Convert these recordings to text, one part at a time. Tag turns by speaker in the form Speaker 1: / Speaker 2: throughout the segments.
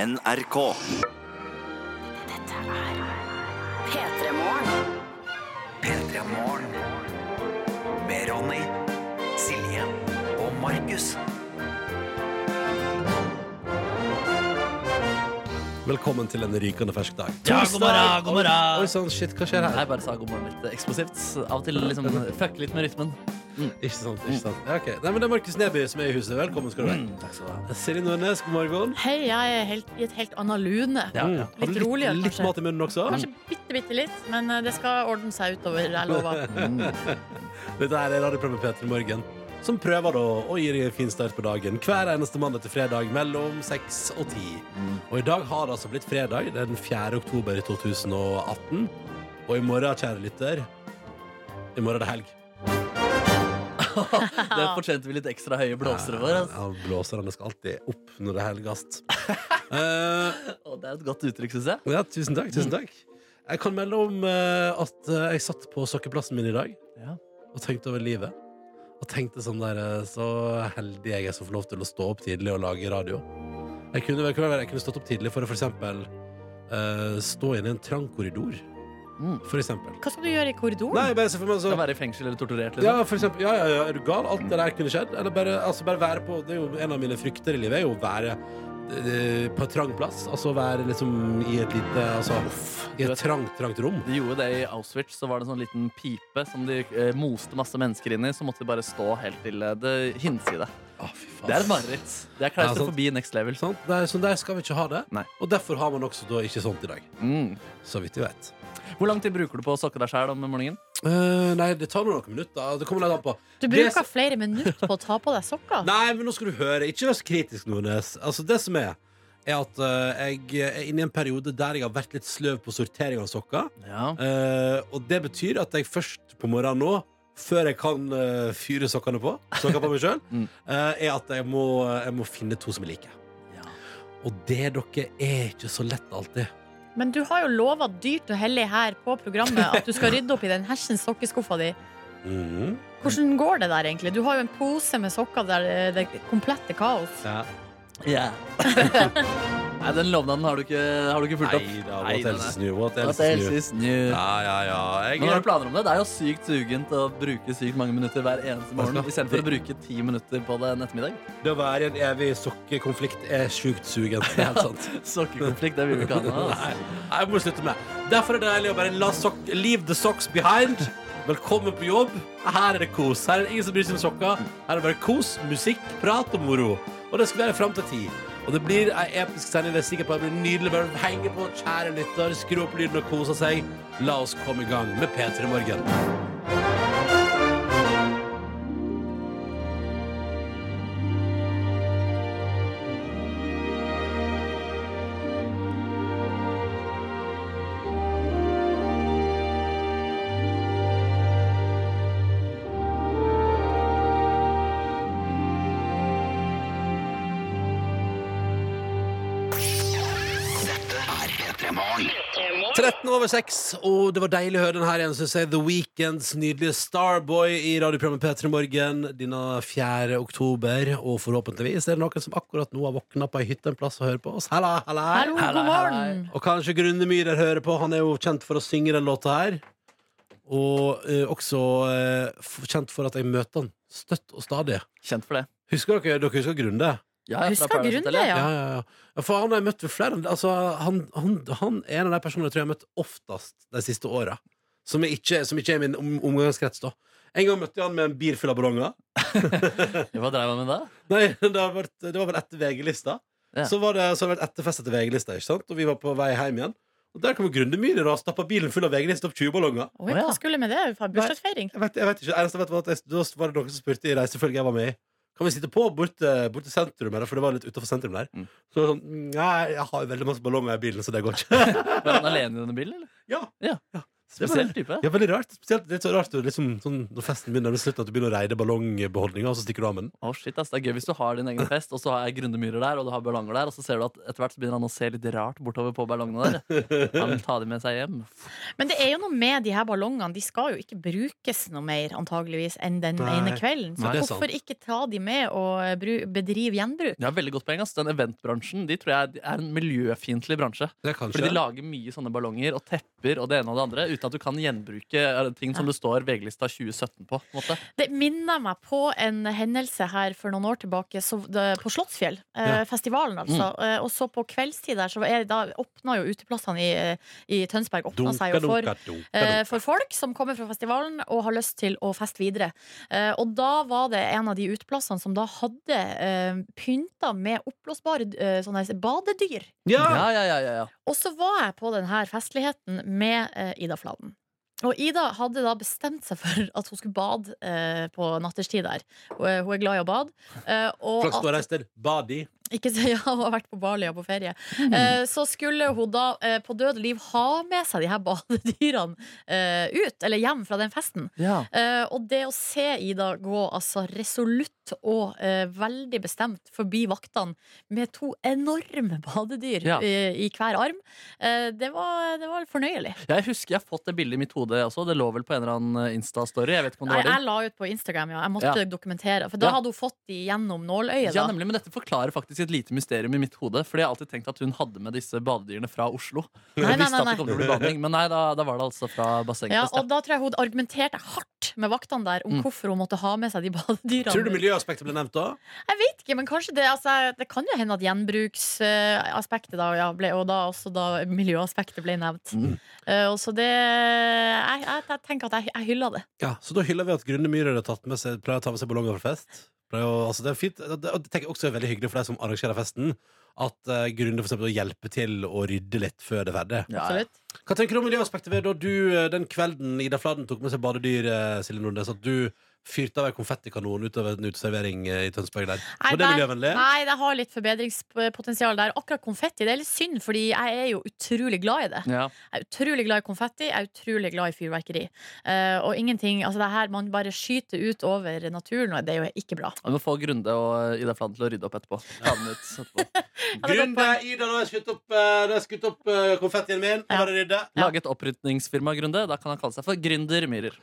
Speaker 1: NRK.
Speaker 2: P3-morgen.
Speaker 3: P3 Morgen. Med Ronny, Silje og Markus.
Speaker 4: Velkommen til en rykende fersk dag.
Speaker 5: Ja, god morgen, god morgen.
Speaker 4: Oi sånn, shit, hva skjer her?
Speaker 5: Nei, bare sa god morgen litt eh, eksplosivt. Av og til liksom fuck litt med rytmen.
Speaker 4: Ikke sant, ikke sant. Ja, ok. Nei, men det er Markus Neby som er i huset. Velkommen skal du være.
Speaker 5: Mm, Takk skal du ha.
Speaker 4: Silje Nordnes, god morgen.
Speaker 6: Hei, jeg er helt, i et helt annet lune.
Speaker 5: Ja,
Speaker 4: Mm.
Speaker 5: ja.
Speaker 4: Har du
Speaker 6: Litt roligere,
Speaker 4: litt, litt
Speaker 6: kanskje.
Speaker 4: mat i munnen også?
Speaker 6: Kanskje bitte, bitte litt, men eh, det skal ordne seg utover, jeg lover.
Speaker 4: Dette her er radioprogrammet Peter Morgen, som prøver da å gi deg en fin start på dagen hver eneste mandag til fredag mellom 6 og 10.
Speaker 5: Mm.
Speaker 4: Og i dag har det altså blitt fredag, det er den 4. oktober i 2018. Og i morgen, kjære lytter, i morgen er det helg.
Speaker 5: Det fortjente vi litt ekstra høye blåsere for. Altså.
Speaker 4: Ja, blåserne skal alltid opp når det er helgast. Eh,
Speaker 5: Å, det er et godt uttrykk, syns jeg.
Speaker 4: Ja, tusen takk, tusen takk. Jeg kan melde om eh, at eh, jeg satt på sokkeplassen min i dag
Speaker 5: Ja.
Speaker 4: og tenkte over livet. Og tenkte sånn der eh, Så heldig jeg er som får lov til å stå opp tidlig og lage radio. Jeg kunne, jeg kunne, jeg kunne stått opp tidlig for å for eksempel eh, stå inne i en trang korridor.
Speaker 5: Mm.
Speaker 4: For eksempel.
Speaker 6: Hva skal du gjøre i
Speaker 4: Nei,
Speaker 6: korridoren?
Speaker 4: bare se for meg så sånn
Speaker 5: Skal være i fengsel eller torturert. Liksom.
Speaker 4: ja, for eksempel, ja, ja, ja, er du gal? Alt det der kunne skjedd. Eller bare, altså bare være på Det er jo en av mine frykter i livet, er jo å være eh, på en trang plass. Altså være liksom i et lite altså, I
Speaker 5: du
Speaker 4: et
Speaker 5: vet.
Speaker 4: trangt, trangt rom.
Speaker 5: De gjorde det i Auschwitz. Så var det en sånn liten pipe som de eh, moste masse mennesker inn i. Så måtte de bare stå helt til eh, det hinsides.
Speaker 4: Å, fy faen.
Speaker 5: Det er et mareritt. Det er klaustrofobi next level.
Speaker 4: Sånn, det er, sånn der skal vi ikke ha det.
Speaker 5: Nei.
Speaker 4: Og derfor har man også da ikke sånt i dag.
Speaker 5: Mm.
Speaker 4: Så vidt jeg vet.
Speaker 5: Hvor lang tid bruker du på å sokke deg sjæl om morgenen?
Speaker 4: Eh, nei, det tar noen minutter. Det kommer litt an på.
Speaker 6: Du
Speaker 4: Det-
Speaker 6: bruker flere minutter på å ta på deg sokker.
Speaker 4: Nei, men nå skal du høre. Ikke vær så kritisk, Nordnes. Altså, det som er, er at eh, jeg er inne i en periode der jeg har vært litt sløv på sortering av sokker.
Speaker 5: Ja.
Speaker 4: Eh, og det betyr at jeg først på morgenen nå, før jeg kan eh, fyre sokkene på, sokker på meg sjøl,
Speaker 5: Mm.
Speaker 4: er at jeg må, jeg må finne to som jeg liker.
Speaker 5: Ja.
Speaker 4: Og det, dere, er ikke så lett alltid.
Speaker 6: Men du har jo lova dyrt og hellig her på programmet at du skal rydde opp i den hersens sokkeskuffa di.
Speaker 4: Mhm.
Speaker 6: Hvordan går det der, egentlig? Du har jo en pose med sokker der eh, det er komplette kaos.
Speaker 4: Ja.
Speaker 5: Yeah. Nei, den lovnaden har du ikke, har du ikke fulgt opp.
Speaker 4: Nei da, what else is new? What
Speaker 5: What
Speaker 4: else is
Speaker 5: else
Speaker 4: new?
Speaker 5: is new?
Speaker 4: Ja, ja, ja. Jeg,
Speaker 5: Men har du planer om det? Det er jo sykt sugent å bruke sykt mange minutter hver eneste morgen
Speaker 4: Hva skal-
Speaker 5: istedenfor å bruke ti minutter på det en ettermiddag.
Speaker 4: det å være i en evig sokkekonflikt er sjukt sugent. Det er helt sant.
Speaker 5: Sokkekonflikt, det vil vi ikke ha nå.
Speaker 4: Nei,
Speaker 5: Altså.
Speaker 4: nei, jeg må slutte med det. Derfor er det deilig å bare la sok leave the socks behind. Velkommen på jobb. Her er det kos. Her er det ingen som bryr seg om sokker. Her er det bare kos, musikk, prat og moro. Og det skal være fram til ti. Og det blir ei episk sending. Det er jeg sikker på det blir nydelig. Bare henge på, kjære lytter. Skru opp lyden og kose seg. La oss komme i gang med P3 Morgen.
Speaker 3: Er P3 Morgen.
Speaker 4: 13 over 6, og det var deilig å høre den her igjen, synes jeg. The Weekends nydelige Starboy i radioprogrammet P3 Morgen denne 4. oktober. Og forhåpentligvis er det noen som akkurat nå har våkna på ei hytte en plass og hører på oss. Halla, halla.
Speaker 6: Hallo,
Speaker 5: Hei, hei,
Speaker 6: god morgen!
Speaker 4: Og kanskje Grunde Myhrer hører på. Han er jo kjent for å synge den låta her. Og eh, også eh, f- kjent for at jeg møter han støtt og stadig.
Speaker 5: Kjent for det.
Speaker 4: Husker dere, dere husker Grunde?
Speaker 5: Ja, ja, fra
Speaker 6: Husker
Speaker 5: Paradise
Speaker 6: Grunde,
Speaker 5: Hotel,
Speaker 6: ja.
Speaker 4: Ja, ja, ja. ja. For han har jeg møtt ved flere altså, han, han, han er en av de personene jeg tror jeg har møtt oftest de siste åra. Som, jeg ikke- som ikke er min om, omgangskrets, da. En gang møtte jeg han med en bil full av ballonger.
Speaker 5: Hva dreiv han med da?
Speaker 4: Nei, det, har vært, det var vel etter VG-lista.
Speaker 5: Ja.
Speaker 4: Så, var det, så har det vært etterfest etter VG-lista, ikke sant? og vi var på vei hjem igjen. Og Der kom Grundemyrer og stappa bilen full av VG-lista opp 20 ballonger.
Speaker 6: Oi,
Speaker 5: Å, ja.
Speaker 6: hva skulle med det? Fra Bursdagsfeiring?
Speaker 4: Jeg vet, jeg vet ikke, det eneste jeg vet var at jeg, Da var det noen som spurte i reisefølget jeg var med i. Kan vi sitte på borte, borte sentrum her, for det var litt utenfor sentrum der.
Speaker 5: Mm.
Speaker 4: Så var det sånn, nei, jeg har veldig masse ballonger i bilen, så det går ikke.
Speaker 5: Var han alene i denne bilen, eller?
Speaker 4: Ja.
Speaker 5: Ja. Det var en type.
Speaker 4: Ja, veldig rart. Spesielt litt så rart du liksom, sånn, når festen begynner å slutte, at du begynner å reide ballongbeholdninga, og så stikker du av med den.
Speaker 5: Å, shit, ass, Det er gøy hvis du har din egen fest, og så har jeg grundemyrer der, og du har ballonger der, og så ser du at etter hvert så begynner han å se litt rart bortover på ballongene der. Han vil ta de med seg hjem.
Speaker 6: Men det er jo noe med de her ballongene. De skal jo ikke brukes noe mer antageligvis enn den
Speaker 4: Nei.
Speaker 6: ene kvelden. Så
Speaker 4: Nei, det er sant.
Speaker 6: hvorfor ikke ta de med og eh, bru- bedrive gjenbruk?
Speaker 5: Det er veldig godt poeng, ass. Den eventbransjen de tror jeg er en miljøfiendtlig bransje.
Speaker 4: Det er kanskje
Speaker 5: Fordi de lager mye sånne ballonger og tepper og det ene og det andre uten at du kan gjenbruke eh, ting som det står VG-lista 2017 på. på en måte.
Speaker 6: Det minner meg på en hendelse her for noen år tilbake så, det, på Slottsfjell. Eh,
Speaker 4: Ja. Mm.
Speaker 6: Festivalen, altså. Eh, og så på kveldstid der, så er, da åpna jo uteplassene i, eh, i Tønsberg åpna seg jo for eh, for folk som kommer fra festivalen og har lyst til å feste videre. Eh, Og da var det en av de uteplassene som da hadde eh, pynta med oppblåsbare eh, sånne her badedyr.
Speaker 4: Ja!
Speaker 5: Ja, ja, ja, ja, ja.
Speaker 6: Og så var jeg på denne festligheten med eh, Ida Fladen. Og Ida hadde da bestemt seg for at hun skulle bade eh, på natterstid der. Hun er- hun er glad i å bade. eh, og
Speaker 4: Flaks du
Speaker 6: at-
Speaker 4: har reist til Badi.
Speaker 6: ikke si ja, hun har vært på Bali og på ferie. Eh, så skulle hun da eh, på død og liv ha med seg de her badedyrene eh, ut, eller hjem fra den festen.
Speaker 5: ja.
Speaker 6: Eh, og det å se Ida gå altså resolutt og eh, veldig bestemt forbi vaktene med to enorme badedyr
Speaker 5: Ja.
Speaker 6: eh, i hver arm, eh, det, var, det var fornøyelig.
Speaker 5: Jeg husker jeg har fått det bildet i mitt hode også. Det lå vel på en eller annen eh, Insta-story. Jeg vet ikke om det
Speaker 6: Nei,
Speaker 5: var
Speaker 6: jeg
Speaker 5: din.
Speaker 6: la ut på Instagram, ja. Jeg måtte
Speaker 5: Ja.
Speaker 6: dokumentere. For da
Speaker 5: Ja.
Speaker 6: hadde hun fått de gjennom nåløyet.
Speaker 5: Ja,
Speaker 6: da.
Speaker 5: nemlig, men Dette forklarer faktisk et lite mysterium i mitt hode. Fordi jeg har alltid tenkt at hun hadde med disse badedyrene fra Oslo.
Speaker 6: Nei,
Speaker 5: jeg
Speaker 6: nei,
Speaker 5: visste
Speaker 6: nei,
Speaker 5: at det kom til å bli bading, men nei, da, da var det altså fra bassenget.
Speaker 6: Ja,
Speaker 5: Ja,
Speaker 6: og da tror jeg hun argumenterte hardt med vaktene der om
Speaker 5: Mm.
Speaker 6: hvorfor hun måtte ha med seg de badedyrene.
Speaker 4: Tror du miljøaspektet ble nevnt da?
Speaker 6: Jeg vet ikke, men kanskje det altså, Det kan jo hende at gjenbruksaspektet da, ja, ble, og da også da miljøaspektet ble nevnt.
Speaker 5: Mm.
Speaker 6: Eh, og så det Jeg, jeg, jeg tenker at jeg, jeg hyller det.
Speaker 4: Ja, Så da hyller vi at Grunne Myhrer har tatt med seg, pleier å ta med seg ballonger fra fest. Pleier Å, altså det er fint, og det, og det tenker jeg også er veldig hyggelig for de som arrangerer festen. At eh, Grunne for eksempel, hjelper til å rydde litt før det er ferdig.
Speaker 5: ja, ja.
Speaker 6: Absolutt.
Speaker 4: Hva tenker du om miljøaspektet ved da du eh, den kvelden Ida Fladen tok med seg badedyr, eh, Silje Nordnes, at du fyrte av en konfettikanon utover en uteservering eh, i Tønsberg der?
Speaker 6: Nei,
Speaker 4: Var det
Speaker 6: der-
Speaker 4: miljøvennlig?
Speaker 6: Nei, det har litt forbedringspotensial der. Akkurat konfetti det er litt synd, fordi jeg er jo utrolig glad i det.
Speaker 5: Ja.
Speaker 6: Jeg er utrolig glad i konfetti, jeg er utrolig glad i fyrverkeri. Eh, og ingenting Altså, det her man bare skyter ut over naturen, og det er jo ikke bra.
Speaker 5: Vi må få Grunde og eh, Ida Fladen til å rydde opp etterpå. Ta den ut etterpå.
Speaker 6: Ja, det er godt
Speaker 4: Grunde, Ida, nå har jeg skutt opp, eh, nå har jeg skutt opp eh, konfettien min. Nå
Speaker 6: Ja.
Speaker 4: er det rydde.
Speaker 6: Ja.
Speaker 5: Lage et opprydningsfirma, Grunde. Da kan han kalle seg for Gründer Myhrer.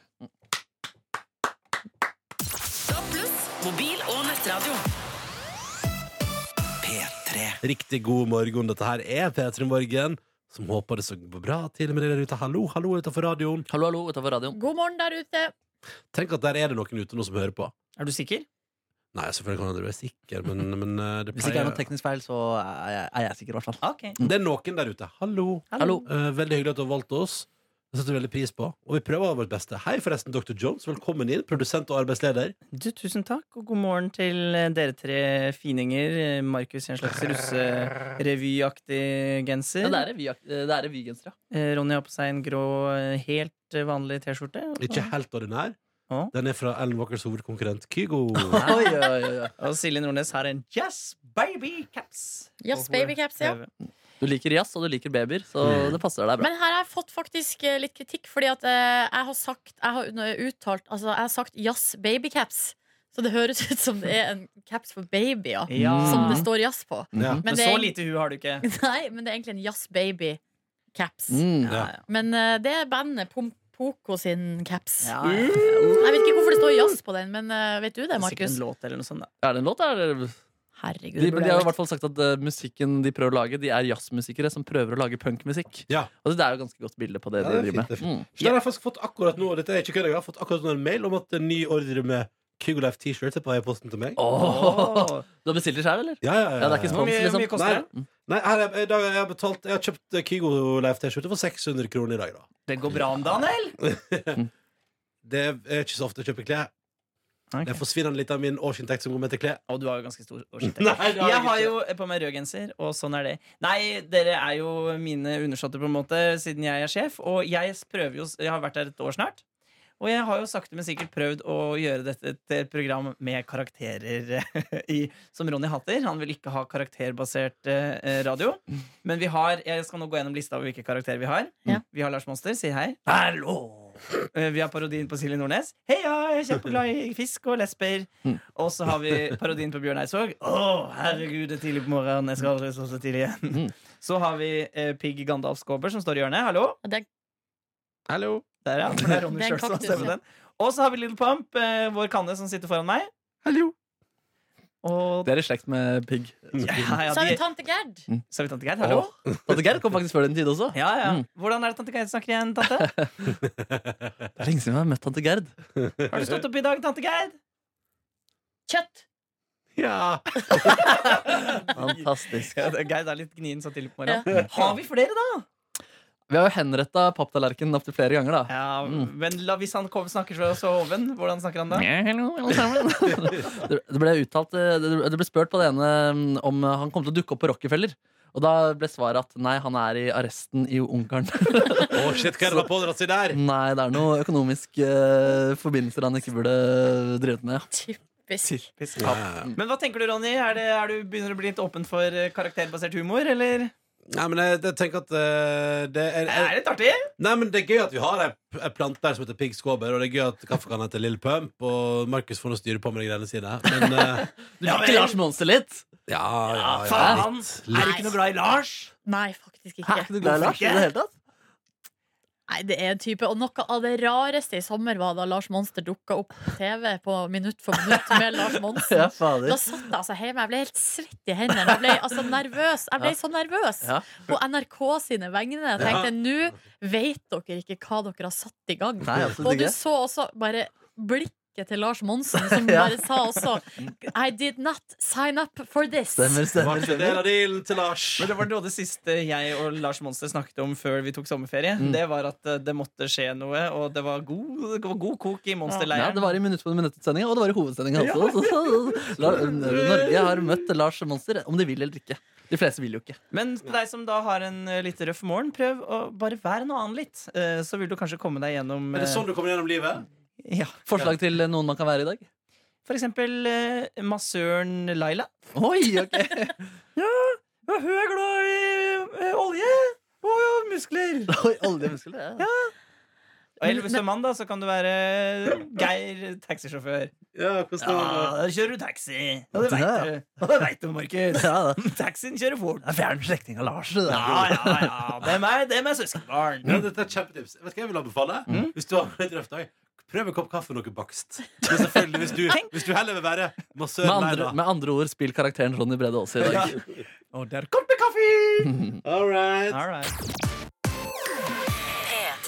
Speaker 1: Mobil og nettradio.
Speaker 3: P3
Speaker 4: Riktig god morgen. Dette her er P3 Morgen, som håper det går bra til med dere der ute. Hallo, hallo utenfor radioen.
Speaker 5: Hallo, hallo, utenfor radioen.
Speaker 6: God morgen der ute.
Speaker 4: Tenk at der er det noen ute nå som hører på.
Speaker 2: Er du sikker?
Speaker 4: Nei, selvfølgelig kan jeg være sikker, men, men eh, det
Speaker 2: Hvis det ikke er noe
Speaker 4: pleier
Speaker 2: teknisk feil, så er jeg, er jeg sikker, i hvert fall.
Speaker 4: Det er noen der ute. Hallo.
Speaker 5: Hallo.
Speaker 4: Eh, veldig hyggelig at du har valgt oss. Det setter vi veldig pris på. Og vi prøver vårt beste. Hei, forresten, Dr. Jones. Velkommen inn. Produsent og arbeidsleder.
Speaker 2: Du, tusen takk, og god morgen til eh, dere tre fininger. Markus i en slags russerevyaktig genser.
Speaker 5: Ja, det er revyakt- eh, det er revygensere. ja.
Speaker 2: Eh, Ronny har på seg en grå, eh, helt eh, vanlig T-skjorte.
Speaker 4: Ikke helt ordinær.
Speaker 2: Å.
Speaker 4: Den er fra Ellen Walkers hovedkonkurrent Kygo.
Speaker 5: Oi, oi, oi, oi.
Speaker 2: Og Silje Nordnes har en Yes Baby Caps.
Speaker 6: Yes, baby caps, ja.
Speaker 5: Du liker jazz, og du liker babyer, så
Speaker 2: Mm.
Speaker 5: det passer deg bra.
Speaker 6: Men her har jeg fått faktisk eh, litt kritikk, fordi at eh, jeg har sagt Jeg har nå uttalt Altså, jeg har sagt jazz babycaps, så det høres ut som det er en caps for babyer
Speaker 2: Eh, ja.
Speaker 6: som det står jazz på.
Speaker 4: Ja.
Speaker 2: Men
Speaker 6: Men det
Speaker 2: så
Speaker 6: er,
Speaker 2: lite hu har du ikke.
Speaker 6: nei, men det er egentlig en jazz baby caps.
Speaker 5: Mm.
Speaker 4: Ja.
Speaker 6: Men eh, det er bandet Pom Poco sin caps.
Speaker 2: Ja,
Speaker 6: Jeg vet ikke hvorfor det står jazz på den, men eh, vet du det,
Speaker 2: Sikkert
Speaker 6: Markus?
Speaker 2: en låt eller noe sånt. Da.
Speaker 5: Er det en låt, eller?
Speaker 6: Herregud.
Speaker 5: De,
Speaker 6: det burde
Speaker 5: de har
Speaker 6: jeg
Speaker 5: i hvert fall sagt at eh, musikken de prøver å lage, De er jazzmusikere som prøver å lage punkmusikk.
Speaker 4: Ja.
Speaker 5: Og det er jo ganske godt bilde på det
Speaker 4: Ja,
Speaker 5: de
Speaker 4: det er fint,
Speaker 5: driver
Speaker 4: det er
Speaker 5: med. Mm.
Speaker 4: Så der har jeg faktisk fått akkurat nå, og dette er ikke kødd, jeg har fått akkurat nå en mail om at en ny ordre med Kygo Life T-shirt er på vei i posten til meg.
Speaker 5: Åh. Du har bestilt det sjøl, eller?
Speaker 4: Ja, ja, ja,
Speaker 5: Ja, det er ikke
Speaker 4: ja.
Speaker 2: Hvor
Speaker 5: spons,
Speaker 2: mye, hvor mye
Speaker 5: liksom.
Speaker 2: koster
Speaker 4: Nei.
Speaker 2: det?
Speaker 4: Nei, her er, i dag har jeg, betalt, jeg har kjøpt eh, Kygo Life T-skjorte for 600 kroner i dag, da.
Speaker 2: Det går bra om dagen, eller?
Speaker 4: Det er ikke så ofte jeg kjøper klær. Det forsvinner litt av min årsinntekt som går med til klær.
Speaker 2: Og du har jo ganske stor årsinntekt.
Speaker 4: Nei, det har
Speaker 2: Jeg
Speaker 4: jeg
Speaker 2: har
Speaker 4: ikke.
Speaker 2: jo på meg rød genser, og sånn er det. Nei, dere er jo mine undersåtter, på en måte, siden jeg er sjef. Og jeg prøver jo Jeg har vært her et år snart. Og jeg har jo sakte, men sikkert prøvd å gjøre dette til et program med karakterer i, som Ronny hater. Han vil ikke ha karakterbasert eh, radio. Men vi har Jeg skal nå gå gjennom lista over hvilke karakterer vi har.
Speaker 6: Ja.
Speaker 2: Vi har Lars Monster. Si hei. Eh, Vi har parodien på Silje Nordnes. Heia, jeg er kjempeglad i fisk og lesber. Og så har vi parodien på Bjørn Eidsvåg. Å, herregud, det er tidlig på morgenen. Jeg skal aldri stå så tidlig igjen. Så har vi eh, Pigg Gandalf Skåber som står i hjørnet. Hallo.
Speaker 6: Det er
Speaker 7: Hallo.
Speaker 2: Der, ja. For det er Ronny
Speaker 6: Det er en
Speaker 2: selv som har
Speaker 6: kaktus,
Speaker 2: stemmen
Speaker 6: ja.
Speaker 2: den. Og så har vi Little Pump, eh, vår kanne, som sitter foran meg.
Speaker 7: Hallo.
Speaker 2: Og
Speaker 5: Dere er i slekt med pigg.
Speaker 2: ja, ja,
Speaker 6: Så har vi
Speaker 2: de,
Speaker 6: tante Gerd.
Speaker 2: så har vi tante Geir. Hallo.
Speaker 5: Tante Gerd kom faktisk før den tid også.
Speaker 2: Ja, ja.
Speaker 5: Mm.
Speaker 2: Hvordan er det tante Geir snakker igjen, tante?
Speaker 5: Det er lenge siden jeg har møtt tante Gerd.
Speaker 2: Har du stått opp i dag, tante Geir?
Speaker 6: Kjøtt.
Speaker 7: Ja.
Speaker 5: Fantastisk.
Speaker 2: Ja, det- Geir det er litt gnien så tidlig på morgenen. Har vi flere, da?
Speaker 5: Vi har jo henretta papptallerkenen opptil flere ganger, da.
Speaker 2: Ja,
Speaker 5: Mm.
Speaker 2: men la, Hvis han kom, snakker så så oven, hvordan snakker han da?
Speaker 5: Ja, hallo, alle sammen. det det ble uttalt eh, Det det ble spurt på det ene mm, om eh, han kom til å dukke opp på Rockefeller. Og da ble svaret at nei, han er i arresten i Ungarn.
Speaker 4: Å, shit, hva er det han har pådratt seg der?
Speaker 5: nei, det er noen økonomiske eh, forbindelser han ikke burde drevet med.
Speaker 6: Typisk.
Speaker 2: Piss. Men hva tenker du, Ronny? Er, det, er du begynner du å bli litt åpen for eh, karakterbasert humor, eller?
Speaker 4: Nei, men jeg, jeg tenker at eh, det er,
Speaker 2: Er det litt artig?
Speaker 4: Nei, men det er gøy at vi har ei ei plante der som heter Pig Skåber, og det er gøy at kaffekannen heter Lill Pump, og Markus får nå styre på med de greiene sine. Men eh,
Speaker 5: Du liker Lars Monster litt?
Speaker 4: ja, ja, ja.
Speaker 2: Faen! Er du
Speaker 6: litt.
Speaker 2: ikke noe glad i Lars?
Speaker 6: Nei, faktisk
Speaker 5: Hæ?
Speaker 6: ikke.
Speaker 5: Du glad i Lars i det hele tatt?
Speaker 6: Nei, det er en type Og noe av det rareste i sommer var da Lars Monster dukka opp på TV på Minutt for minutt med Lars Monsen.
Speaker 5: Ja, fader.
Speaker 6: Da satt jeg altså hjemme. Jeg ble helt svett i hendene. Jeg ble altså nervøs. Jeg ble så nervøs
Speaker 5: Ja.
Speaker 6: på NRK sine vegne. Jeg tenkte nå vet dere ikke hva dere har satt i gang.
Speaker 5: Nei, altså, absolutt
Speaker 6: Og du
Speaker 5: ikke.
Speaker 6: så også bare blikket til Lars Monsen, som
Speaker 5: Ja.
Speaker 6: bare sa også I did not sign up for this.
Speaker 4: Var
Speaker 5: Stemmer, stemmer.
Speaker 4: ikke del av dealen til Lars.
Speaker 2: Men det var noe av det siste jeg og Lars Monster snakket om før vi tok sommerferie. Det var at eh, det måtte skje noe, og det var god, det var god kok i
Speaker 5: Ja,
Speaker 2: monsterleiren.
Speaker 5: det var i minutt på minutt-sendinga, og det var i hovedsendinga også. Så, så, La, Norge har møtt Lars Monster, om de vil eller ikke. De fleste vil jo ikke.
Speaker 2: Men til deg som da har en eh, litt røff morgen, prøv å bare være noe annet litt. eh, Så vil du kanskje komme deg gjennom
Speaker 4: Er det sånn du kommer gjennom livet?
Speaker 2: eh, ja.
Speaker 5: Forslag til noen man kan være i dag?
Speaker 2: For eksempel eh, massøren Laila.
Speaker 5: Oi, ok
Speaker 2: Ja, hun er glad i eh, olje og muskler.
Speaker 5: Oi, Olje og muskler. Ja.
Speaker 2: Og eller hvis du er mann, da, så kan du være eh, Geir taxisjåfør.
Speaker 4: Ja, hvordan
Speaker 2: Ja,
Speaker 4: var det?
Speaker 2: da kjører du taxi. Og det
Speaker 5: Ja.
Speaker 2: veit du. Og det vet du, Markus.
Speaker 5: Ja, da.
Speaker 2: Taxien kjører fort.
Speaker 5: Det er fjern slektning av Lars. det der.
Speaker 2: Ja, ja, ja. Dem er, dem er søskenbarn.
Speaker 4: Ja, dette er et kjempetips. Vet du hva jeg vil anbefale? Hvis du har en røff dag, prøv en kopp kaffe og noe bakst. Men selvfølgelig, hvis du, hvis du heller vil være massør
Speaker 5: Med andre,
Speaker 4: Leila.
Speaker 5: med andre ord, spill karakteren Ronny Brede Aase i dag.
Speaker 2: Og der kom det kaffe!
Speaker 4: All right.
Speaker 2: All right.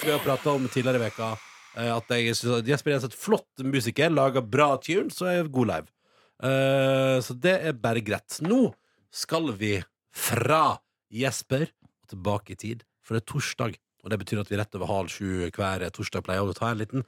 Speaker 4: Vi har prata om tidligere i veka eh, at jeg synes at Jesper Jens er et flott musiker, lager bra tunes og er god live. Eh, Så det er bare greit. Nå skal vi fra Jesper og tilbake i tid, for det er torsdag. Og det betyr at vi rett over halv sju hver torsdag pleier å ta en liten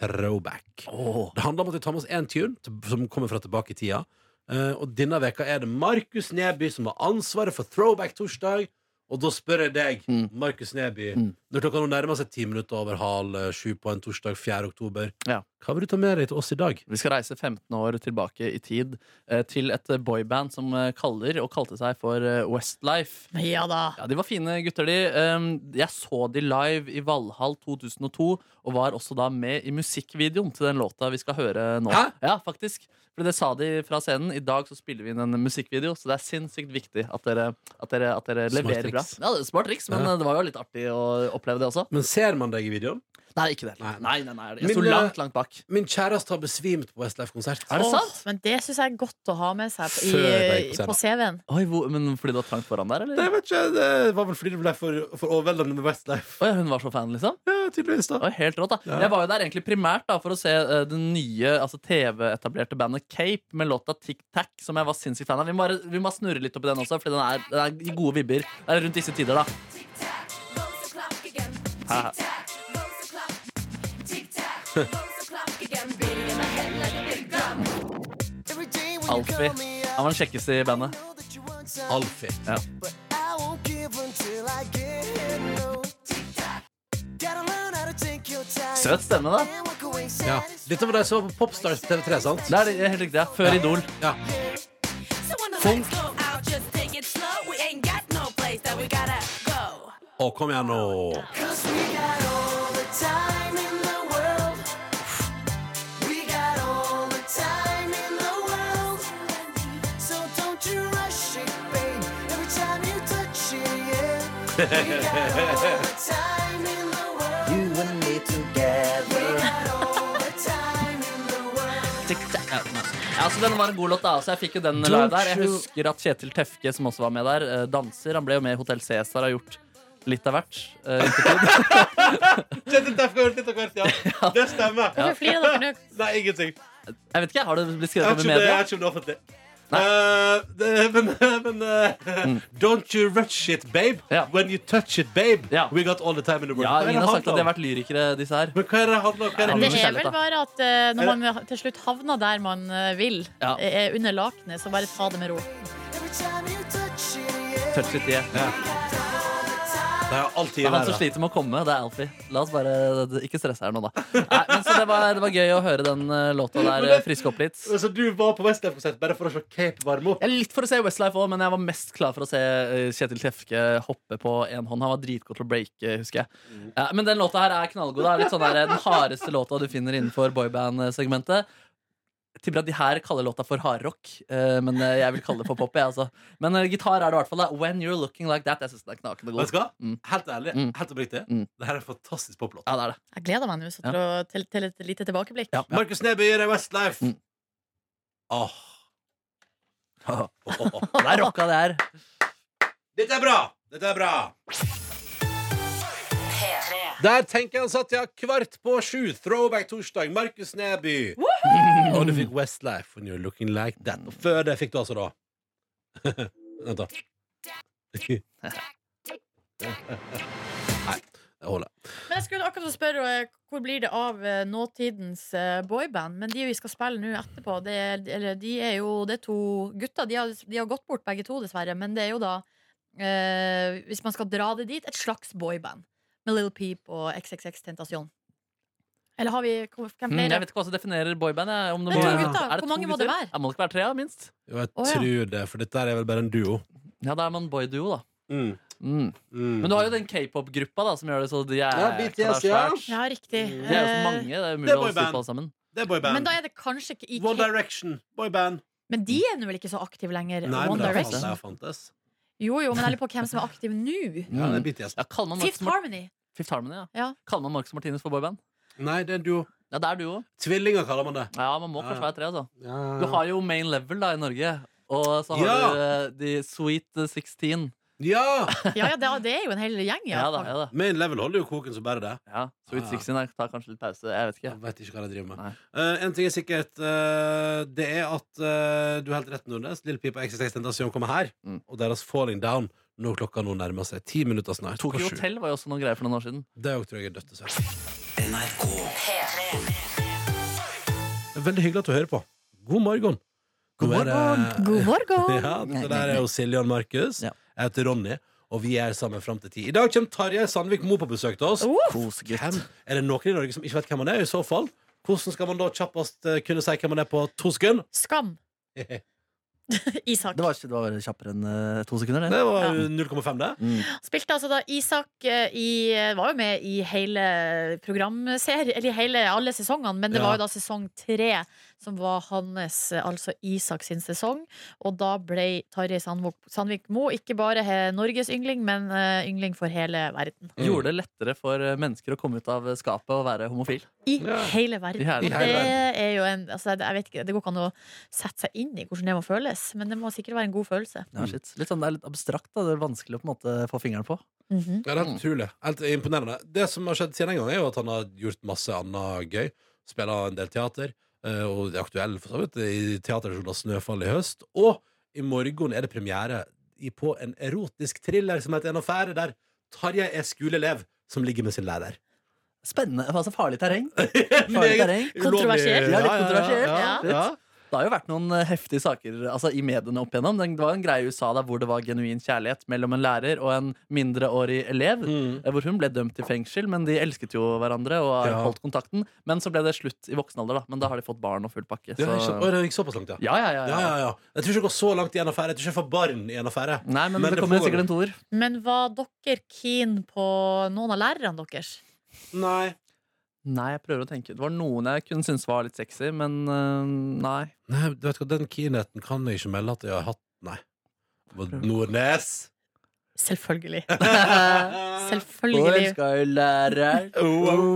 Speaker 4: throwback. Det handler om at vi tar med oss én tune til- som kommer fra tilbake i tida. Eh, og denne veka er det Markus Neby som har ansvaret for Throwback Torsdag. Og da spør jeg deg,
Speaker 5: Mm.
Speaker 4: Markus Neby,
Speaker 5: Mm.
Speaker 4: når klokka nå nærmer seg ti minutter over halv eh, sju på en torsdag 4. oktober,
Speaker 5: Ja.
Speaker 4: hva vil du ta med deg til oss i dag?
Speaker 5: Vi skal reise 15 år tilbake i tid eh, til et boyband som eh, kaller og kalte seg for eh, Westlife.
Speaker 6: Ja da.
Speaker 5: Ja, De var fine gutter, de. Ehm, Jeg så de live i Valhall 2002, og var også da med i musikkvideoen til den låta vi skal høre nå.
Speaker 4: Hæ?
Speaker 5: Ja, faktisk. For det sa de fra scenen. I dag så spiller vi inn en musikkvideo, så det er sinnssykt viktig at dere, at dere, at dere
Speaker 4: Smart
Speaker 5: leverer
Speaker 4: triks.
Speaker 5: bra. Ja, det er Smart triks, men
Speaker 4: Ja.
Speaker 5: eh, det var jo litt artig å oppleve det også.
Speaker 4: Men ser man deg i videoen?
Speaker 5: Nei, ikke det.
Speaker 4: Nei.
Speaker 5: Nei, nei, nei, Jeg sto
Speaker 4: Men, eh,
Speaker 5: langt, langt bak.
Speaker 4: Min kjæreste har besvimt på Westlife-konsert.
Speaker 5: Er det
Speaker 6: Åh,
Speaker 5: sant?
Speaker 6: Men det syns jeg er godt å ha med seg i,
Speaker 4: Før det gikk på
Speaker 6: på CV-en.
Speaker 5: Oi, hvor, men fordi det var trangt foran der,
Speaker 4: Det,
Speaker 5: eller?
Speaker 4: vet ikke, det var vel fordi det ble for, for overveldende med Westlife.
Speaker 5: Oi, hun var så fan, liksom?
Speaker 4: Ja, tydeligvis da
Speaker 5: Det var helt rått da Jeg var jo der egentlig primært da for å se eh, det nye altså TV-etablerte bandet Cape med låta Tic Tac, som jeg var sinnssykt fan av. Vi må, bare- vi må snurre litt opp i den også, Fordi den er, den er i gode vibber. Det er rundt disse tider, da. Her, her. Alfie. Han var den kjekkeste i bandet.
Speaker 4: Alfie.
Speaker 5: Søt stemme, da.
Speaker 4: Ja. Dette var de som var på Popstars på TV3, sant?
Speaker 5: Det er det- det er helt riktig. ja. Før Idol.
Speaker 4: Ja.
Speaker 1: Funk. Funk.
Speaker 4: Å, kom igjen nå.
Speaker 3: You and me together.
Speaker 5: Ja, nei. Ja, så den var en god låt, da. Så jeg fikk jo den live der. Jeg husker at Kjetil Tefke, som også var med der, eh, danser. Han ble jo med i Hotell Cæsar og har gjort litt av hvert. eh, i ettertid.
Speaker 4: Kjetil Teff har gjort litt av hvert, ja. Det stemmer.
Speaker 6: Hvorfor flirer dere nå?
Speaker 4: Nei, ingenting.
Speaker 5: Jeg vet ikke, Har det blitt
Speaker 4: Jeg
Speaker 5: skrevet
Speaker 4: vet ikke om det-
Speaker 5: om i
Speaker 4: jeg
Speaker 5: media?
Speaker 4: vet ikke om det er offentlig. Eh, det- men men eh, Don't you rush it, babe.
Speaker 5: Mm. Ja.
Speaker 4: When you touch it, babe.
Speaker 5: Ja.
Speaker 4: We got all the time in the world.
Speaker 5: Ja,
Speaker 4: Hva er det
Speaker 5: Ingen har sagt
Speaker 4: handler
Speaker 5: at de har
Speaker 4: om?
Speaker 5: vært lyrikere, disse her.
Speaker 4: Men hva er det det handler om? Hva er det
Speaker 5: Nei,
Speaker 6: Det
Speaker 5: men
Speaker 6: er vel
Speaker 5: kjærlighet, da.
Speaker 6: bare at eh, når man til slutt havner der man eh, vil,
Speaker 5: Ja.
Speaker 6: eh, er under lakenet, så bare ta det med ro.
Speaker 5: Touch it, yeah.
Speaker 4: Det er alltid
Speaker 5: Det er han som
Speaker 4: verre.
Speaker 5: sliter med å komme. Det er Alfie. La oss bare ikke stresse her nå, da. Nei, men så det var, det var gøy å høre den eh, låta der eh, friske opp litt.
Speaker 4: Så Altså, du var på Westlife-konsert bare for å se Cape varme opp?
Speaker 5: Jeg er litt for å se Westlife òg, men jeg var mest klar for å se eh, Kjetil Tefke hoppe på én hånd. Han var dritgod til å breake, husker jeg. Ja, men den låta her er knallgod. Det er litt sånn der, eh, den hardeste låta du finner innenfor boyband-segmentet. Tipper at de her kaller låta for hardrock, eh, men eh, jeg vil kalle det for pop. Jeg, altså. Men eh, gitar er det i hvert fall. da When You're Looking Like That. Jeg syns den er knakende
Speaker 4: Vet du
Speaker 5: god.
Speaker 4: hva?
Speaker 5: Mm.
Speaker 4: Helt ærlig,
Speaker 5: Mm.
Speaker 4: helt oppriktig.
Speaker 5: Mm.
Speaker 4: Det her er en fantastisk poplåt.
Speaker 5: Ja, det er det.
Speaker 6: Jeg gleder meg nå så til, å- til, til et lite tilbakeblikk.
Speaker 5: Ja.
Speaker 4: Markus Neby gir deg Westlife.
Speaker 5: Mm.
Speaker 4: Åh. Åh, åh, åh.
Speaker 5: Det er rocka, det her.
Speaker 4: Dette er bra! Dette er bra! Der tenker jeg han satt, ja. Kvart på sju. Throwback torsdag. Markus Neby. Og du fikk Westlife when you're looking like that. Og før det fikk du altså da Vent, da. Nei, det holder.
Speaker 6: Men jeg skulle akkurat spørre eh, hvor blir det av eh, nåtidens eh, boyband? Men de vi skal spille nå etterpå, det, er- eller, de er jo det er to gutter. De har, de har gått bort begge to, dessverre. Men det er jo da, eh, hvis man skal dra det dit, et slags boyband. Med Little Peep og XXX Tentasjon. Eller har vi hvem
Speaker 5: Mm,
Speaker 6: flere?
Speaker 5: jeg vet ikke hva som definerer boyband. jeg, om det
Speaker 6: Det er
Speaker 5: må-
Speaker 6: to gutter.
Speaker 5: Er
Speaker 6: Hvor mange
Speaker 5: to
Speaker 6: må det
Speaker 5: gutter?
Speaker 6: være?
Speaker 5: Ja, må det ikke være tre, ja, minst?
Speaker 4: Jo, jeg
Speaker 6: Å, ja.
Speaker 4: tror det, for dette her er vel bare en duo.
Speaker 5: Ja, da er man boyduo, da.
Speaker 4: Mm.
Speaker 5: Mm.
Speaker 4: Mm.
Speaker 5: Men du har jo den k-pop-gruppa da som gjør det så de er
Speaker 4: Ja, BTS, ja.
Speaker 5: svært.
Speaker 6: Ja, riktig.
Speaker 5: De er jo så
Speaker 6: Eh,
Speaker 5: mange. Det er
Speaker 4: Det
Speaker 5: umulig
Speaker 4: er
Speaker 5: å holde styr
Speaker 4: boyband.
Speaker 5: på alle sammen.
Speaker 4: Det er
Speaker 6: Men
Speaker 4: boyband.
Speaker 6: da er det kanskje ikke i
Speaker 4: One
Speaker 6: K-
Speaker 4: Direction. Boyband.
Speaker 6: Men de er nå vel ikke så aktive lenger?
Speaker 4: Nei, men
Speaker 6: One
Speaker 4: det er
Speaker 6: Direction.
Speaker 4: fant- det er fantes.
Speaker 6: Jo, jo, men jeg lurer på hvem som er aktiv nå.
Speaker 4: Ja, det er BTS.
Speaker 5: Mm. Ja, kaller man Marcus
Speaker 6: Fifth
Speaker 5: Mart-
Speaker 6: Harmony.
Speaker 5: Fifth Harmony, ja.
Speaker 6: Ja.
Speaker 5: Kaller man Marcus Martinus for boyband?
Speaker 4: Nei, det er en duo.
Speaker 5: Ja, det er du òg.
Speaker 4: Tvillinger kaller man det.
Speaker 5: Ja, man må
Speaker 4: Ja,
Speaker 5: kanskje
Speaker 4: ja.
Speaker 5: være tre, altså.
Speaker 4: Ja,
Speaker 5: Du har jo Main Level da i Norge. Og så har
Speaker 4: Ja.
Speaker 5: du eh, de Sweet 16.
Speaker 4: ja!
Speaker 6: Ja, ja, det er- det er jo en hel gjeng,
Speaker 5: Ja, da, ja, da.
Speaker 4: Main level holder jo koken som bare det.
Speaker 5: Ja, Sweet
Speaker 4: Ja.
Speaker 5: 16 jeg tar kanskje litt pause. Jeg vet ikke.
Speaker 4: Jeg vet ikke hva de driver med.
Speaker 5: Nei.
Speaker 4: Eh, en ting er sikkert, eh, det er at eh, du har helt rett, Nordnes. Lille Pip og XXX Tentasjon kommer her.
Speaker 5: Mm.
Speaker 4: Og deres Falling Down når klokka nå nærmer seg ti minutter snart.
Speaker 5: Tokyo
Speaker 4: På sju.
Speaker 5: Hotel var jo også noen greier for noen år siden.
Speaker 4: Det er jo, tror jeg er dødt dessverre. Veldig hyggelig at du hører på. God morgen. God morgen.
Speaker 6: God morgen!
Speaker 4: Ja, det der er jo Silje og Markus.
Speaker 5: Ja.
Speaker 4: Jeg heter Ronny, og vi er sammen fram til ti. I dag kommer Tarjei Sandvik Mo på besøk til oss. Hvem? Er det noen i Norge som ikke vet hvem han er? I så fall, hvordan skal man da kjappest eh, kunne si hvem han er på to sekunder?
Speaker 6: Skam. Isak.
Speaker 5: Det var, ikke, det var kjappere enn eh, to sekunder, det. Mm.
Speaker 4: Det var jo 0,5, det.
Speaker 6: Spilte altså da Isak eh, i Var jo med i hele programserien, eller i hele, alle sesongene, men det
Speaker 4: Ja.
Speaker 6: var jo da sesong tre som var hans, eh, altså Isak sin sesong. Og da ble Tarjei Sandvik, Sandvik Mo ikke bare he- Norges yngling, men eh, yngling for hele verden.
Speaker 4: Mm.
Speaker 5: Gjorde det lettere for eh, mennesker å komme ut av skapet og være homofil.
Speaker 6: I
Speaker 4: Ja.
Speaker 6: hele verden.
Speaker 5: I hele
Speaker 6: Og det
Speaker 4: verden.
Speaker 6: er jo en altså, jeg vet ikke, Det går ikke an å sette seg inn i hvordan det må føles, men det må sikkert være en god følelse.
Speaker 5: Ja, shit. Litt sånn, det er litt abstrakt. Da. Det er vanskelig å på en måte få fingeren på.
Speaker 6: Mhm.
Speaker 4: Ja, det er helt utrolig. Helt imponerende. Det som har skjedd siden den gang, er jo at han har gjort masse annet gøy. Spilla en del teater, eh, og det er aktuell for så vidt, i teaterversjonen av Snøfall i høst. Og i morgen er det premiere i- på en erotisk thriller som heter En affære, der Tarjei er skoleelev som ligger med sin lærer.
Speaker 5: Spennende. Altså farlig terreng. Farlig
Speaker 4: Meget
Speaker 5: terreng.
Speaker 4: ulovlig-
Speaker 6: Kontroversielt.
Speaker 5: Ja, litt
Speaker 4: ja,
Speaker 5: kontroversielt.
Speaker 4: ja, ja.
Speaker 5: Det har jo vært noen eh, heftige saker altså, i mediene opp igjennom. Den- Det var en greie i USA der hvor det var genuin kjærlighet mellom en lærer og en mindreårig elev.
Speaker 4: Mm.
Speaker 5: eh, Hvor hun ble dømt til fengsel, men de elsket jo hverandre og har
Speaker 4: Ja.
Speaker 5: holdt kontakten. Men så ble det slutt i voksen alder, da. Men da har de fått barn og full pakke.
Speaker 4: Ja,
Speaker 5: Så...
Speaker 4: ikke sant. Oi, det gikk såpass langt, ja.
Speaker 5: Ja, ja, ja,
Speaker 4: Ja, ja, ja. Jeg tror ikke det går så langt i en affære. Jeg tror ikke jeg får barn i en affære.
Speaker 5: Nei, men,
Speaker 4: Men
Speaker 5: det
Speaker 4: det
Speaker 5: kommer
Speaker 4: pågår.
Speaker 5: sikkert en toer.
Speaker 6: Men var dere keen på noen av lærerne deres?
Speaker 4: Nei.
Speaker 5: Nei, jeg prøver å tenke. Det var noen jeg kunne synes var litt sexy, men eh, nei.
Speaker 4: Nei, du vet hva, Den keenheten kan jeg ikke melde at jeg har hatt. Nei. Nordnes.
Speaker 6: Selvfølgelig.
Speaker 4: Selvfølgelig.
Speaker 6: Selvfølgelig.
Speaker 5: jo lærer.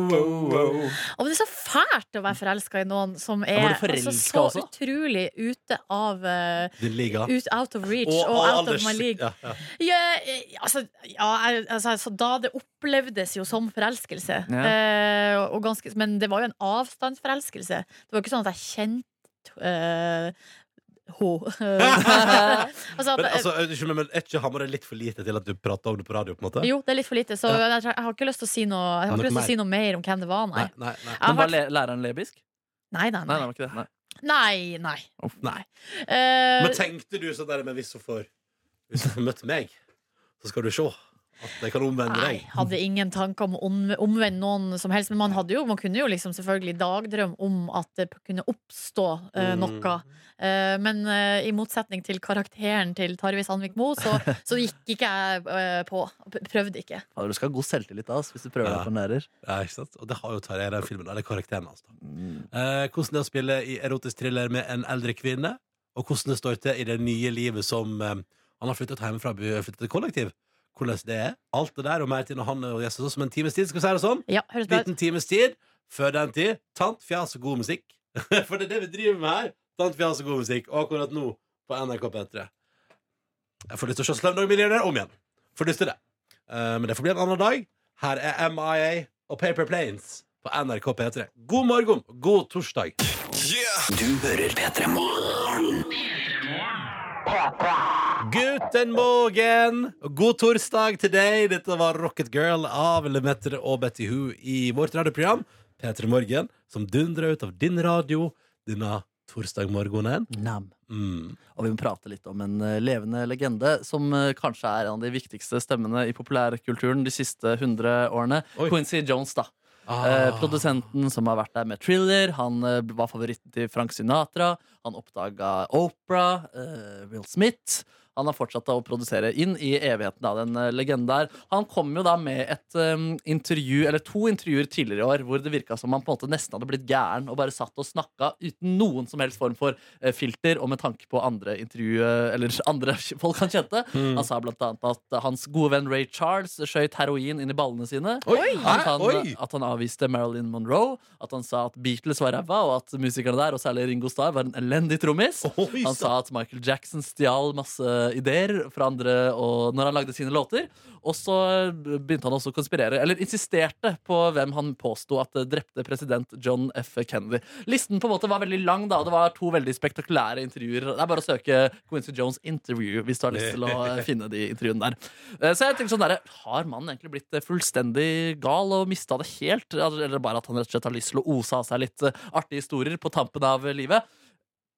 Speaker 6: Og det er så fælt å være forelska i noen som
Speaker 5: var
Speaker 6: er
Speaker 5: du forelsket
Speaker 6: altså, så
Speaker 5: også?
Speaker 6: utrolig ute av eh,
Speaker 4: Det ligger.
Speaker 6: ut, Out of reach og,
Speaker 4: Og- og
Speaker 6: out
Speaker 4: alders-
Speaker 6: of my league.
Speaker 4: Ja, ja.
Speaker 6: Ja, eh, altså, ja, jeg- altså, altså, da det opplevdes jo som forelskelse.
Speaker 5: Ja.
Speaker 6: Eh, og- og ganske, men det var jo en avstandsforelskelse. Det var jo ikke sånn at jeg kjente eh, ho. altså, at-
Speaker 4: Men altså, er ikke- men er ikke Hamar litt for lite til at du prater om det på radio? på en måte?
Speaker 6: eh, jo, det er litt for lite, så jeg, jeg har ikke lyst til å si noe, jeg har
Speaker 4: Noe
Speaker 6: ikke lyst til
Speaker 4: mer.
Speaker 6: å si noe mer om hvem det var, nei.
Speaker 4: Nei, nei, nei.
Speaker 6: Jeg
Speaker 5: Men
Speaker 6: har
Speaker 5: var
Speaker 6: vært-
Speaker 5: le- læreren lebisk?
Speaker 6: Nei, nei,
Speaker 5: Nei, det
Speaker 6: nei.
Speaker 5: var ikke det. Nei.
Speaker 6: Nei, nei.
Speaker 5: Uff.
Speaker 6: nei.
Speaker 4: Men
Speaker 6: Eh,
Speaker 4: tenkte du sånn der men hvis hun får Hvis hun får møtt meg, så skal du se at jeg kan omvende
Speaker 6: Nei,
Speaker 4: deg.
Speaker 6: hadde ingen tanker om å omv- omvende noen som helst. Men man, hadde jo, man kunne jo liksom selvfølgelig dagdrømme om at det p- kunne oppstå eh,
Speaker 4: Mm.
Speaker 6: noe. Eh, men eh, i motsetning til karakteren til Tarjei Sandvik Moe, så, så gikk ikke jeg eh, på. P- Prøvde ikke.
Speaker 5: Fader, du skal ha god selvtillit da, ass, hvis du prøver
Speaker 4: Ja.
Speaker 5: deg på en lærer.
Speaker 4: Ja, ikke sant? Og det har jo Tarjei i den filmen. Eller karakteren hans. da. Eh, hvordan det er å spille i erotisk thriller med en eldre kvinne, og hvordan det står til i det nye livet som eh, Han har flyttet hjemmefra og flyttet til kollektiv. Hvordan det er. Alt det der og mer til når han og gjester oss om en times tid. Skal vi si det sånn?
Speaker 6: Ja, høres bra ut.
Speaker 4: Liten times tid. Før den tid, tant, fjas og god musikk. For det er det vi driver med her. Tant, fjas og god musikk. Og akkurat nå på NRK P3. Jeg får lyst til å se Slumdog Millionaire om igjen. Får lyst til det. Eh, men det får bli en annen dag. Her er MIA og Paper Planes på NRK P3. God morgen, god torsdag. Guten morgen! God torsdag til deg. Dette var Rocket Girl av Lemeter og Betty Who i vårt radioprogram P3 Morgen, som dundrer ut av din radio denne torsdagmorgenen.
Speaker 5: Nam.
Speaker 4: Mm.
Speaker 5: Og vi må prate litt om en eh, levende legende som eh, kanskje er en av de viktigste stemmene i populærkulturen de siste 100 årene.
Speaker 4: Oi.
Speaker 5: Quincy Jones, da.
Speaker 4: Ah.
Speaker 5: Eh, produsenten som har vært der med Thriller. Han eh, var favoritten til Frank Sinatra. Han oppdaga Opera, eh, Will Smith. Han har fortsatt å produsere inn i evigheten av den eh, legenden der. Han kom jo da med et eh, intervju, eller to intervjuer tidligere i år hvor det virka som han på en måte nesten hadde blitt gæren og bare satt og snakka uten noen som helst form for eh, filter, og med tanke på andre intervju, eh, eller andre folk han kjente. Han sa blant annet at hans gode venn Ray Charles skjøt heroin inn i ballene sine.
Speaker 4: Oi!
Speaker 5: At
Speaker 4: Hæ?
Speaker 5: han,
Speaker 4: Oi!
Speaker 5: at han avviste Marilyn Monroe, at han sa at Beatles var ræva, og at musikerne der, og særlig Ringo Starr, var en elendig trommis.
Speaker 4: Oi,
Speaker 5: Han sa at Michael Jackson stjal masse ideer fra andre og når han lagde sine låter. Og så begynte han også å konspirere, eller insisterte på hvem han påsto at drepte president John F. Kennedy. Listen på en måte var veldig lang, da, og det var to veldig spektakulære intervjuer. Det er bare å søke Quincy Jones interview hvis du har lyst til å eh, finne de intervjuene der. Eh, Så jeg tenker sånn der, Har mannen egentlig blitt eh, fullstendig gal og mista det helt? Altså, Eller bare at han rett og slett har lyst til å ose av seg litt eh, artige historier på tampen av eh, livet?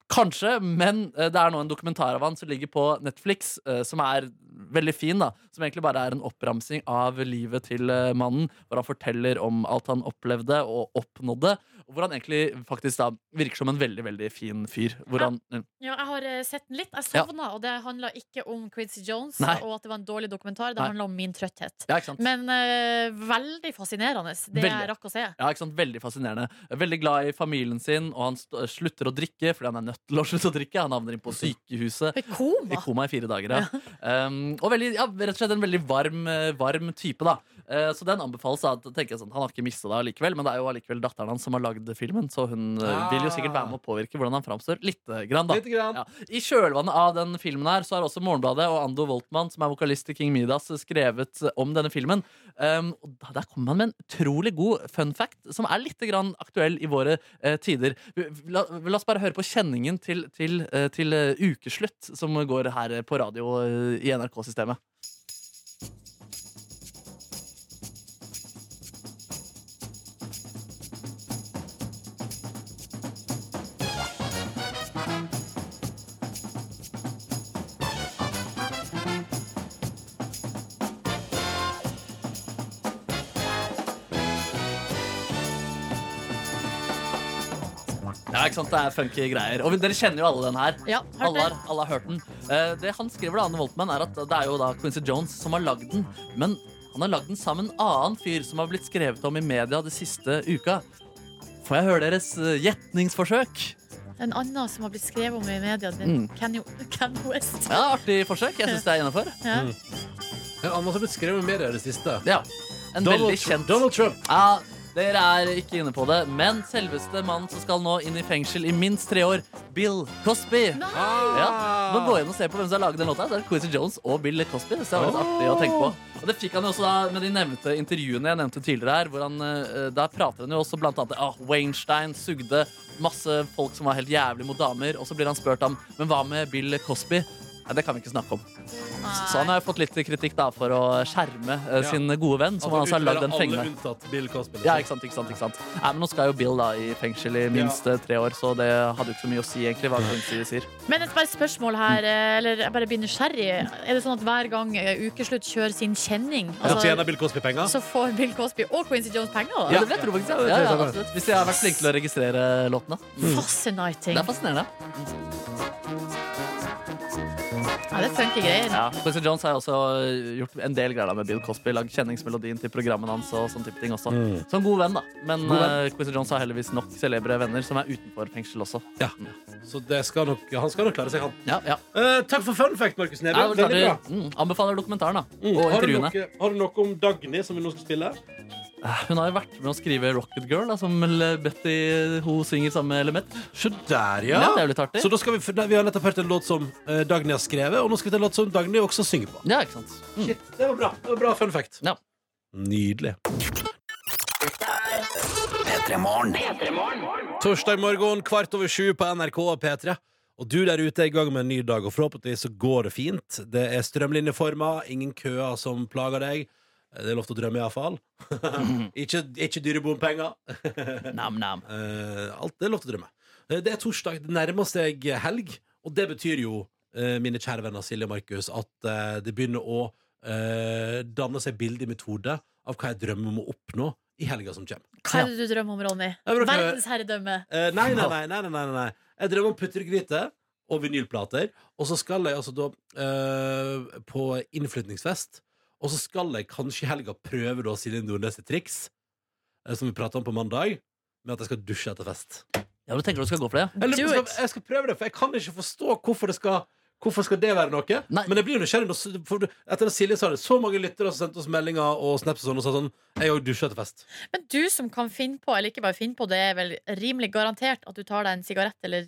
Speaker 5: Kanskje, men eh, det er nå en dokumentar av han som ligger på Netflix, eh, som er veldig fin. da Som egentlig bare er en oppramsing av livet til eh, mannen, hvor han forteller om alt han opplevde og oppnådde. Og hvor han egentlig faktisk da virker som en veldig veldig fin fyr. Hvor han, eh,
Speaker 6: Ja, jeg har eh, sett den litt. Jeg
Speaker 5: Ja.
Speaker 6: sovna, og det handla ikke om Quincy Jones
Speaker 5: Nei.
Speaker 6: og at det var en dårlig dokumentar. Det
Speaker 5: Nei.
Speaker 6: handla om min trøtthet.
Speaker 5: ja, ikke sant?
Speaker 6: Men eh, veldig fascinerende, det
Speaker 5: Veldig.
Speaker 6: jeg rakk å se.
Speaker 5: Ja, ikke sant? Veldig fascinerende. Veldig glad i familien sin, og han st slutter å drikke fordi han er nødt til å slutte å drikke. Han havner inn på sykehuset. I
Speaker 6: Koma!
Speaker 5: koma i fire dager, ja. Um, og veldig, ja, rett og slett en veldig varm, eh, varm type, da. Eh, så den anbefales. Da, at- tenker jeg sånn, Han har ikke mista det allikevel, men det er jo allikevel datteren hans som har lagd filmen, så hun eh,
Speaker 4: Ah.
Speaker 5: vil jo sikkert være med å påvirke hvordan han framstår lite grann, da.
Speaker 4: Lite grann.
Speaker 5: Ja. I kjølvannet av den filmen her Så har også Morgenbladet og Ando Voltmann, som er vokalist i King Midas, skrevet eh, om denne filmen. Um, og da- der kommer han med en utrolig god fun fact, som er litt grann aktuell i våre eh, tider. Vi- La, la oss bare høre på kjenningen til, til, eh, til eh, ukeslutt, som går her eh, på radio eh, i NRK-systemet. Ja, ikke sant? Det er funky greier. Og dere kjenner jo alle den her.
Speaker 6: Ja, hørt
Speaker 5: Alle
Speaker 6: det.
Speaker 5: har, alle har hørt den. Eh, det han skriver, da, Anne Voltmann, er at det er jo da Quincy Jones som har lagd den. Men han har lagd den sammen med en annen fyr som har blitt skrevet om i media de siste uka. Får jeg høre deres eh, gjetningsforsøk?
Speaker 6: En annen som har blitt skrevet om i media, det er
Speaker 5: Mm.
Speaker 6: Kanye Kanye West.
Speaker 5: Ja, Artig forsøk. Jeg syns det er innafor.
Speaker 6: Ja.
Speaker 4: Ja, Han har blitt skrevet i media i det siste.
Speaker 5: Ja. En
Speaker 4: Donald,
Speaker 5: veldig kjent
Speaker 4: Donald Trump.
Speaker 5: Ja, dere er ikke inne på det, men selveste mannen som skal nå inn i fengsel i minst tre år, Bill Cosby. Ja,
Speaker 4: Ah.
Speaker 5: man går inn og ser på hvem som har laget den låta. Det er Quincy Jones og Bill Cosby. Så det var litt artig å tenke på. Og det fikk han jo også da med de nevnte intervjuene jeg nevnte tidligere her. Hvor han, eh, der prater han jo også blant annet ah, Weinstein sugde masse folk som var helt jævlig mot damer. Og så blir han spurt om Men hva med Bill Cosby? Nei, det kan vi ikke snakke om. Så han har jo fått litt kritikk da for å skjerme eh, sin gode venn, som han altså har lagd en fenge.
Speaker 4: Alle unntatt Bill Cosby. liksom.
Speaker 5: Ja, ikke sant, ikke sant, ikke sant. Nei, men Nå skal jo Bill da i fengsel i minst eh, tre år, så det hadde jo ikke så mye å si. egentlig hva Quincy sier.
Speaker 6: Men et bare spørsmål her, eh, eller jeg bare blir nysgjerrig. Er det sånn at hver gang eh, ukeslutt kjører sin kjenning,
Speaker 4: Så
Speaker 6: altså,
Speaker 4: tjener Bill Cosby penger?
Speaker 6: så får Bill Cosby og Quincy Jones penger? da?
Speaker 5: Ja, det vet du faktisk. Ja, ja, absolutt. Hvis jeg har vært flink til å registrere låtene.
Speaker 6: Fascinating.
Speaker 5: Mm. Det er fascinerende.
Speaker 6: Ja, det funker greier.
Speaker 5: Ja, Quincy Jones har jo også gjort en del greier da med Bill Cosby. Lagd kjenningsmelodien til programmene hans og sånn type ting også.
Speaker 4: Mm.
Speaker 5: Så en god venn, da. Men eh, Quincy Jones har heldigvis nok celebre venner som er utenfor fengsel også.
Speaker 4: Ja. Så det skal nok, ja, han skal nok klare seg, han.
Speaker 5: Ja, ja.
Speaker 4: Eh, takk for fun fact, Markus Neby.
Speaker 5: Jeg
Speaker 4: Veldig bra.
Speaker 5: mm, anbefaler dokumentaren da,
Speaker 4: Mm.
Speaker 5: og
Speaker 4: Har, du
Speaker 5: intervjuene.
Speaker 4: noe, har du noe om Dagny, som vi nå skal spille?
Speaker 5: Hun har jo vært med å skrive Rocket Girl, da, som Le- Betty Ho synger sammen med Element.
Speaker 4: Se der,
Speaker 5: Ja, det er jo litt artig.
Speaker 4: Så da skal vi, for da- vi har nettopp hørt en låt som eh, Dagny har skrevet, og nå skal vi til en låt som Dagny også synger på.
Speaker 5: Ja, ikke sant. Mm.
Speaker 4: Shit, det var bra. Det var bra fun fact.
Speaker 5: Ja.
Speaker 4: Nydelig. Torsdag morgen kvart over sju på NRK og P3. Og du der ute er i gang med en ny dag, og forhåpentligvis så går det fint. Det er strømlinjeforma, ingen køer som plager deg. Det er lov til å drømme, iallfall. ikke, ikke dyre bompenger.
Speaker 5: Nam-nam.
Speaker 4: Eh, alt det er lov til å drømme. Eh, det er torsdag, det nærmer seg helg, og det betyr jo, eh, mine kjære venner Silje og Markus, at eh, det begynner å eh, danne seg bilde i mitt hode av hva jeg drømmer om å oppnå i helga som kommer.
Speaker 6: Hva er det du drømmer om, Ronny?
Speaker 4: Jeg bruker-
Speaker 6: Verdensherredømme.
Speaker 4: Eh, nei, nei, nei, nei, nei, nei, nei. Jeg drømmer om puttergryte og vinylplater. Og så skal jeg altså da eh, på innflytningsfest. Og så skal jeg kanskje i helga prøve da Silje Nordnes' sitt triks, eh, som vi prata om på mandag, med at jeg skal dusje etter fest.
Speaker 5: Ja, du tenker du skal gå for det? ja?
Speaker 4: Jeg, lurer på,
Speaker 6: Do
Speaker 4: skal,
Speaker 6: it.
Speaker 4: jeg skal prøve det, for jeg kan ikke forstå hvorfor det skal Hvorfor skal det være noe?
Speaker 5: Nei.
Speaker 4: Men jeg blir jo nysgjerrig når- for du- Etter at Silje sa det, så mange lyttere som sendte oss meldinger og snaps og sånn, og sa sånn Jeg òg dusjer etter fest.
Speaker 6: Men du som kan finne på, eller ikke bare finne på, det er vel rimelig garantert at du tar deg en sigarett eller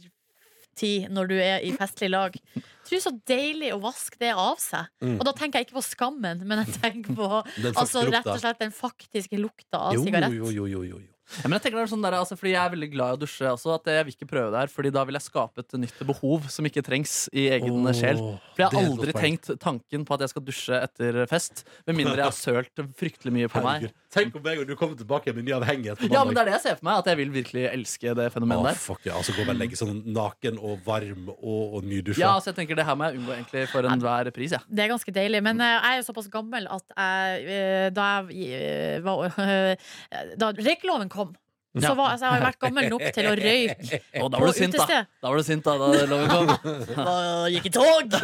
Speaker 6: ti når du er i festlig lag. Tror du så deilig å vaske det av seg.
Speaker 4: Mm.
Speaker 6: Og da tenker jeg ikke på skammen, men jeg tenker på
Speaker 4: Den
Speaker 6: altså,
Speaker 4: faktiske
Speaker 6: rett og
Speaker 4: lukta.
Speaker 6: slett den faktiske lukta av
Speaker 4: Jo,
Speaker 6: sigarett.
Speaker 4: jo, jo, jo, jo, jo.
Speaker 5: Ja, men jeg tenker det er sånn der, altså, fordi jeg er veldig glad i å dusje også, at jeg vil ikke prøve det her, fordi da vil jeg skape et nytt behov som ikke trengs i egen
Speaker 4: Åh,
Speaker 5: sjel. For
Speaker 4: det
Speaker 5: jeg
Speaker 4: er
Speaker 5: har
Speaker 4: et
Speaker 5: aldri
Speaker 4: godt poeng.
Speaker 5: tenkt tanken på at jeg skal dusje etter fest, med mindre jeg har sølt fryktelig mye på meg.
Speaker 4: Herregud. Tenk om jeg og du kommer tilbake igjen med ny avhengighet på
Speaker 5: Ja,
Speaker 4: mandag.
Speaker 5: men det er det jeg ser for meg, at jeg vil virkelig elske det
Speaker 4: Å,
Speaker 5: fenomenet der.
Speaker 4: fuck ja. Altså gå og bare legge sånn naken og varm og, og nydusja.
Speaker 5: Ja, altså, så jeg tenker det her må jeg unngå egentlig for enhver pris, ja.
Speaker 6: Det er ganske deilig, men eh, jeg er jo såpass gammel at jeg, eh, da jeg eh, var Da røykeloven kom, så var, altså, jeg har jo vært gammel nok til å røyke
Speaker 5: Og da
Speaker 6: på
Speaker 5: var du sint, da.
Speaker 6: utested.
Speaker 5: Da var du sint, da, da loven kom.
Speaker 6: Hva, Gikk i tog!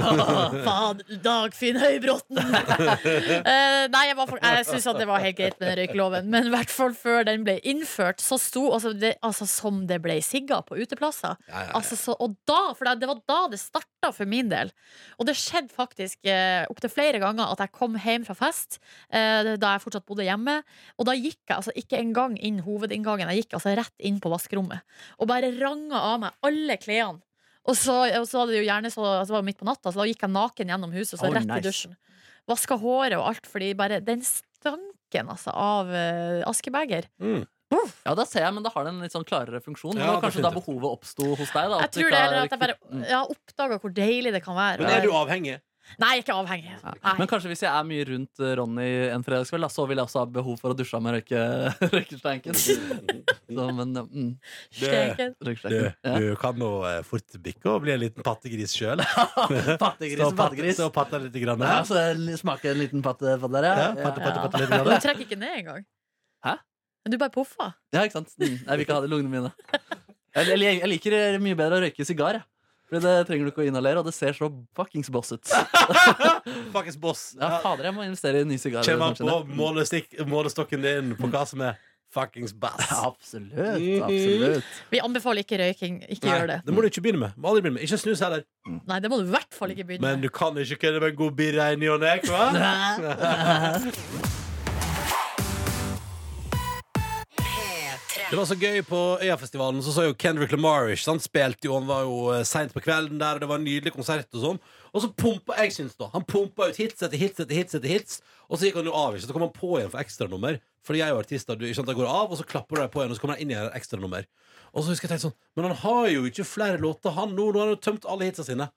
Speaker 6: Faen, Dagfinn Høybråten! Eh, nei, jeg, var for- jeg syns at det var helt greit med den røykeloven, men i hvert fall før den ble innført, så sto altså, det, altså som det ble sigga på uteplasser. Altså, så, og da, for det, det var da det starta for min del. Og det skjedde faktisk eh, opptil flere ganger at jeg kom hjem fra fest eh, da jeg fortsatt bodde hjemme, og da gikk jeg altså ikke engang inn hovedinngangen, jeg gikk altså rett inn på vaskerommet og bare ranga av meg alle klærne. Og så, og så hadde det jo gjerne så, altså det var jo midt på natta, så da gikk jeg naken gjennom huset og så
Speaker 5: Oh,
Speaker 6: rett
Speaker 5: nice.
Speaker 6: i dusjen. Vaska håret og alt, fordi bare den stanken altså, av eh, askebeger
Speaker 4: Mm.
Speaker 5: Ja, da ser jeg, men da har den en litt sånn klarere funksjon.
Speaker 4: Ja,
Speaker 5: det var kanskje da
Speaker 4: definitivt.
Speaker 5: behovet oppsto hos deg? da
Speaker 6: Jeg
Speaker 5: at du
Speaker 6: tror
Speaker 5: ikke Mm.
Speaker 6: det
Speaker 5: har
Speaker 6: heller at jeg
Speaker 5: kvitt-
Speaker 6: bare ja, oppdaga hvor deilig det kan være.
Speaker 4: Men er du avhengig?
Speaker 6: Nei, jeg er ikke avhengig.
Speaker 5: Ja.
Speaker 6: Nei.
Speaker 5: Men kanskje hvis jeg er mye rundt eh, Ronny en fredagskveld, da, så vil jeg også ha behov for å dusje av meg røyke, røykestanken. Så, men, ja, mm,
Speaker 6: Steken.
Speaker 4: Du,
Speaker 5: røykestanken. Ja.
Speaker 4: du kan nå eh, fort bikke og bli en liten pattegris sjøl.
Speaker 5: Pattegris,
Speaker 4: Stå og patte-
Speaker 5: pattegris.
Speaker 4: stå og patte litt. Grann,
Speaker 5: Ja, så jeg l- smaker en liten patte på dere.
Speaker 4: Ja,
Speaker 5: Ja,
Speaker 4: patte, patte,
Speaker 5: ja.
Speaker 4: patte litt.
Speaker 6: Du
Speaker 4: Grann.
Speaker 6: trekker ikke ned engang.
Speaker 5: Hæ?
Speaker 6: Men Du bare poffa.
Speaker 5: ja, ikke sant? Mm, Jeg vil ikke ha det i lungene mine. Jeg, jeg, jeg liker eh, mye bedre å røyke sigar. jeg. Fordi det trenger du ikke å inhalere, og det ser så fuckings boss ut.
Speaker 4: Faktisk boss.
Speaker 5: Ja, fader, jeg må investere i en ny sigar.
Speaker 4: Kjem an
Speaker 5: kanskje.
Speaker 4: på målestikk- målestokken din på hva som er fuckings bass.
Speaker 5: Ja, Absolutt. absolutt
Speaker 4: Mm.
Speaker 6: Vi anbefaler ikke røyking. Ikke
Speaker 4: Nei,
Speaker 6: gjør det.
Speaker 4: det må du ikke begynne med. Må aldri begynne med. Ikke snus heller.
Speaker 6: Nei, det må du i hvert fall ikke begynne
Speaker 4: Men
Speaker 6: med.
Speaker 4: du kan ikke kødde med en god birra i ny og ne, ikke hva? Det var så gøy på Øyafestivalen. Så så jo Kendrick Lamar. ikke sant? Spilte jo, Han var jo seint på kvelden der, og det var en nydelig konsert. Og sånn Og så pumpa jeg synes da Han pumpa ut hits etter hits etter hits. etter hits Og så gikk han jo av. ikke Så kom han på igjen for ekstranummer. Fordi jeg er jo artist, da, du, ikke sant? Da går det av, og så klapper du deg på igjen, og så kommer han inn i et ekstranummer. Og så husker jeg tenkt sånn Men han har jo ikke flere låter, han nå. Nå har han jo tømt alle hitsa sine.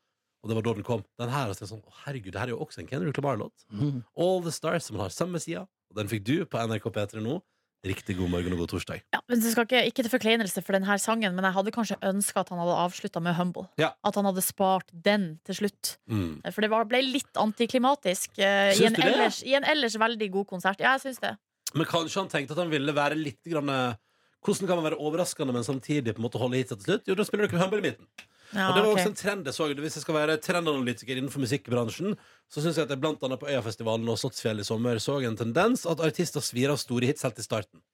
Speaker 4: Og det var da den kom. Den her, og så tenkte jeg sånn, å, herregud, det her er jo også en Kendrick Lamar-låt.
Speaker 6: Mm.
Speaker 4: All The Stars, som han har samme sida. Og den fikk du på NRK P3 nå. Riktig god morgen og god torsdag.
Speaker 6: Ja, men det skal ikke, ikke til forkleinelse for denne sangen, men jeg hadde kanskje ønska at han hadde avslutta med Humble.
Speaker 4: Ja.
Speaker 6: At han hadde spart den til slutt.
Speaker 4: Mm.
Speaker 6: For det var, ble litt antiklimatisk eh, i,
Speaker 4: Syns
Speaker 6: en
Speaker 4: du det?
Speaker 6: ellers, i en ellers veldig god konsert. Ja, jeg syns det.
Speaker 4: Men kanskje han tenkte at han ville være litt grann, eh, Hvordan kan man være overraskende, men samtidig på en måte holde hit til slutt? Jo, da spiller dere Humble i midten.
Speaker 6: Ja,
Speaker 4: og det var
Speaker 6: ok.
Speaker 4: også en trend jeg så. Hvis jeg skal være trendanalytiker innenfor musikkbransjen, så syns jeg at jeg blant annet på Øyafestivalen og Slottsfjell i sommer så en tendens at artister svir av store hits helt i starten.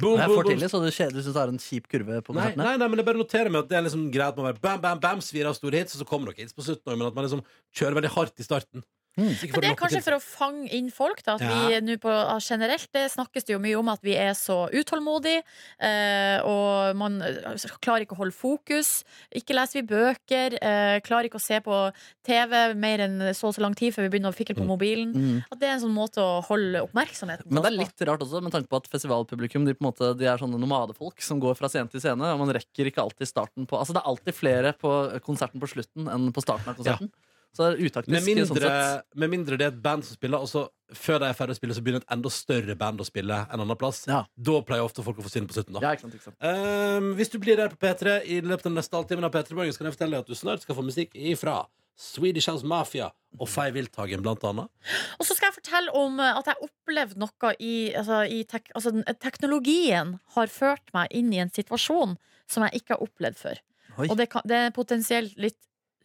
Speaker 4: Boom,
Speaker 5: Det er
Speaker 4: boom,
Speaker 5: for
Speaker 4: boom.
Speaker 5: tidlig, så du kjeder hvis du tar en kjip kurve på
Speaker 4: Nei,
Speaker 5: konsertene.
Speaker 4: nei, nei, men jeg bare noterer meg at det er liksom greit med å være bam, bam, bam, svir av store hits, og så kommer dere hits på slutten også, men at man liksom kjører veldig hardt i starten.
Speaker 5: Mm.
Speaker 6: Men det er kanskje for å fange inn folk, da. At vi nå på ah, generelt Det snakkes det jo mye om at vi er så utålmodige, eh, og man eh, klarer ikke å holde fokus. Ikke leser vi bøker, eh, klarer ikke å se på TV mer enn så og så lang tid før vi begynner å fikle på mobilen.
Speaker 5: Mm.
Speaker 6: At det er en sånn måte å holde oppmerksomheten
Speaker 5: Men det er
Speaker 6: på.
Speaker 5: litt rart også, med tanke på at festivalpublikum de på en måte, de er sånne nomadefolk som går fra scene til scene. Og man rekker ikke alltid starten på Altså Det er alltid flere på konserten på slutten enn på starten av konserten. Så det er utaktisk.
Speaker 4: Med mindre,
Speaker 5: sånn sett.
Speaker 4: med mindre det er et band som spiller, og så før de er ferdig å spille, så begynner et enda større band å spille en annen plass.
Speaker 5: Ja.
Speaker 4: Da pleier ofte folk å få synd på slutten. da
Speaker 5: Ja, ikke sant, ikke sant.
Speaker 4: Ehm, Hvis du blir der på P3 i løpet av den neste halvtimen av P3 Morgen, så kan jeg fortelle deg at du snart skal få musikk ifra Swedish House Mafia og Fay Wilthagen, blant annet.
Speaker 6: Og så skal jeg fortelle om eh, at jeg opplevde noe i, altså, i tek altså, den- Teknologien har ført meg inn i en situasjon som jeg ikke har opplevd før.
Speaker 5: Oi.
Speaker 6: Og det, kan, det er en potensielt litt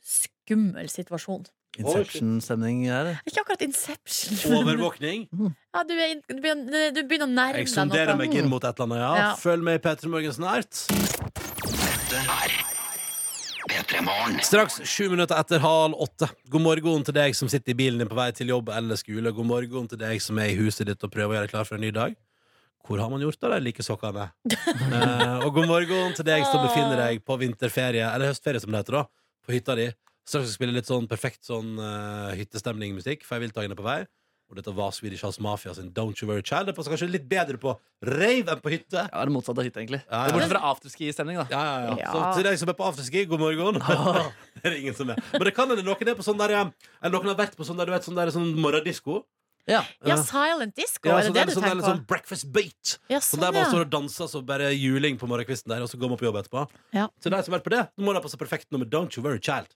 Speaker 6: skummel situasjon.
Speaker 5: Inception-stemning her.
Speaker 6: Ikke akkurat Inception. men-
Speaker 4: Overvåkning.
Speaker 6: Ja, du, er, inn- du, begynner, du begynner å nærme
Speaker 4: Jeg
Speaker 6: deg
Speaker 4: sonderer
Speaker 6: noe.
Speaker 4: meg inn mot et eller annet, ja.
Speaker 6: Ja.
Speaker 4: Følg med i P3 Morgen snart. Straks sju minutter etter halv åtte. God morgen til deg som sitter i bilen din på vei til jobb eller skole. God morgen til deg som er i huset ditt og prøver å gjøre klar for en ny dag. Hvor har man gjort av de like sokkene? eh, og god morgen til deg som befinner deg på vinterferie, eller høstferie som det heter, da, på hytta di. Straks skal vi spille litt sånn perfekt sånn eh, hyttestemningmusikk, for jeg viltagen er på vei. Og dette var Swedish House Mafia sin Don't You Worry Child. Det passer kanskje litt bedre på rave enn på hytte.
Speaker 5: Ja, det er motsatt av hytte, egentlig.
Speaker 4: Ja, ja.
Speaker 5: Bortsett fra afterski-stemning, da.
Speaker 4: Ja, ja, ja.
Speaker 6: Ja.
Speaker 4: Så til deg som er på afterski, god morgen. det er det ingen som er. Men det kan hende noen er på sånn der eh, Eller noen har vært på sånn der, du vet, sånn der sånn morgendisko.
Speaker 5: Ja.
Speaker 6: Ja, Silent Disco,
Speaker 4: Ja,
Speaker 6: er
Speaker 4: sånn
Speaker 6: det
Speaker 4: der,
Speaker 6: det du
Speaker 4: sånn der,
Speaker 6: tenker på?
Speaker 4: sånn breakfast beat.
Speaker 6: ja,
Speaker 4: Så
Speaker 6: sånn,
Speaker 4: der
Speaker 6: ja.
Speaker 4: man står og danser så bare juling på morgenkvisten der, og så går man på jobb etterpå.
Speaker 6: Ja.
Speaker 4: Så de som har vært på det, nå må de passe perfekt nå med Don't You Worry Child.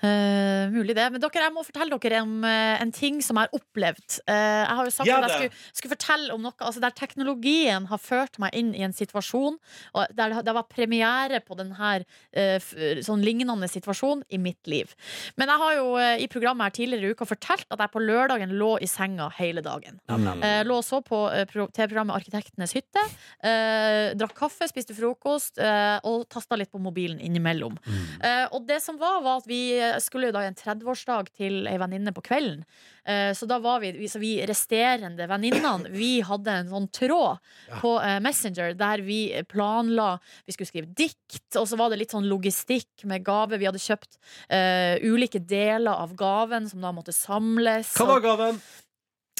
Speaker 6: Eh, mulig det. Men dere, jeg må fortelle dere om eh, en ting som jeg har opplevd. Eh, jeg har jo sagt
Speaker 4: Gjør
Speaker 6: at jeg
Speaker 4: det.
Speaker 6: skulle, skulle fortelle om noe altså der teknologien har ført meg inn i en situasjon og der det- det var premiere på den her eh, f- sånn lignende situasjon i mitt liv. Men jeg har jo eh, i programmet her tidligere i uka fortalt at jeg på lørdagen lå i senga hele dagen.
Speaker 4: Mm.
Speaker 6: Eh, lå og så på eh, pro- TV-programmet Arkitektenes hytte. Eh, drakk kaffe, spiste frokost eh, og tasta litt på mobilen innimellom.
Speaker 4: Mm.
Speaker 6: Eh, og det som var, var at vi eh, skulle jo da i en 30-årsdag til ei venninne på kvelden. Eh, så da var vi, vi, så vi resterende venninnene, vi hadde en sånn tråd på eh, Messenger der vi eh, planla Vi skulle skrive dikt, og så var det litt sånn logistikk med gave. Vi hadde kjøpt eh, ulike deler av gaven som da måtte samles.
Speaker 4: Hva
Speaker 6: og-
Speaker 4: var gaven?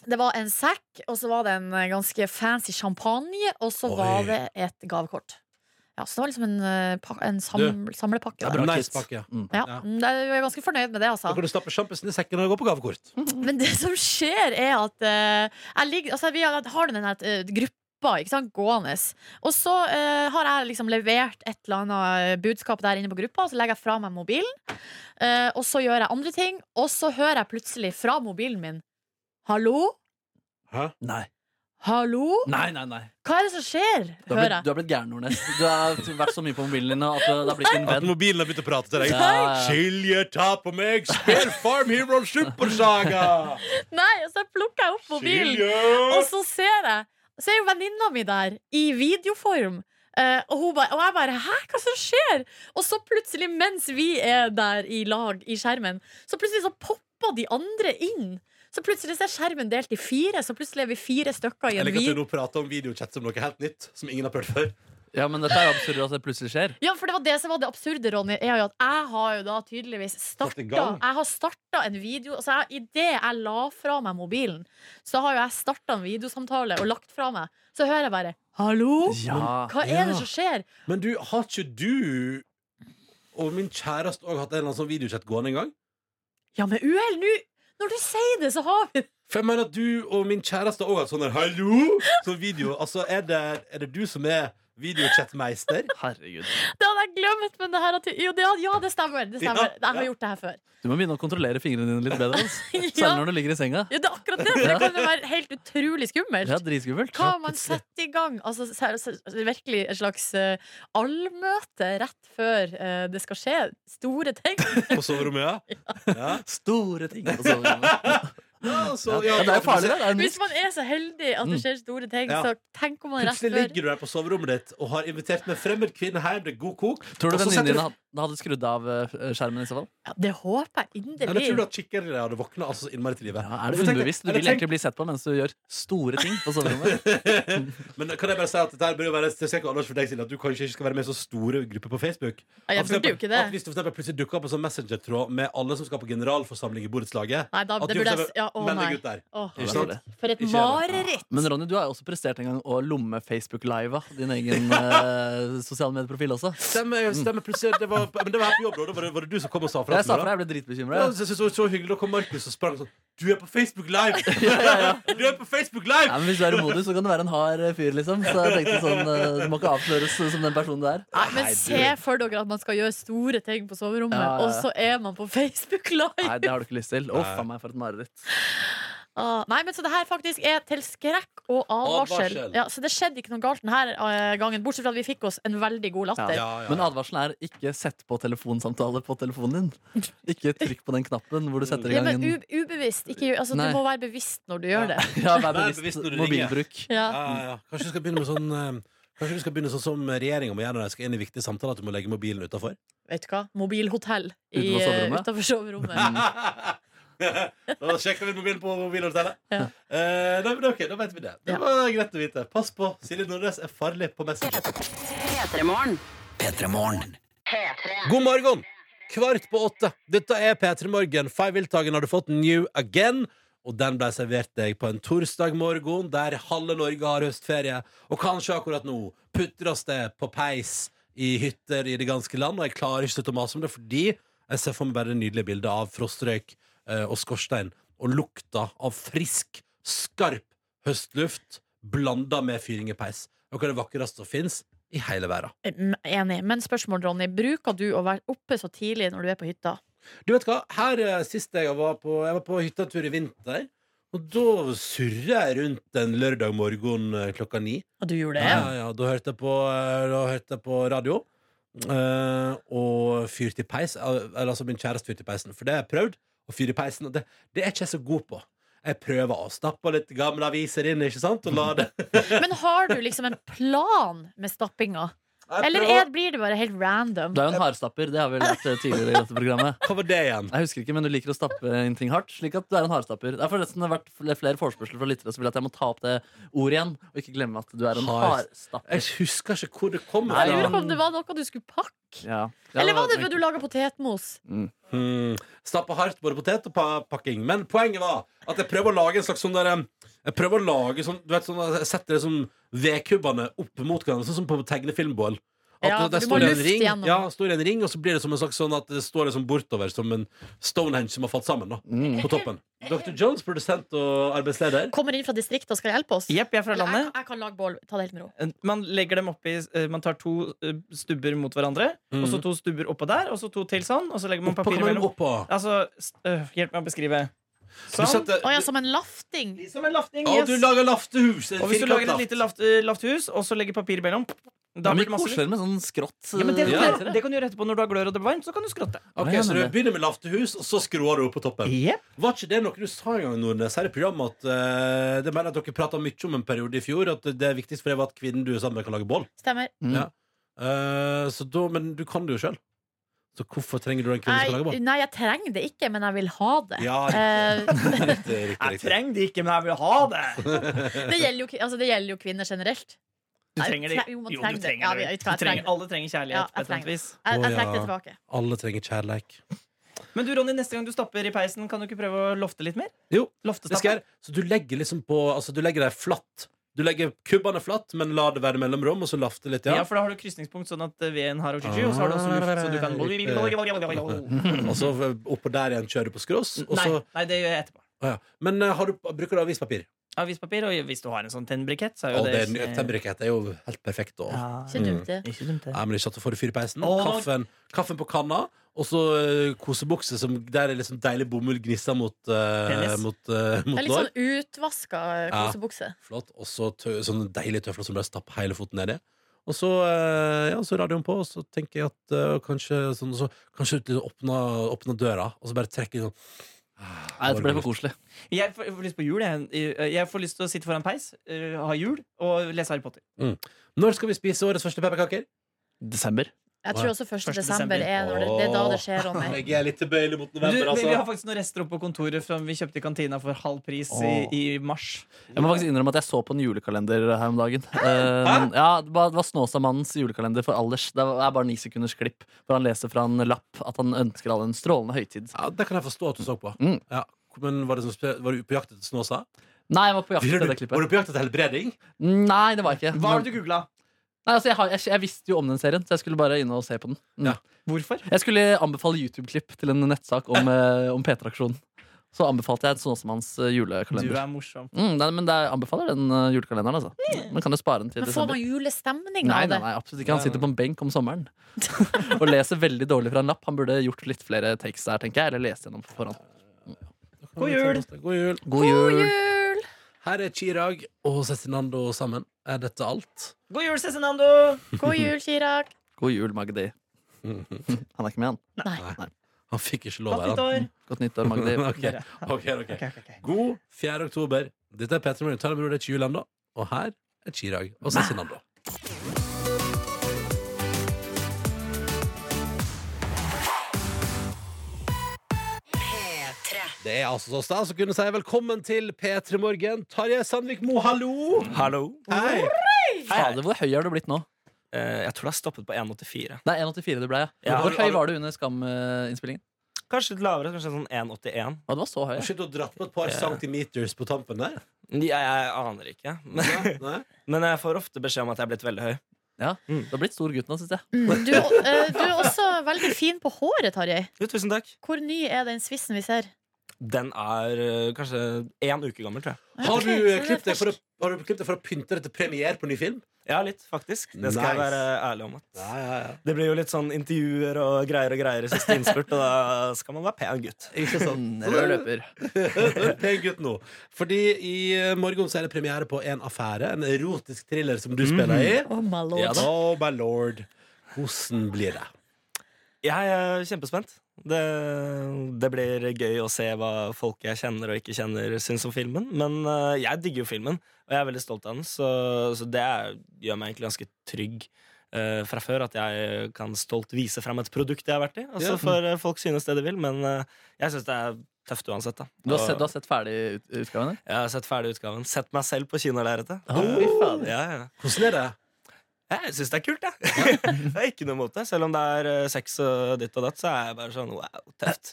Speaker 6: det var en sekk, og så var det en eh, ganske fancy champagne, og så
Speaker 4: Oi.
Speaker 6: var det et gavekort. Ja, så det var liksom en, eh, pa- en sam samlepakke.
Speaker 4: Det
Speaker 6: der.
Speaker 4: er bra
Speaker 5: Bra
Speaker 4: nice
Speaker 5: kids.
Speaker 4: pakke.
Speaker 5: Mm.
Speaker 6: Ja,
Speaker 4: Ja.
Speaker 6: mm, det- jeg er ganske fornøyd med det, altså.
Speaker 4: Da kan du stappe sjampisen i sekken og gå på gavekort.
Speaker 6: Men det som skjer, er at eh, jeg ligger, altså, Vi har har den her eh, gruppa ikke sant, gående. Og så eh, har jeg liksom levert et eller annet budskap der inne på gruppa, og så legger jeg fra meg mobilen. eh, og så gjør jeg andre ting, og så hører jeg plutselig fra mobilen min Hallo?
Speaker 4: Hæ?
Speaker 5: Nei.
Speaker 6: Hallo?
Speaker 5: Nei, nei, nei.
Speaker 6: Hva er det som skjer?
Speaker 5: Du
Speaker 6: hører
Speaker 5: har blitt,
Speaker 6: jeg.
Speaker 5: du har blitt gæren, Nordnes. Du har vært så mye på mobilen din nå at du- det har blitt en
Speaker 4: At
Speaker 5: venn.
Speaker 4: mobilen har begynt å prate til deg.
Speaker 5: Ja, ja.
Speaker 4: Silje, ta på meg! Spill Farm Hero Supersaga!
Speaker 6: Nei, og så plukker jeg opp mobilen, og
Speaker 4: Silje!
Speaker 6: så ser jeg Så er jo venninna mi der, i videoform. Eh, og, hun ba, og jeg bare 'hæ, hva som skjer?' Og så plutselig, mens vi er der i lag i skjermen, så plutselig så popper de andre inn. Så plutselig så er skjermen delt i fire, så plutselig er vi fire stykker i
Speaker 4: Jeg
Speaker 6: en
Speaker 4: liker at du
Speaker 6: video.
Speaker 4: nå prater om videochat som noe helt nytt. Som ingen har prøvd før.
Speaker 5: Ja, men dette er jo absurd at det plutselig skjer.
Speaker 6: Ja, for det var det som var det absurde, Ronny, er jo at jeg har jo da tydeligvis
Speaker 4: Satt i
Speaker 6: starta
Speaker 4: gang.
Speaker 6: Jeg har starta en video Altså, jeg- i det jeg la fra meg mobilen, så har jo jeg starta en videosamtale og lagt fra meg. Så hører jeg bare 'hallo'?
Speaker 5: Ja.
Speaker 6: Hva er det som skjer?
Speaker 4: Men du, har ikke du og min kjæreste òg hatt en eller annen sånn videochat gående en gang?
Speaker 6: Ja, med uhell! nå- Når du sier det, så har vi det!
Speaker 4: For jeg mener at du og min kjæreste òg har hatt sånn der 'hallo' sånn video. Altså, er det, er det du som er videochat-meister?
Speaker 5: Herregud.
Speaker 6: Det hadde jeg glemt, men det her at, jo, det, hadde- Ja, det stemmer. Det
Speaker 4: Ja,
Speaker 6: stemmer. Jeg har
Speaker 4: ja.
Speaker 6: gjort det her før.
Speaker 5: Du må begynne å kontrollere fingrene dine litt bedre. Altså. Særlig
Speaker 6: Ja,
Speaker 5: når du ligger i senga.
Speaker 6: ja, det er akkurat det. for Det kan jo være helt utrolig skummelt.
Speaker 5: Det er dritskummelt.
Speaker 6: Hva man setter i gang? Altså, ser- ser- virkelig et slags eh, allmøte rett før eh, det skal skje store ting.
Speaker 4: På soverommet, ja? ja.
Speaker 5: Store ting. og sånn.
Speaker 4: ja, så,
Speaker 5: Ja,
Speaker 4: ja,
Speaker 5: det er jo farlig, det. det er
Speaker 6: Hvis
Speaker 5: nytt.
Speaker 6: man er så heldig at det skjer store ting,
Speaker 4: Mm. Ja.
Speaker 6: så tenk om man rett
Speaker 4: Plutselig
Speaker 6: før.
Speaker 4: ligger du der på soverommet ditt og har invitert med fremmed kvinne hjem. Det er god kok.
Speaker 5: Tror du
Speaker 4: Og så
Speaker 5: venninnen
Speaker 4: setter
Speaker 5: din
Speaker 4: du-
Speaker 5: hadde, hadde skrudd av eh, skjermen i så fall?
Speaker 6: Ja, det håper jeg
Speaker 4: Eller tror du
Speaker 6: inderlig.
Speaker 4: at kikkere hadde våkna altså, så innmari til livet?
Speaker 5: Ja, er det
Speaker 4: For tenk-
Speaker 5: underbevisst? Du
Speaker 4: eller
Speaker 5: vil
Speaker 4: tenk-
Speaker 5: egentlig bli sett på mens du gjør store ting på soverommet.
Speaker 4: Men kan jeg bare si at dette her bør jo være Det skal ikke Anders for deg, Silje, at du kanskje ikke skal være med i så store grupper på Facebook.
Speaker 6: Ja,
Speaker 4: At
Speaker 6: jeg
Speaker 4: for
Speaker 6: burde
Speaker 4: eksempel-
Speaker 6: jo ikke det.
Speaker 4: At hvis du for eksempel plutselig dukker opp en sånn messengertråd med alle som skal på generalforsamling i borettslaget
Speaker 6: Nei, da,
Speaker 4: at
Speaker 6: det
Speaker 4: du
Speaker 6: burde jeg s-
Speaker 4: for eksempel-
Speaker 6: ja, Å,
Speaker 4: Meld
Speaker 6: nei.
Speaker 4: deg ut der.
Speaker 6: Åh,
Speaker 4: Ikke
Speaker 5: sant?
Speaker 6: Gud, for et
Speaker 4: Ikke gjør det.
Speaker 6: mareritt!
Speaker 5: Men Ronny, du har jo også prestert en gang å lomme Facebook-liva din egen eh, sosiale medieprofil også.
Speaker 4: Stemmer, stemmer plutselig. Det var, men det var her på jobb, da. Da var det, var det du som kom og sa fra.
Speaker 5: Jeg sa
Speaker 4: til meg,
Speaker 5: fra,
Speaker 4: da.
Speaker 5: jeg ble dritbekymra.
Speaker 4: Ja, jeg synes det var så hyggelig. Da kom Markus og sprang sånn. Du er på Facebook Live! Du er på Facebook Live!
Speaker 5: Ja, men hvis du er i modus, så kan du være en hard eh, fyr, liksom. Så jeg tenkte sånn, eh, Du må ikke avsløres som den personen du er.
Speaker 6: Nei, men se for dere at man skal gjøre store ting på soverommet,
Speaker 5: Ja, ja, ja.
Speaker 6: og så er man på Facebook Live!
Speaker 5: Nei, det har du ikke lyst til. Å, faen meg, for et mareritt.
Speaker 6: Ah, nei, men Så det her faktisk er til skrekk og advarsel.
Speaker 4: Advarsel.
Speaker 6: Ja, så det skjedde ikke noe galt denne eh, gangen, bortsett fra at vi fikk oss en veldig god latter.
Speaker 4: Ja, ja, ja.
Speaker 5: Men advarselen er ikke sett på telefonsamtale på telefonen din. Ikke trykk på den knappen hvor du setter i
Speaker 6: Ja,
Speaker 5: gang
Speaker 6: men
Speaker 5: en
Speaker 6: u ubevisst. Ikke, altså, du
Speaker 5: Nei.
Speaker 6: må være bevisst når du gjør det.
Speaker 5: Ja, vær
Speaker 4: Vær bevisst
Speaker 5: bevisst
Speaker 4: når du ringer.
Speaker 5: mobilbruk.
Speaker 6: Ja.
Speaker 4: Ja, ja, ja. Kanskje du skal begynne med sånn eh, Kanskje du skal begynne sånn som regjeringa må gjøre når de skal inn i viktige samtaler, at du må legge mobilen utafor?
Speaker 6: Vet du hva? Mobilhotell i, eh,
Speaker 5: Utenfor soverommet? Mm.
Speaker 6: utenfor soverommet.
Speaker 4: da sjekker vi mobilen på mobilhotellet.
Speaker 6: Ja.
Speaker 4: Eh, nei, men ok, da vet vi det. Det
Speaker 6: Ja.
Speaker 4: var greit å vite. Pass på. Silje Nordnes er farlig på Messenger. God morgen! Kvart på åtte. Dette er P3 Morgen. Five Wildtagen har du fått New Again. Og den ble servert deg på en torsdag morgen der halve Norge har høstferie. Og kanskje akkurat nå putter oss det på peis i hytter i det ganske land. Og jeg klarer ikke å slutte å mase om det, fordi jeg ser for meg bare det nydelige bildet av frostrøyk eh, og skorstein og lukta av frisk, skarp høstluft blanda med fyring i peis. Noe av det vakreste som fins i hele verden.
Speaker 6: Mm, Enig. Men spørsmål, Ronny. Bruker du å være oppe så tidlig når du er på hytta?
Speaker 4: Du vet hva, her eh, sist jeg var på Jeg var på hyttetur i vinter Og da surret jeg rundt en lørdag morgen eh, klokka ni
Speaker 6: Ja, du gjorde
Speaker 4: ja,
Speaker 6: det?
Speaker 4: ja, ja. Da, hørte jeg på, eh, da hørte jeg på radio eh, Og fyrte i peis eh, Eller altså min kjæreste fyrte i peisen For det har jeg prøvd å fyre i peisen Og det, det er ikke jeg så god på jeg prøver å stappe litt gamle aviser inn, ikke sant? Og la det
Speaker 6: Men har du liksom en plan med stappinga? Eller er, blir det bare helt random?
Speaker 5: Du er jo en hardstapper, det har vi jo lært eh, tidligere i dette programmet.
Speaker 4: Hva var det igjen?
Speaker 5: Jeg husker ikke, men du liker å stappe inn ting hardt. Slik at du er en hardstapper. Det har forresten vært fl- flere forespørsler fra lyttere som vil at jeg må ta opp det ordet igjen. Og ikke glemme at du er en
Speaker 4: Hardst-
Speaker 5: hardstapper.
Speaker 4: Jeg husker ikke hvor det kom
Speaker 5: Nei,
Speaker 6: Jeg lurer
Speaker 5: ja.
Speaker 4: fra.
Speaker 6: på om det var noe du skulle pakke?
Speaker 5: Ja. Ja,
Speaker 6: Eller var det
Speaker 5: det-
Speaker 6: fordi du laga potetmos?
Speaker 4: Hmm. Stappe hardt både potet og pa pakking. Men poenget var at jeg prøver å lage en slags sånn der em, Jeg prøver å lage sånn Du vet sånn at jeg setter det som vedkubbene opp mot hverandre, sånn som på tegnefilmbål. At
Speaker 6: Ja,
Speaker 4: det
Speaker 6: for du
Speaker 4: står
Speaker 6: må
Speaker 4: i en
Speaker 6: lufte
Speaker 4: ring,
Speaker 6: gjennom.
Speaker 4: ja, det står i en ring, og så blir det som en slags sånn at det står liksom bortover som en Stonehenge som har falt sammen, da.
Speaker 5: Mm.
Speaker 4: På toppen. Dr. Jones, produsent og arbeidsleder.
Speaker 6: Kommer inn fra distriktet og skal hjelpe oss?
Speaker 2: Jepp, jeg er fra
Speaker 6: Eller, jeg,
Speaker 2: landet.
Speaker 6: jeg kan lage bål. Ta det helt med ro.
Speaker 2: Man legger dem oppi eh, Man tar to eh, stubber mot hverandre, og så to stubber oppå der, og så to til sånn, og så legger man
Speaker 4: Mm. Oppå
Speaker 2: papir
Speaker 4: kan man
Speaker 2: imellom.
Speaker 4: oppå.
Speaker 2: Altså, s- øh, hjelp meg å beskrive.
Speaker 4: Du setter
Speaker 6: Å ja, som en lafting.
Speaker 2: Som en lafting.
Speaker 4: Å, du
Speaker 2: yes.
Speaker 4: lager laftehus.
Speaker 2: Og hvis du lager et lite laft, eh, lafthus, og så legger papir imellom da
Speaker 5: Det
Speaker 2: blir
Speaker 5: blir
Speaker 2: det masse
Speaker 5: koseligere med sånn skrått.
Speaker 2: ja, men det,
Speaker 4: Ja.
Speaker 2: det, kan du gjøre etterpå når du har glør og det blir varmt. Så kan du skrotte.
Speaker 4: Ok, Så du begynner med laftehus, og så skrår du opp på toppen.
Speaker 2: Yep.
Speaker 4: Var ikke det noe du sa en gang, Nordnes, her i programmet at eh, Det mener jeg at dere prata mye om en periode i fjor, at det viktigste for deg var at kvinnen du er sammen med, kan lage boll.
Speaker 6: Stemmer.
Speaker 4: Eh, så da, men du kan det jo sjøl. Så hvorfor trenger du en kvinne som kan lage
Speaker 6: Nei,
Speaker 4: boll?
Speaker 6: nei, jeg trenger det ikke, men jeg vil ha det.
Speaker 4: Ja,
Speaker 6: Eh,
Speaker 4: riktig, riktig,
Speaker 2: Jeg
Speaker 4: riktig.
Speaker 2: trenger det ikke, men jeg vil ha det.
Speaker 6: det, gjelder jo, ki- altså, det gjelder jo kvinner generelt.
Speaker 2: Du
Speaker 6: Nei,
Speaker 2: trenger det.
Speaker 6: tre- jo, man
Speaker 2: Jo,
Speaker 6: trenger
Speaker 2: du
Speaker 6: det. Ja,
Speaker 2: trenger
Speaker 6: vi-
Speaker 2: det.
Speaker 6: jeg
Speaker 2: Du
Speaker 6: tror jeg trenger
Speaker 2: trenger,
Speaker 6: det.
Speaker 2: alle trenger
Speaker 6: Ja,
Speaker 2: kjærlighet.
Speaker 6: jeg
Speaker 2: på et eller annet
Speaker 6: trenger det.
Speaker 2: vis
Speaker 6: Jeg,
Speaker 4: Å,
Speaker 6: jeg
Speaker 4: ja.
Speaker 6: trekker det tilbake.
Speaker 4: Alle trenger kjærleik.
Speaker 2: Men du, Ronny, neste gang du stapper i peisen, kan du ikke prøve å lofte litt mer?
Speaker 4: Jo,
Speaker 2: Loftestappe.
Speaker 4: Det skal jeg. Så du legger liksom på Altså, du legger deg flatt. Du legger kubbene flatt, men lar det være mellomrom, og så lafte litt,
Speaker 2: Ja.
Speaker 4: ja.
Speaker 2: for da har du krysningspunkt sånn at eh, veden har oksygju, og så har du også luft, så du kan Nei,
Speaker 4: Og så oppå der igjen kjører du på skross, og så
Speaker 2: nei, det gjør jeg etterpå.
Speaker 4: Å ja. Men eh, har du, bruker du avispapir?
Speaker 2: Avispapir, og hvis du har en sånn tennbrikett, så er jo
Speaker 4: Og det er
Speaker 2: det
Speaker 4: tennbrikett er jo helt perfekt. Og.
Speaker 2: Ja,
Speaker 6: Ikke dumt, det.
Speaker 2: ikke dumt, det.
Speaker 4: Nei, men ikke at du får fyr i peisen.
Speaker 2: Å.
Speaker 4: Kaffen, kaffen på kanna, og så eh, kosebukse som der er liksom deilig bomull gnisser mot, uh,
Speaker 2: Penis.
Speaker 4: mot, eh,
Speaker 6: Det
Speaker 4: mot
Speaker 6: er litt
Speaker 4: lår.
Speaker 6: sånn utvaska
Speaker 4: Ja.
Speaker 6: kosebukse.
Speaker 5: sånn-
Speaker 4: Flott. Og så tø sånne deilige tøfler som bare stapper hele foten nedi. Og så, eh, ja, så radioen på, og så tenker jeg at eh, kanskje, sånn, så, kanskje du åpner, åpner døra, og så bare trekker sånn
Speaker 5: Nei, dette ble for koselig.
Speaker 2: Jeg får, jeg får lyst på jul. Jeg, jeg får lyst til å sitte foran peis, eh, ha jul og lese Harry Potter.
Speaker 4: Når skal vi spise årets første pepperkaker?
Speaker 5: Desember.
Speaker 6: Jeg
Speaker 4: Wow.
Speaker 6: tror også 1.
Speaker 2: Første
Speaker 6: desember
Speaker 2: desember.
Speaker 6: er, når det, det er da det skjer. Ronny.
Speaker 4: Jeg er litt tilbøyelig mot
Speaker 2: Du,
Speaker 4: november,
Speaker 2: vi har
Speaker 4: altså.
Speaker 2: faktisk noen rester oppe på kontoret som vi kjøpte i kantina for halv pris
Speaker 4: Åh.
Speaker 2: i, i mars.
Speaker 5: Jeg må faktisk innrømme at jeg så på en julekalender her om dagen. Eh, men, ja, det var, det var Snåsamannens julekalender for alders. Det er bare ni sekunders klipp hvor han leser fra en lapp at han ønsker alle en strålende høytid.
Speaker 4: Ja, det kan jeg forstå at du så på.
Speaker 5: Mm.
Speaker 4: Ja. Men var, det som, spe- var du på jakt etter Snåsa?
Speaker 5: Nei, jeg var på
Speaker 4: Var
Speaker 5: jakt etter det
Speaker 4: du var
Speaker 5: klippet.
Speaker 4: du på jakt etter helbreding?
Speaker 5: Nei, det var jeg ikke.
Speaker 2: Hva har
Speaker 5: Men-
Speaker 2: du googla?
Speaker 5: Nei, altså, jeg, har, jeg, jeg visste jo om den serien, så jeg skulle bare inn og se på den. Mm.
Speaker 4: Ja.
Speaker 2: Hvorfor?
Speaker 5: Jeg skulle anbefale YouTube-klipp til en nettsak om, eh, om P3-aksjonen. Så anbefalte jeg Snåsamanns eh,
Speaker 2: Du
Speaker 5: julekalender.
Speaker 2: er morsom.
Speaker 5: Mm, nei, men jeg anbefaler den eh, julekalenderen, altså. Man kan jo spare den til
Speaker 6: Men får
Speaker 5: desember.
Speaker 6: man julestemning
Speaker 5: Nei,
Speaker 6: av
Speaker 5: nei,
Speaker 6: det?
Speaker 5: nei, absolutt ikke. Han sitter på en benk om sommeren og leser veldig dårlig fra en lapp. Han burde gjort litt flere takes der, tenker jeg. Eller lest gjennom på forhånd.
Speaker 2: God jul!
Speaker 4: God jul!
Speaker 5: God jul!
Speaker 6: Jul!
Speaker 4: Her er Chirag og Cezinando sammen. Er dette alt?
Speaker 2: God jul, Cezinando!
Speaker 6: God jul, Chirag.
Speaker 5: God jul, Magdi. Han er ikke med, han.
Speaker 4: Han fikk ikke lov
Speaker 2: Godt
Speaker 4: her.
Speaker 2: nytt
Speaker 4: han.
Speaker 2: år!
Speaker 5: Godt nyttår, Magdi.
Speaker 4: Ok, ok, ok. God 4. oktober. Dette er Petra Morgen. Ta det med ro, det er ikke jul ennå. Og her er Chirag og Cezinando. Det er altså så stas å kunne si velkommen til P3 Morgen. Tarjei Sandvik Mo, hallo!
Speaker 8: Hallo.
Speaker 4: Hei!
Speaker 5: Fader, hvor høy har du blitt nå?
Speaker 8: Eh, jeg tror det har stoppet på 1,84.
Speaker 5: Det er 1,84 du ble, ja.
Speaker 8: Ja.
Speaker 5: Hvor høy var du under Skam-innspillingen?
Speaker 8: Kanskje litt lavere. Kanskje sånn 1,81.
Speaker 5: Å, det var så høy.
Speaker 4: Shit, du har dratt på et par centimeters på tampen der.
Speaker 8: Jeg, jeg aner ikke. Men,
Speaker 4: Nei?
Speaker 8: men jeg får ofte beskjed om at jeg er blitt veldig høy.
Speaker 5: Ja. Du har blitt stor gutt nå, syns jeg.
Speaker 6: Mm, Du, eh, du er også veldig fin på håret, Tarjei.
Speaker 8: Jo, tusen takk.
Speaker 6: Hvor ny er den svissen vi ser?
Speaker 8: Den er eh, kanskje én uke gammel, tror jeg.
Speaker 4: Har
Speaker 6: Ok,
Speaker 4: du
Speaker 6: så
Speaker 4: eh,
Speaker 6: det er
Speaker 4: klippet deg for å
Speaker 6: fersk.
Speaker 4: har du klippet deg for å pynte deg til premiere på ny film?
Speaker 8: Ja, litt, faktisk. Det skal jeg
Speaker 4: Nice.
Speaker 8: være ærlig om. At.
Speaker 4: Ja, ja, ja.
Speaker 8: Det blir jo litt sånn intervjuer og greier og greier i siste innspurt, og da skal man være pen gutt.
Speaker 4: Ikke sant?
Speaker 5: sånn Rød løper.
Speaker 4: Pen gutt nå. Fordi i eh, morgen så er det premiere på En affære, en erotisk thriller som du spiller i.
Speaker 6: Oh, my lord.
Speaker 4: Ja da. Oh my lord. Hvordan blir det?
Speaker 8: Jeg er kjempespent. Det, det blir gøy å se hva folk jeg kjenner og ikke kjenner, syns om filmen. Men eh, jeg digger jo filmen, og jeg er veldig stolt av den, så, så det er, gjør meg egentlig ganske trygg. eh, fra før At jeg kan stolt vise fram et produkt jeg har vært i. Og så
Speaker 4: Ja.
Speaker 8: får eh, folk synes det de vil, men eh, jeg syns det er tøft uansett. Da.
Speaker 5: Du har
Speaker 8: Og
Speaker 5: sett, du har sett ferdig ut- utgaven?
Speaker 8: Jeg har sett ferdig utgaven. Sett meg selv på kinolerretet.
Speaker 5: Oh.
Speaker 8: Ja, ja.
Speaker 4: Hvordan er det?
Speaker 8: Jeg syns det er kult, jeg. Det er ikke noe mot det. Selv om det er eh, sex og ditt og datt, så er jeg bare sånn wow, tøft.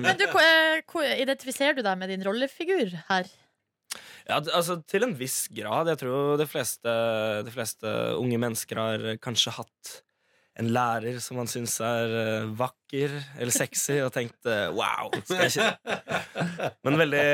Speaker 6: Men du, eh, hvor- identifiserer du deg med din rollefigur her?
Speaker 8: Ja, d- altså Til en viss grad. Jeg tror de fleste, de fleste unge mennesker har eh, kanskje hatt en lærer som man syns er eh, vakker eller sexy, og tenkt eh, wow. Skal jeg ikke Men veldig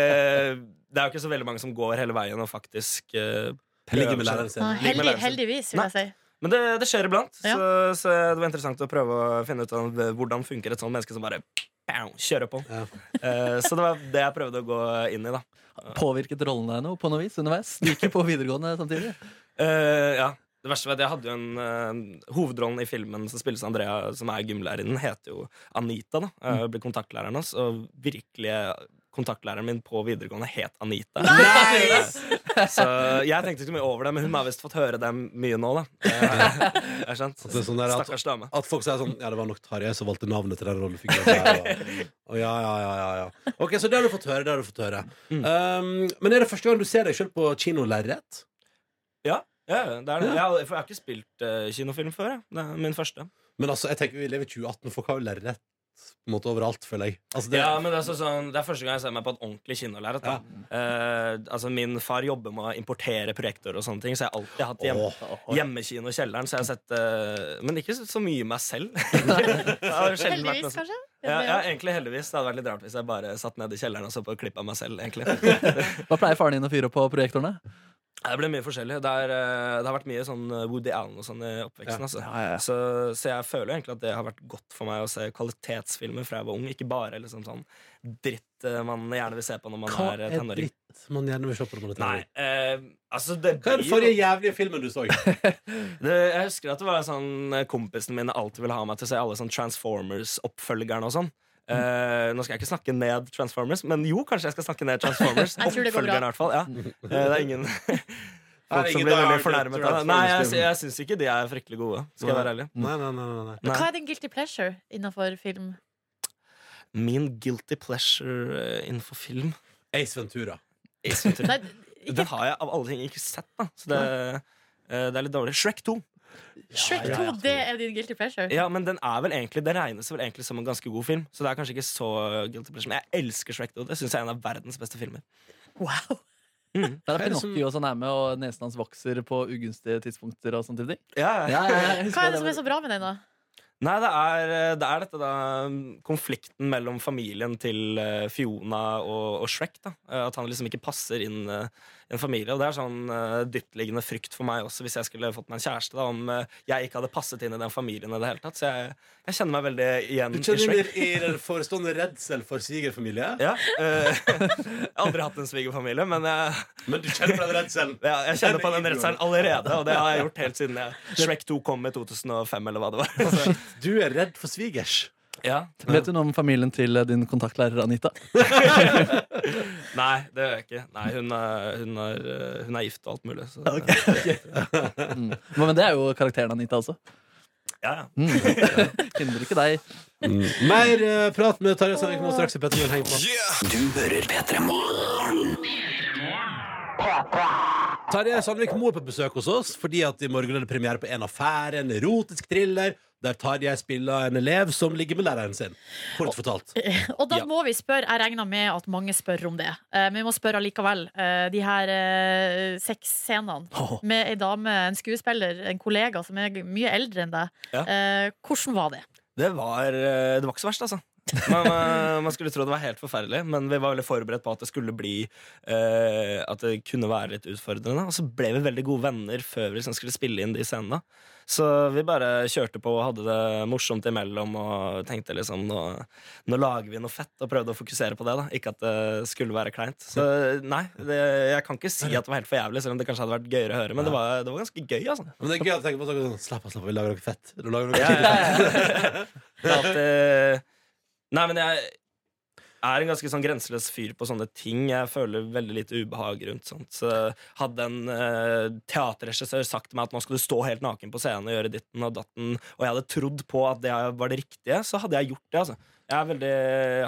Speaker 8: Det er jo ikke så veldig mange som går hele veien og faktisk eh,
Speaker 4: Ligger
Speaker 8: prøver
Speaker 4: med
Speaker 8: seg.
Speaker 4: læreren sin.
Speaker 6: Nei,
Speaker 8: Ligger med
Speaker 6: heldig,
Speaker 8: læreren sin.
Speaker 6: heldigvis, vil jeg si.
Speaker 8: Men det, det skjer iblant,
Speaker 6: Ja.
Speaker 8: så, så det var interessant å prøve å finne ut av hvordan funker et sånt menneske som bare pow, kjøre på. Eh, så det var det jeg prøvde å gå inn i, da.
Speaker 5: Påvirket rollen deg noe på noe vis underveis? Du gikk jo på videregående samtidig.
Speaker 8: Eh, ja. Det verste var at jeg hadde jo en eh, Hovedrollen i filmen som spilles av Andrea, som er gymlærerinnen, heter jo Anita. da Eh, Ble kontaktlæreren hans. Og virkelig kontaktlæreren min på videregående het Anita. Så jeg tenkte ikke så mye over det, men hun har visst fått høre det mye nå, da. Eh, er sant?
Speaker 4: det er sånn der at-
Speaker 8: Stakkars dame.
Speaker 4: At folk sier sånn Ja, det var nok Tarjei som valgte navnet til den rollefiguren. Der, og, og ja, ja, ja, ja, ja. Ok, Så det har du fått høre. Det har du fått høre.
Speaker 6: Mm.
Speaker 4: Um, men er det første gang du ser deg sjøl på kinolerret?
Speaker 8: Ja, ja, ja, det er det. Jeg, har- for jeg har ikke spilt eh, kinofilm før. Jeg. Det er min første.
Speaker 4: Men altså, jeg tenker vi lever i 2018, folk har jo lerret på en måte overalt, føler jeg. Altså, det,
Speaker 8: Ja, men det er, så sånn, det er første gang jeg ser meg på et ordentlig kinolerret. da. Eh, altså, min far jobber med å importere projekter og sånne ting, så jeg har alltid hatt hjem, hjemmekino i kjelleren. Så jeg har sett eh, Men ikke så- så mye meg selv. Det har jo sjelden vært noe
Speaker 6: Heldigvis,
Speaker 8: sånt.
Speaker 6: kanskje?
Speaker 8: Ja, ja, egentlig heldigvis. Det hadde vært litt rart hvis jeg bare satt nede i kjelleren og så på klipp av meg selv. egentlig
Speaker 5: Hva pleier faren din å fyre på projektorene?
Speaker 8: Det ble mye forskjellig. Det, er, eh, det har vært mye sånn Woody Allen og sånn i oppveksten. Altså. Så, så jeg føler egentlig at det har vært godt for meg å se kvalitetsfilmer fra jeg var ung. Ikke bare liksom sånn dritt eh, man gjerne vil se på når man
Speaker 4: hva
Speaker 8: er eh,
Speaker 4: er
Speaker 8: tenåring.
Speaker 4: dritt man gjerne vil se på når man er
Speaker 8: Nei,
Speaker 4: tenåring?
Speaker 8: eh, altså det
Speaker 4: Hva er den
Speaker 8: blir jo-
Speaker 4: forrige jævlige filmen du så?
Speaker 8: det, jeg husker at det var sånn eh, kompisen min alltid ville ha meg til å se alle sånn Transformers-oppfølgerne og sånn.
Speaker 6: Mm.
Speaker 8: Eh, nå skal jeg ikke snakke ned Transformers, men jo, kanskje jeg skal snakke ned Transformers.
Speaker 6: Jeg tror det går
Speaker 8: Oppfølgerne, i
Speaker 6: bra.
Speaker 8: hvert fall. Ja. Eh, det er ingen folk som
Speaker 4: ingen Die
Speaker 8: blir veldig
Speaker 4: Hard
Speaker 8: fornærmet av det. Nei, jeg,
Speaker 4: Transformers-film.
Speaker 8: jeg syns ikke de er fryktelig gode, skal jeg være ærlig.
Speaker 4: Nei, nei, nei, nei, nei.
Speaker 8: Nei.
Speaker 6: Hva er din guilty pleasure innafor film?
Speaker 8: Min guilty pleasure eh, innenfor film
Speaker 4: Ace Ventura.
Speaker 8: Ace Ventura.
Speaker 6: Nei,
Speaker 8: Den
Speaker 6: ikke
Speaker 8: har jeg av alle ting ikke sett, da. Så det, eh, det er litt dårlig. Shrek 2.
Speaker 6: Shrek 2, det er din guilty pleasure?
Speaker 8: Ja, men den er vel egentlig Det regnes vel egentlig som en ganske god film. Så det er kanskje ikke så guilty pleasure. Men jeg elsker Shrek 2. Det syns jeg er en av verdens beste filmer.
Speaker 6: Wow!
Speaker 5: Der er Pinocchio som er med, og nesen hans vokser på ugunstige tidspunkter. og sånne ting.
Speaker 8: Ja.
Speaker 6: Hva er det som er så bra med den, da?
Speaker 8: Nei, det er, det er dette, da. Konflikten mellom familien til eh, Fiona og, og Shrek. da Eh, At han liksom ikke passer inn eh, i en familie. Og det er sånn eh, dyptliggende frykt for meg også, hvis jeg skulle fått meg en kjæreste, da om eh, jeg ikke hadde passet inn i den familien i det hele tatt. Så jeg, jeg kjenner meg veldig igjen
Speaker 4: Du
Speaker 8: i
Speaker 4: kjenner
Speaker 8: Shrek.
Speaker 4: inn i den forestående redsel for svigerfamilie?
Speaker 8: Ja, eh, jeg har aldri hatt en svigerfamilie, men jeg,
Speaker 4: Men du kjenner på den redselen?
Speaker 8: Ja, jeg kjenner på den redselen allerede, og det har jeg gjort helt siden jeg Shrek 2 kom i 2005, eller hva det var. Altså, Så,
Speaker 4: Du er redd for svigers?
Speaker 8: ja.
Speaker 5: Vet du noe om familien til eh, din kontaktlærer Anita?
Speaker 8: Nei, det gjør jeg ikke. Nei, hun er, hun er, eh, hun er gift og alt mulig. Så,
Speaker 5: Men det er jo karakteren Anita også.
Speaker 8: ja, ja.
Speaker 5: Hindrer ikke deg.
Speaker 4: Mer eh, prat med Tarjei Sandvik nå straks i Petter Morgen. Heng på. Tarjei Sandvik Moe er på besøk hos oss fordi at i morgen er det premiere på En affære, en erotisk thriller, der Tarjei spiller en elev som ligger med læreren sin. Kort fortalt.
Speaker 6: Og da
Speaker 4: Ja.
Speaker 6: må vi spørre, jeg regner med at mange spør om det, eh, men vi må spørre allikevel. eh, de her eh, sexscenene med ei dame, en skuespiller, en kollega som er mye eldre enn deg.
Speaker 8: Ja.
Speaker 6: Eh, hvordan var det?
Speaker 8: Det var, eh, det var ikke så verst, altså. Man, eh, man skulle tro det var helt forferdelig, men vi var veldig forberedt på at det skulle bli eh, At det kunne være litt utfordrende. Og så ble vi veldig gode venner før vi liksom skulle spille inn de scenene. Så vi bare kjørte på og hadde det morsomt imellom og tenkte liksom nå, nå lager vi noe fett, og prøvde å fokusere på det. da Ikke at det skulle være kleint. Så nei, det, jeg kan ikke si at det var helt for jævlig, selv om det kanskje hadde vært gøyere å høre. Men det var, det var ganske gøy, altså.
Speaker 4: Men det er gøy å tenke på sånn, sånn Slapp av, slapp av, vi lager noe fett. Du lager noe
Speaker 8: Ja, ja, ja. Det er at, eh, Nei, men jeg er en ganske sånn grenseløs fyr på sånne ting. Jeg føler veldig lite ubehag rundt sånt. Så hadde en eh, teaterregissør sagt til meg at nå skal du stå helt naken på scenen og gjøre ditten og datten, og jeg hadde trodd på at det var det riktige, så hadde jeg gjort det. altså Jeg er veldig,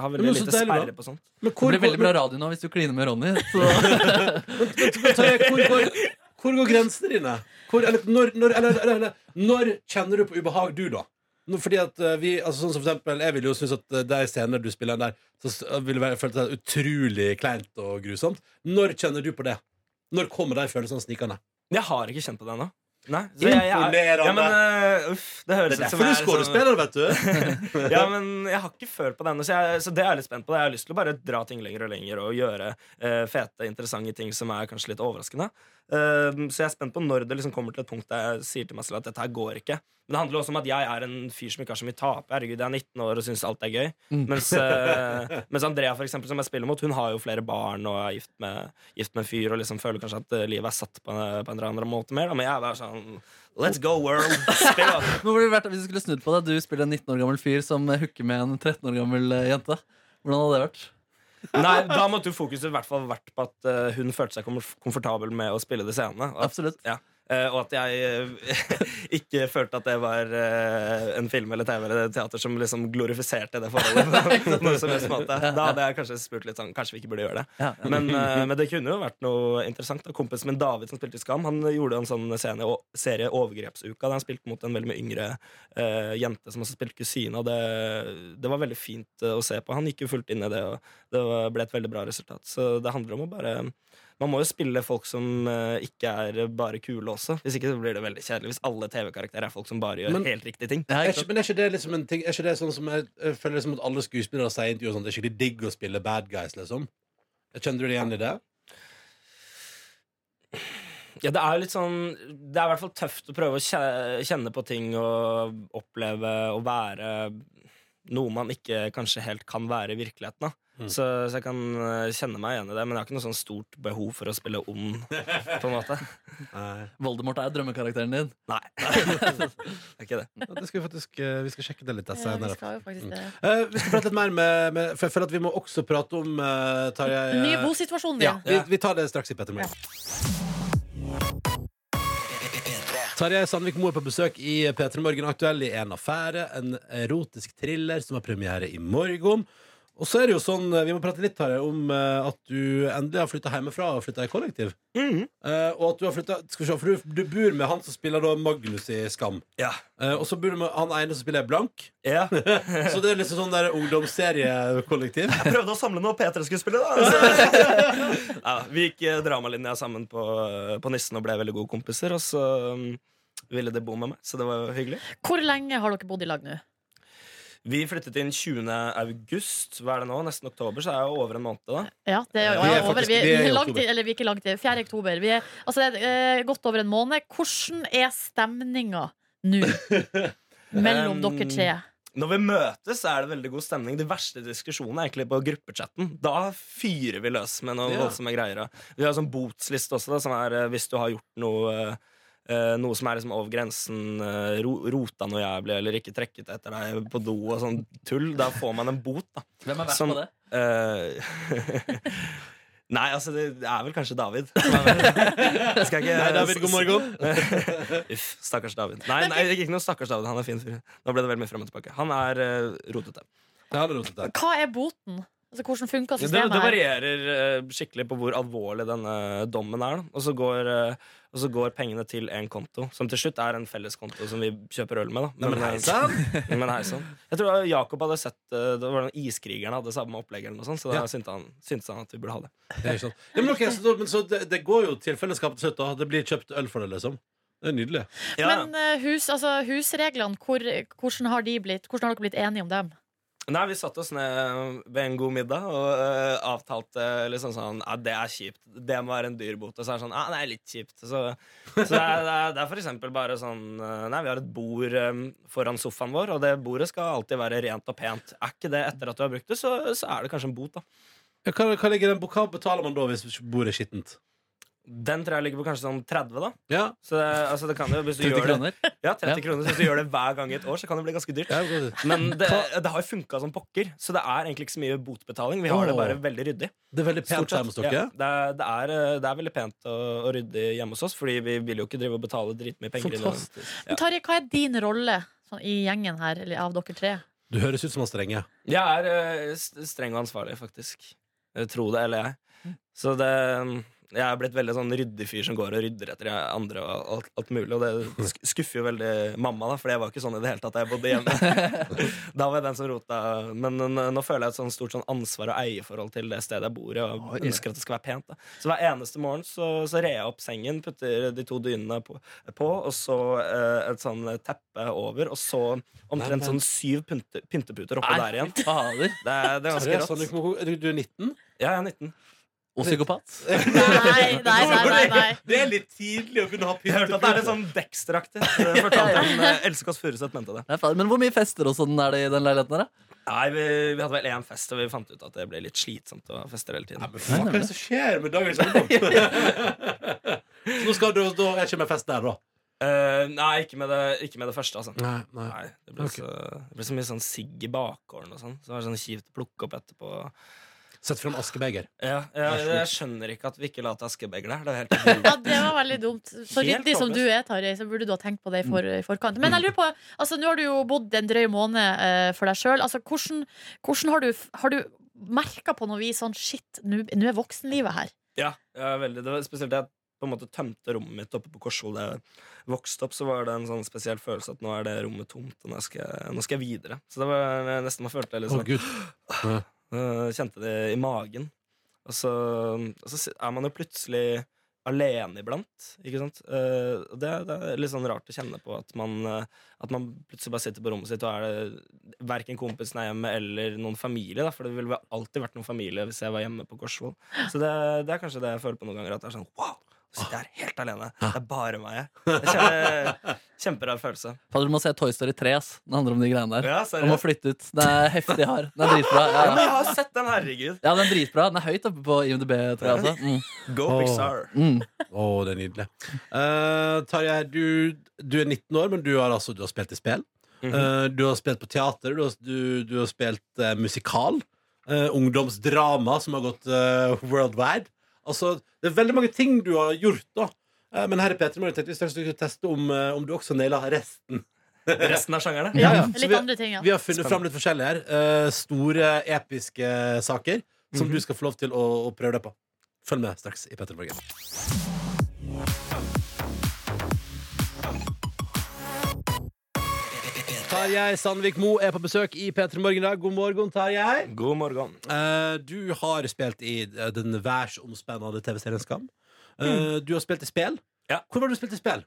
Speaker 8: har veldig
Speaker 4: Men så
Speaker 8: lite
Speaker 4: deilig, da.
Speaker 8: sperre på sånt.
Speaker 4: Men
Speaker 5: Det
Speaker 4: hvor,
Speaker 5: blir veldig bra radio nå hvis du kliner med Ronny. Så
Speaker 4: Men Tarjei, hvor, går- hvor går grensene dine? Hvor, eller, når, når, eller, eller, eller, når kjenner du på ubehag, du, da? Nå, Fordi at eh, vi, altså sånn som for eksempel, Jeg ville jo synes at eh, de scenene du spiller der, Så s- ville være- føltes det utrolig kleint og grusomt. Når kjenner du på det? Når kommer de følelsene snikende?
Speaker 8: Jeg har ikke kjent på det ennå. Nei, så jeg- jeg er-
Speaker 4: Imponerende!
Speaker 8: Ja, men eh, uff, det høres
Speaker 4: det er
Speaker 8: ut
Speaker 4: derfor
Speaker 8: som
Speaker 4: du
Speaker 8: jeg er sånn-
Speaker 4: skuespiller, vet du.
Speaker 8: Ja, men jeg har ikke følt på det ennå, så, jeg- så det er jeg litt spent på. Jeg har lyst til å bare dra ting lenger og lenger og gjøre eh, fete, interessante ting som er kanskje Ehm, litt overraskende. Eh, så jeg er spent på når det liksom kommer til et punkt der jeg sier til meg selv at dette her går ikke. Men det handler også om at jeg er en fyr som ikke har så mye å tape. Herregud, jeg er 19 år og syns alt er gøy. Mens, eh, mens Andrea, for eksempel, som jeg spiller mot, hun har jo flere barn og er gift med, gift med en fyr og liksom føler kanskje at eh, livet er satt på en, på en eller annen måte mer. Da. Men jeg er bare sånn Let's go, world! Spill, da.
Speaker 5: Hvor ville det vært Hvis du skulle snudd på det, du spiller en 19 år gammel fyr som eh, hooker med en 13 år gammel eh, jente. Hvordan hadde det vært?
Speaker 8: Nei, da måtte jo fokuset i hvert fall vært på at eh, hun følte seg komf- komfortabel med å spille de scenene. Og at,
Speaker 5: Absolutt.
Speaker 8: ja. Eh, og at jeg eh, ikke følte at det var eh, en film eller TV eller teater som liksom glorifiserte det forholdet. på noen som helst måte. Da hadde jeg kanskje spurt litt sånn Kanskje vi ikke burde gjøre det.
Speaker 5: Ja, ja.
Speaker 8: Men, eh, men det kunne jo vært noe interessant. Da. Kompisen min David som spilte i Skam, han gjorde en sånn scene, og- serie Overgrepsuka. Der han spilte mot en veldig mye yngre eh, jente som også spilte kusine. Og det, det var veldig fint eh, å se på. Han gikk jo fullt inn i det, og det var- ble et veldig bra resultat. Så det handler om å bare Man må jo spille folk som eh, ikke er bare kule også. Hvis ikke så blir det veldig kjedelig. Hvis alle TV-karakterer er folk som bare gjør
Speaker 4: Men-
Speaker 8: helt riktige ting.
Speaker 4: Er
Speaker 5: Ja, ikke
Speaker 4: ikke,
Speaker 5: sant?
Speaker 4: men er ikke det liksom en ting Er ikke det sånn som jeg, jeg føler liksom at alle skuespillere sier i intervjuer sånn, Det er skikkelig digg å spille bad guys, liksom? Kjenner du deg igjen i det?
Speaker 8: Ja, det er jo litt sånn Det er i hvert fall tøft å prøve å kje- kjenne på ting og oppleve og være noe man ikke kanskje helt kan være i virkeligheten. da
Speaker 4: Mm.
Speaker 8: så, så jeg kan eh, kjenne meg igjen i det, men jeg har ikke noe sånn stort behov for å spille ond. på en måte
Speaker 5: Voldemort er drømmekarakteren din.
Speaker 8: Nei. det er ikke det.
Speaker 4: Ja, Det skal vi faktisk eh, Vi skal sjekke det litt
Speaker 6: Ja,
Speaker 4: eh,
Speaker 6: vi
Speaker 4: senere.
Speaker 6: skal jo faktisk det.
Speaker 4: Eh, vi skal prate litt mer med, med For jeg føler at vi må også prate om eh, Tarjei eh,
Speaker 6: Nye bosituasjonen
Speaker 4: Ja,
Speaker 6: din.
Speaker 4: vi, vi tar det straks i Petter Morgen. Tarjei Sandvik Moe er på besøk i P3 Morgen aktuell i En affære, en erotisk thriller som har premiere i morgen. Og så er det jo sånn, Vi må prate litt Tarjei, om eh, at du endelig har flytta hjemmefra og flytta i kollektiv. Eh, og at du har flyttet, skal vi se, for du, du bor med han som spiller da Magnus i Skam.
Speaker 8: Ja.
Speaker 4: Eh, og så bor du med han ene som spiller Blank.
Speaker 8: Ja. Jeg
Speaker 4: Så det er liksom sånn der ungdomsseriekollektiv.
Speaker 8: prøvde å samle noe Peter skulle spille, da. Så. Ja, vi gikk eh, dramalinja sammen på, eh, på Nissen og ble veldig gode kompiser, og så mm, ville det bo med meg, så det var jo hyggelig.
Speaker 6: Hvor lenge har dere bodd i lag nå?
Speaker 8: Vi flyttet inn 20. august. Hva er det nå? Nesten oktober, så er jeg jo over en måned. da
Speaker 6: Ja, det er,
Speaker 4: Vi
Speaker 6: jo
Speaker 4: er
Speaker 6: over.
Speaker 4: faktisk-
Speaker 6: Vi er,
Speaker 4: vi er i
Speaker 6: vi er langt,
Speaker 4: oktober.
Speaker 6: i- eller vi er ikke langt i 4. oktober. Vi er, altså, det er eh, godt over en måned. Hvordan er stemninga nå mellom
Speaker 8: Um,
Speaker 6: dere tre?
Speaker 8: Når vi møtes, er det veldig god stemning. De verste diskusjonene er egentlig på gruppechatten. Da fyrer vi løs med noen
Speaker 4: Ja.
Speaker 8: voldsomme greier. da. Vi har sånn botsliste også, da, som er eh, hvis du har gjort noe eh, eh, noe som er liksom over grensen, eh, ro rota noe jævlig eller ikke trekket etter deg på do og sånn tull. Da får man en bot, da.
Speaker 5: Hvem er verst
Speaker 8: Som-
Speaker 5: på det?
Speaker 8: Eh, Nei, altså, det er vel kanskje David. Jeg skal ikke
Speaker 4: Hei, David, god morgen.
Speaker 8: Uff, stakkars David. Nei, nei, ikke noe stakkars David. Han er fin fyr. Nå ble det veldig mye frem og tilbake. Han er eh, rotete.
Speaker 4: Ja, det er rotet der.
Speaker 6: Hva er boten? Altså, hvordan funker
Speaker 8: Det, det
Speaker 6: systemet her?
Speaker 8: varierer eh, skikkelig på hvor alvorlig denne dommen er. da. Og så går, eh, og så går pengene til en konto, som til slutt er en felleskonto som vi kjøper øl med. Da.
Speaker 4: Nei, men hei sann!
Speaker 8: Men hei sann. Jeg tror Jakob hadde sett eh, Det var den Iskrigerne hadde samme opplegg, eller noe sånt, så da
Speaker 4: Ja.
Speaker 8: syntes, han, syntes han at vi burde ha det.
Speaker 4: Ja, ikke sant. Ja, men ok, så, da- men så det, det går jo til fellesskapet til slutt. da. Det blir kjøpt øl for det, liksom. Det er nydelig.
Speaker 8: Ja.
Speaker 6: Men eh, hus, altså, husreglene, hvor, hvordan, har de blitt, hvordan har dere blitt enige om dem?
Speaker 8: Nei, vi satte oss ned ved en god middag og eh, avtalte liksom sånn Ja, det er kjipt. Det må være en dyr bot. Og så er det sånn Ja, det er litt kjipt. Så, så det, er, det, er, det er for eksempel bare sånn eh, Nei, vi har et bord eh, foran sofaen vår, og det bordet skal alltid være rent og pent. Er ikke det etter at du har brukt det, så, så er det kanskje en bot, da.
Speaker 4: Ja, hva, hva ligger den på? Hva betaler man da hvis bordet er skittent?
Speaker 8: Den tror jeg ligger på kanskje sånn 30, da.
Speaker 4: Ja,
Speaker 8: Så det, altså, det kan jo, hvis du
Speaker 5: 30
Speaker 8: gjør det,
Speaker 5: kroner?
Speaker 8: ja, 30
Speaker 5: Ja.
Speaker 8: kroner. Så hvis du gjør det hver gang i et år, så kan det bli ganske dyrt.
Speaker 4: ja, det går-
Speaker 8: Men det, det har jo funka som pokker, så det er egentlig ikke så mye botbetaling. Vi har det bare veldig ryddig.
Speaker 4: det er veldig pent
Speaker 8: Stort sett,
Speaker 4: hjemme hos dere.
Speaker 8: Ja, det, er, det, er, eh, det er veldig pent og, og ryddig hjemme hos oss, Fordi vi vil jo ikke drive og betale dritmye penger. i noen-
Speaker 4: Fantastisk.
Speaker 6: Men Tarjei, hva er din rolle sånn, i gjengen her, eller av dere tre?
Speaker 4: Du høres ut som han strenge.
Speaker 8: Jeg er eh, s- streng og ansvarlig, faktisk. Eh, Tro det eller jeg. Så det mm, jeg er blitt veldig sånn ryddig fyr som går og rydder etter andre. og alt, alt mulig Og det sk- skuffer jo veldig mamma, da for jeg var ikke sånn i det hele tatt da jeg bodde hjemme. Da var jeg den som rota. Men n- nå føler jeg et sånn stort sånn ansvar og eierforhold til det stedet jeg bor i. Og ønsker at det skal være pent da Så hver eneste morgen så, så rer jeg opp sengen, putter de to dynene på, på og så eh, et sånn teppe over, og så omtrent sånn syv pynte, pynteputer oppå der igjen.
Speaker 5: Nei, fy fader.
Speaker 8: Det er, det er
Speaker 4: Tarjei
Speaker 8: ganske rått.
Speaker 4: Sandvik Moe, Du du er 19?
Speaker 8: Ja, jeg er 19.
Speaker 5: Og psykopat.
Speaker 6: Nei, nei, nei. nei, nei.
Speaker 9: Det er litt tidlig å begynne å ha
Speaker 8: Jeg hørte at det er litt sånn Dexter-aktig. Det fortalte en eh, Else Kåss Furuseth mente det.
Speaker 5: Nei, faen, Men hvor mye fester og sånn er det i den leiligheten her, da?
Speaker 8: Nei, vi, vi hadde vel én fest, og vi fant ut at det ble litt slitsomt å feste hele tiden.
Speaker 4: Men faen, hva er det som skjer med dagens ungdom? Så nå skal du, da er ikke med fest der, da.
Speaker 8: Eh, nei, ikke med, det, ikke med det første, altså.
Speaker 4: Nei, nei.
Speaker 8: Nei, det ble, så, det ble så mye sånn sigg i bakgården og sånn. Så det var sånn kjipt å plukke opp etterpå.
Speaker 4: Sett fram askebeger.
Speaker 8: Ja, jeg, jeg skjønner ikke at vi ikke la til askebeger der. Det er helt vilt.
Speaker 6: Ja, det var veldig dumt. Så
Speaker 8: Helt
Speaker 6: ryddig som du er, Tarjei, så burde du ha tenkt på det i for, i forkant. Men jeg lurer på, altså nå har du jo bodd en drøy måned eh, for deg sjøl. Altså, hvordan, hvordan har du, har du merka på noe vis sånn shit, nå nå er voksenlivet her?
Speaker 8: Ja, ja veldig. Det var spesielt det at jeg på en måte tømte rommet mitt oppe på Korsvoll da jeg vokste opp. Så var det en sånn spesiell følelse at nå er det rommet tomt, og nå skal jeg, nå skal jeg videre. Så det var nesten man følte litt
Speaker 4: Å,
Speaker 8: sånn
Speaker 4: gud.
Speaker 8: Eh, Kjente det i magen. Og så, og så er man jo plutselig alene iblant. Ikke sant? Eh, og det, det er litt sånn rart å kjenne på at man, eh, at man plutselig bare sitter på rommet sitt, og er det verken kompisen er hjemme eller noen familie. Da, for det ville alltid vært noen familie hvis jeg var hjemme på Korsvoll. Så det, det er kanskje det jeg føler på noen ganger. At det er sånn wow! nå Sitter jeg her helt alene. Det er bare meg. jeg. Det er kjempe- Kjemperar følelse.
Speaker 5: Fader, du må se Toy Story 3, ass. Det handler om de greiene der.
Speaker 8: Ja,
Speaker 5: Om å
Speaker 8: seriøst.
Speaker 5: flytte ut. Den er heftig hard. Den er dritbra. Ja,
Speaker 8: Ja, men
Speaker 5: ja.
Speaker 8: jeg har sett den, herregud.
Speaker 5: ja, den er dritbra. Den er høyt oppe på IMDb, tror jeg. Altså. Mm.
Speaker 8: Go
Speaker 4: Åh.
Speaker 8: Pixar.
Speaker 5: Mm.
Speaker 4: Å, det er nydelig. Eh, Tarjei, du, du er 19 år, men du har, altså, du har spilt i spill. Eh, du har spilt på teater, du har, du, du har spilt eh, musikal. eh, ungdomsdrama som har gått eh, worldwide. Altså, det er veldig mange ting du har gjort, da. Eh, men her i P3 Morgen tenkte vi straks vi skulle teste om, eh, om du også naila resten.
Speaker 8: Resten av sjangerne.
Speaker 4: Ja, ja. Så
Speaker 6: Litt
Speaker 4: vi-
Speaker 6: andre ting, ja.
Speaker 4: Vi har funnet fram litt forskjellig her. Eh, store, episke saker som
Speaker 8: Mhm.
Speaker 4: du skal få lov til å, å prøve deg på. Følg med straks i P3 Morgen. Tarjei Sandvik Mo er på besøk i P3 Morgen i dag. God morgen, Tarjei.
Speaker 8: God morgen.
Speaker 4: Eh, du har spilt i eh, den verdensomspennende TV-serien Skam. Eh, Du har spilt i spill.
Speaker 8: Mm. Ja.
Speaker 4: Hvor var det du spilte i spill?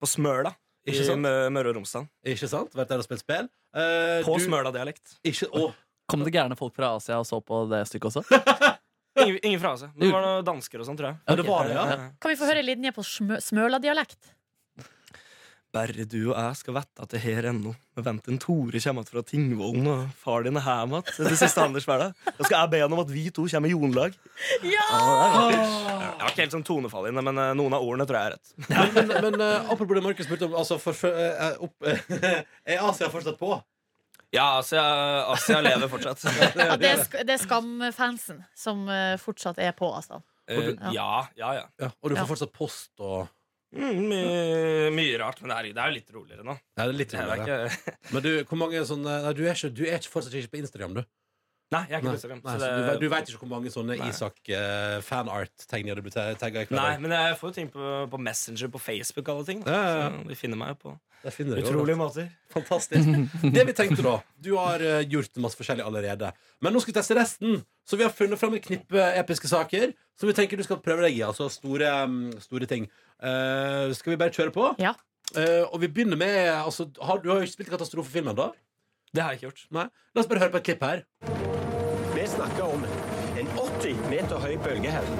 Speaker 8: På Smøla. I
Speaker 4: Ikke sant?
Speaker 8: Mø- Møre og Romsdal.
Speaker 4: Ikke sant? Vært der og spilt spill? Eh,
Speaker 8: På
Speaker 4: du-
Speaker 8: Smøla-dialekt.
Speaker 4: Ikke, å,
Speaker 5: Kom det gærne folk fra Asia og så på det stykket også?
Speaker 8: Ingen, ingen fra seg. Men det var noen dansker og sånn, tror jeg.
Speaker 4: ja, det var det, ja.
Speaker 6: Kan vi få høre en linje på smø Smøla-dialekt?
Speaker 8: Bare du og jeg skal vette at det her ennå. Men vent en Tore kommer att fra Tingvollen, og far din er hjemme igjen etter siste Anders hverdag. Da skal jeg be han om at vi to kommer i jonlag.
Speaker 6: Ja!
Speaker 8: Jeg har ikke helt sånn tonefall i det, men eh, noen av ordene tror jeg er rett.
Speaker 4: Men, men eh, apropos det Markus spurte om altså, for, for, eh, opp, Er Asia fortsatt på?
Speaker 8: Ja, Asia, Asia lever fortsatt.
Speaker 6: Ja, det, er sk det er Skam-fansen som eh, fortsatt er på, altså.
Speaker 8: Eh, ja, ja, ja.
Speaker 4: Ja, og du får
Speaker 6: Ja.
Speaker 4: fortsatt post og
Speaker 8: Mm, mye, mye rart, men det er, det er jo litt roligere nå.
Speaker 4: Nei, det er litt
Speaker 8: Det er
Speaker 4: roligere.
Speaker 8: ikke...
Speaker 4: Men du, hvor mange sånne Nei, du er, ikke, du er ikke fortsatt ikke på Instagram, du.
Speaker 8: Nei, jeg er ikke
Speaker 4: Nei,
Speaker 8: på Instagram.
Speaker 4: nei,
Speaker 8: så
Speaker 4: så du,
Speaker 8: det-
Speaker 4: ve- du vet ikke hvor mange sånne
Speaker 8: Nei.
Speaker 4: Isak-fanart-tegninger du blir tagga i hver
Speaker 8: Nei,
Speaker 4: dag.
Speaker 8: men jeg får jo ting på, på Messenger, på Facebook og alle ting. Da.
Speaker 4: Ja, ja, ja.
Speaker 8: Så de finner meg jo på
Speaker 4: Der finner du jo
Speaker 8: utrolige måter.
Speaker 4: Fantastisk. Det vi tenkte da Du har eh, gjort masse forskjellig allerede. Men nå skal vi teste resten. Så vi har funnet fram et knippe episke saker som vi tenker du skal prøve deg i. Altså store, mm, store ting. Eh, skal vi bare kjøre på?
Speaker 6: Ja.
Speaker 4: Eh, og vi begynner med altså, har, Du har jo ikke spilt katastrofefilmen, da?
Speaker 8: Det har jeg ikke gjort.
Speaker 4: Nei? La oss bare høre på et klipp her.
Speaker 10: Vi snakker om en 80 meter høy bølge her.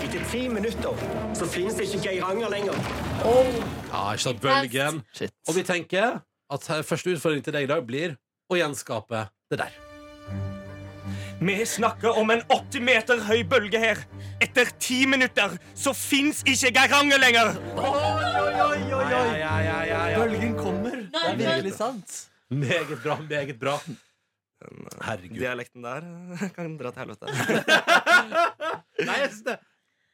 Speaker 10: Etter ti minutter så finnes det ikke Geiranger lenger.
Speaker 4: Ja, ikke sant, bølgen
Speaker 5: Shit.
Speaker 4: Og vi tenker at her- første utfordring til deg i dag blir å gjenskape det der.
Speaker 8: Vi snakker om en 80 meter høy bølge her. Etter ti minutter så fins ikke Geiranger lenger.
Speaker 5: Bølgen kommer. Det er virkelig sant.
Speaker 4: Meget bra, meget bra.
Speaker 8: eh,
Speaker 4: Herregud.
Speaker 8: Dialekten der kan dra til helvete.
Speaker 4: Nei, jeg synes det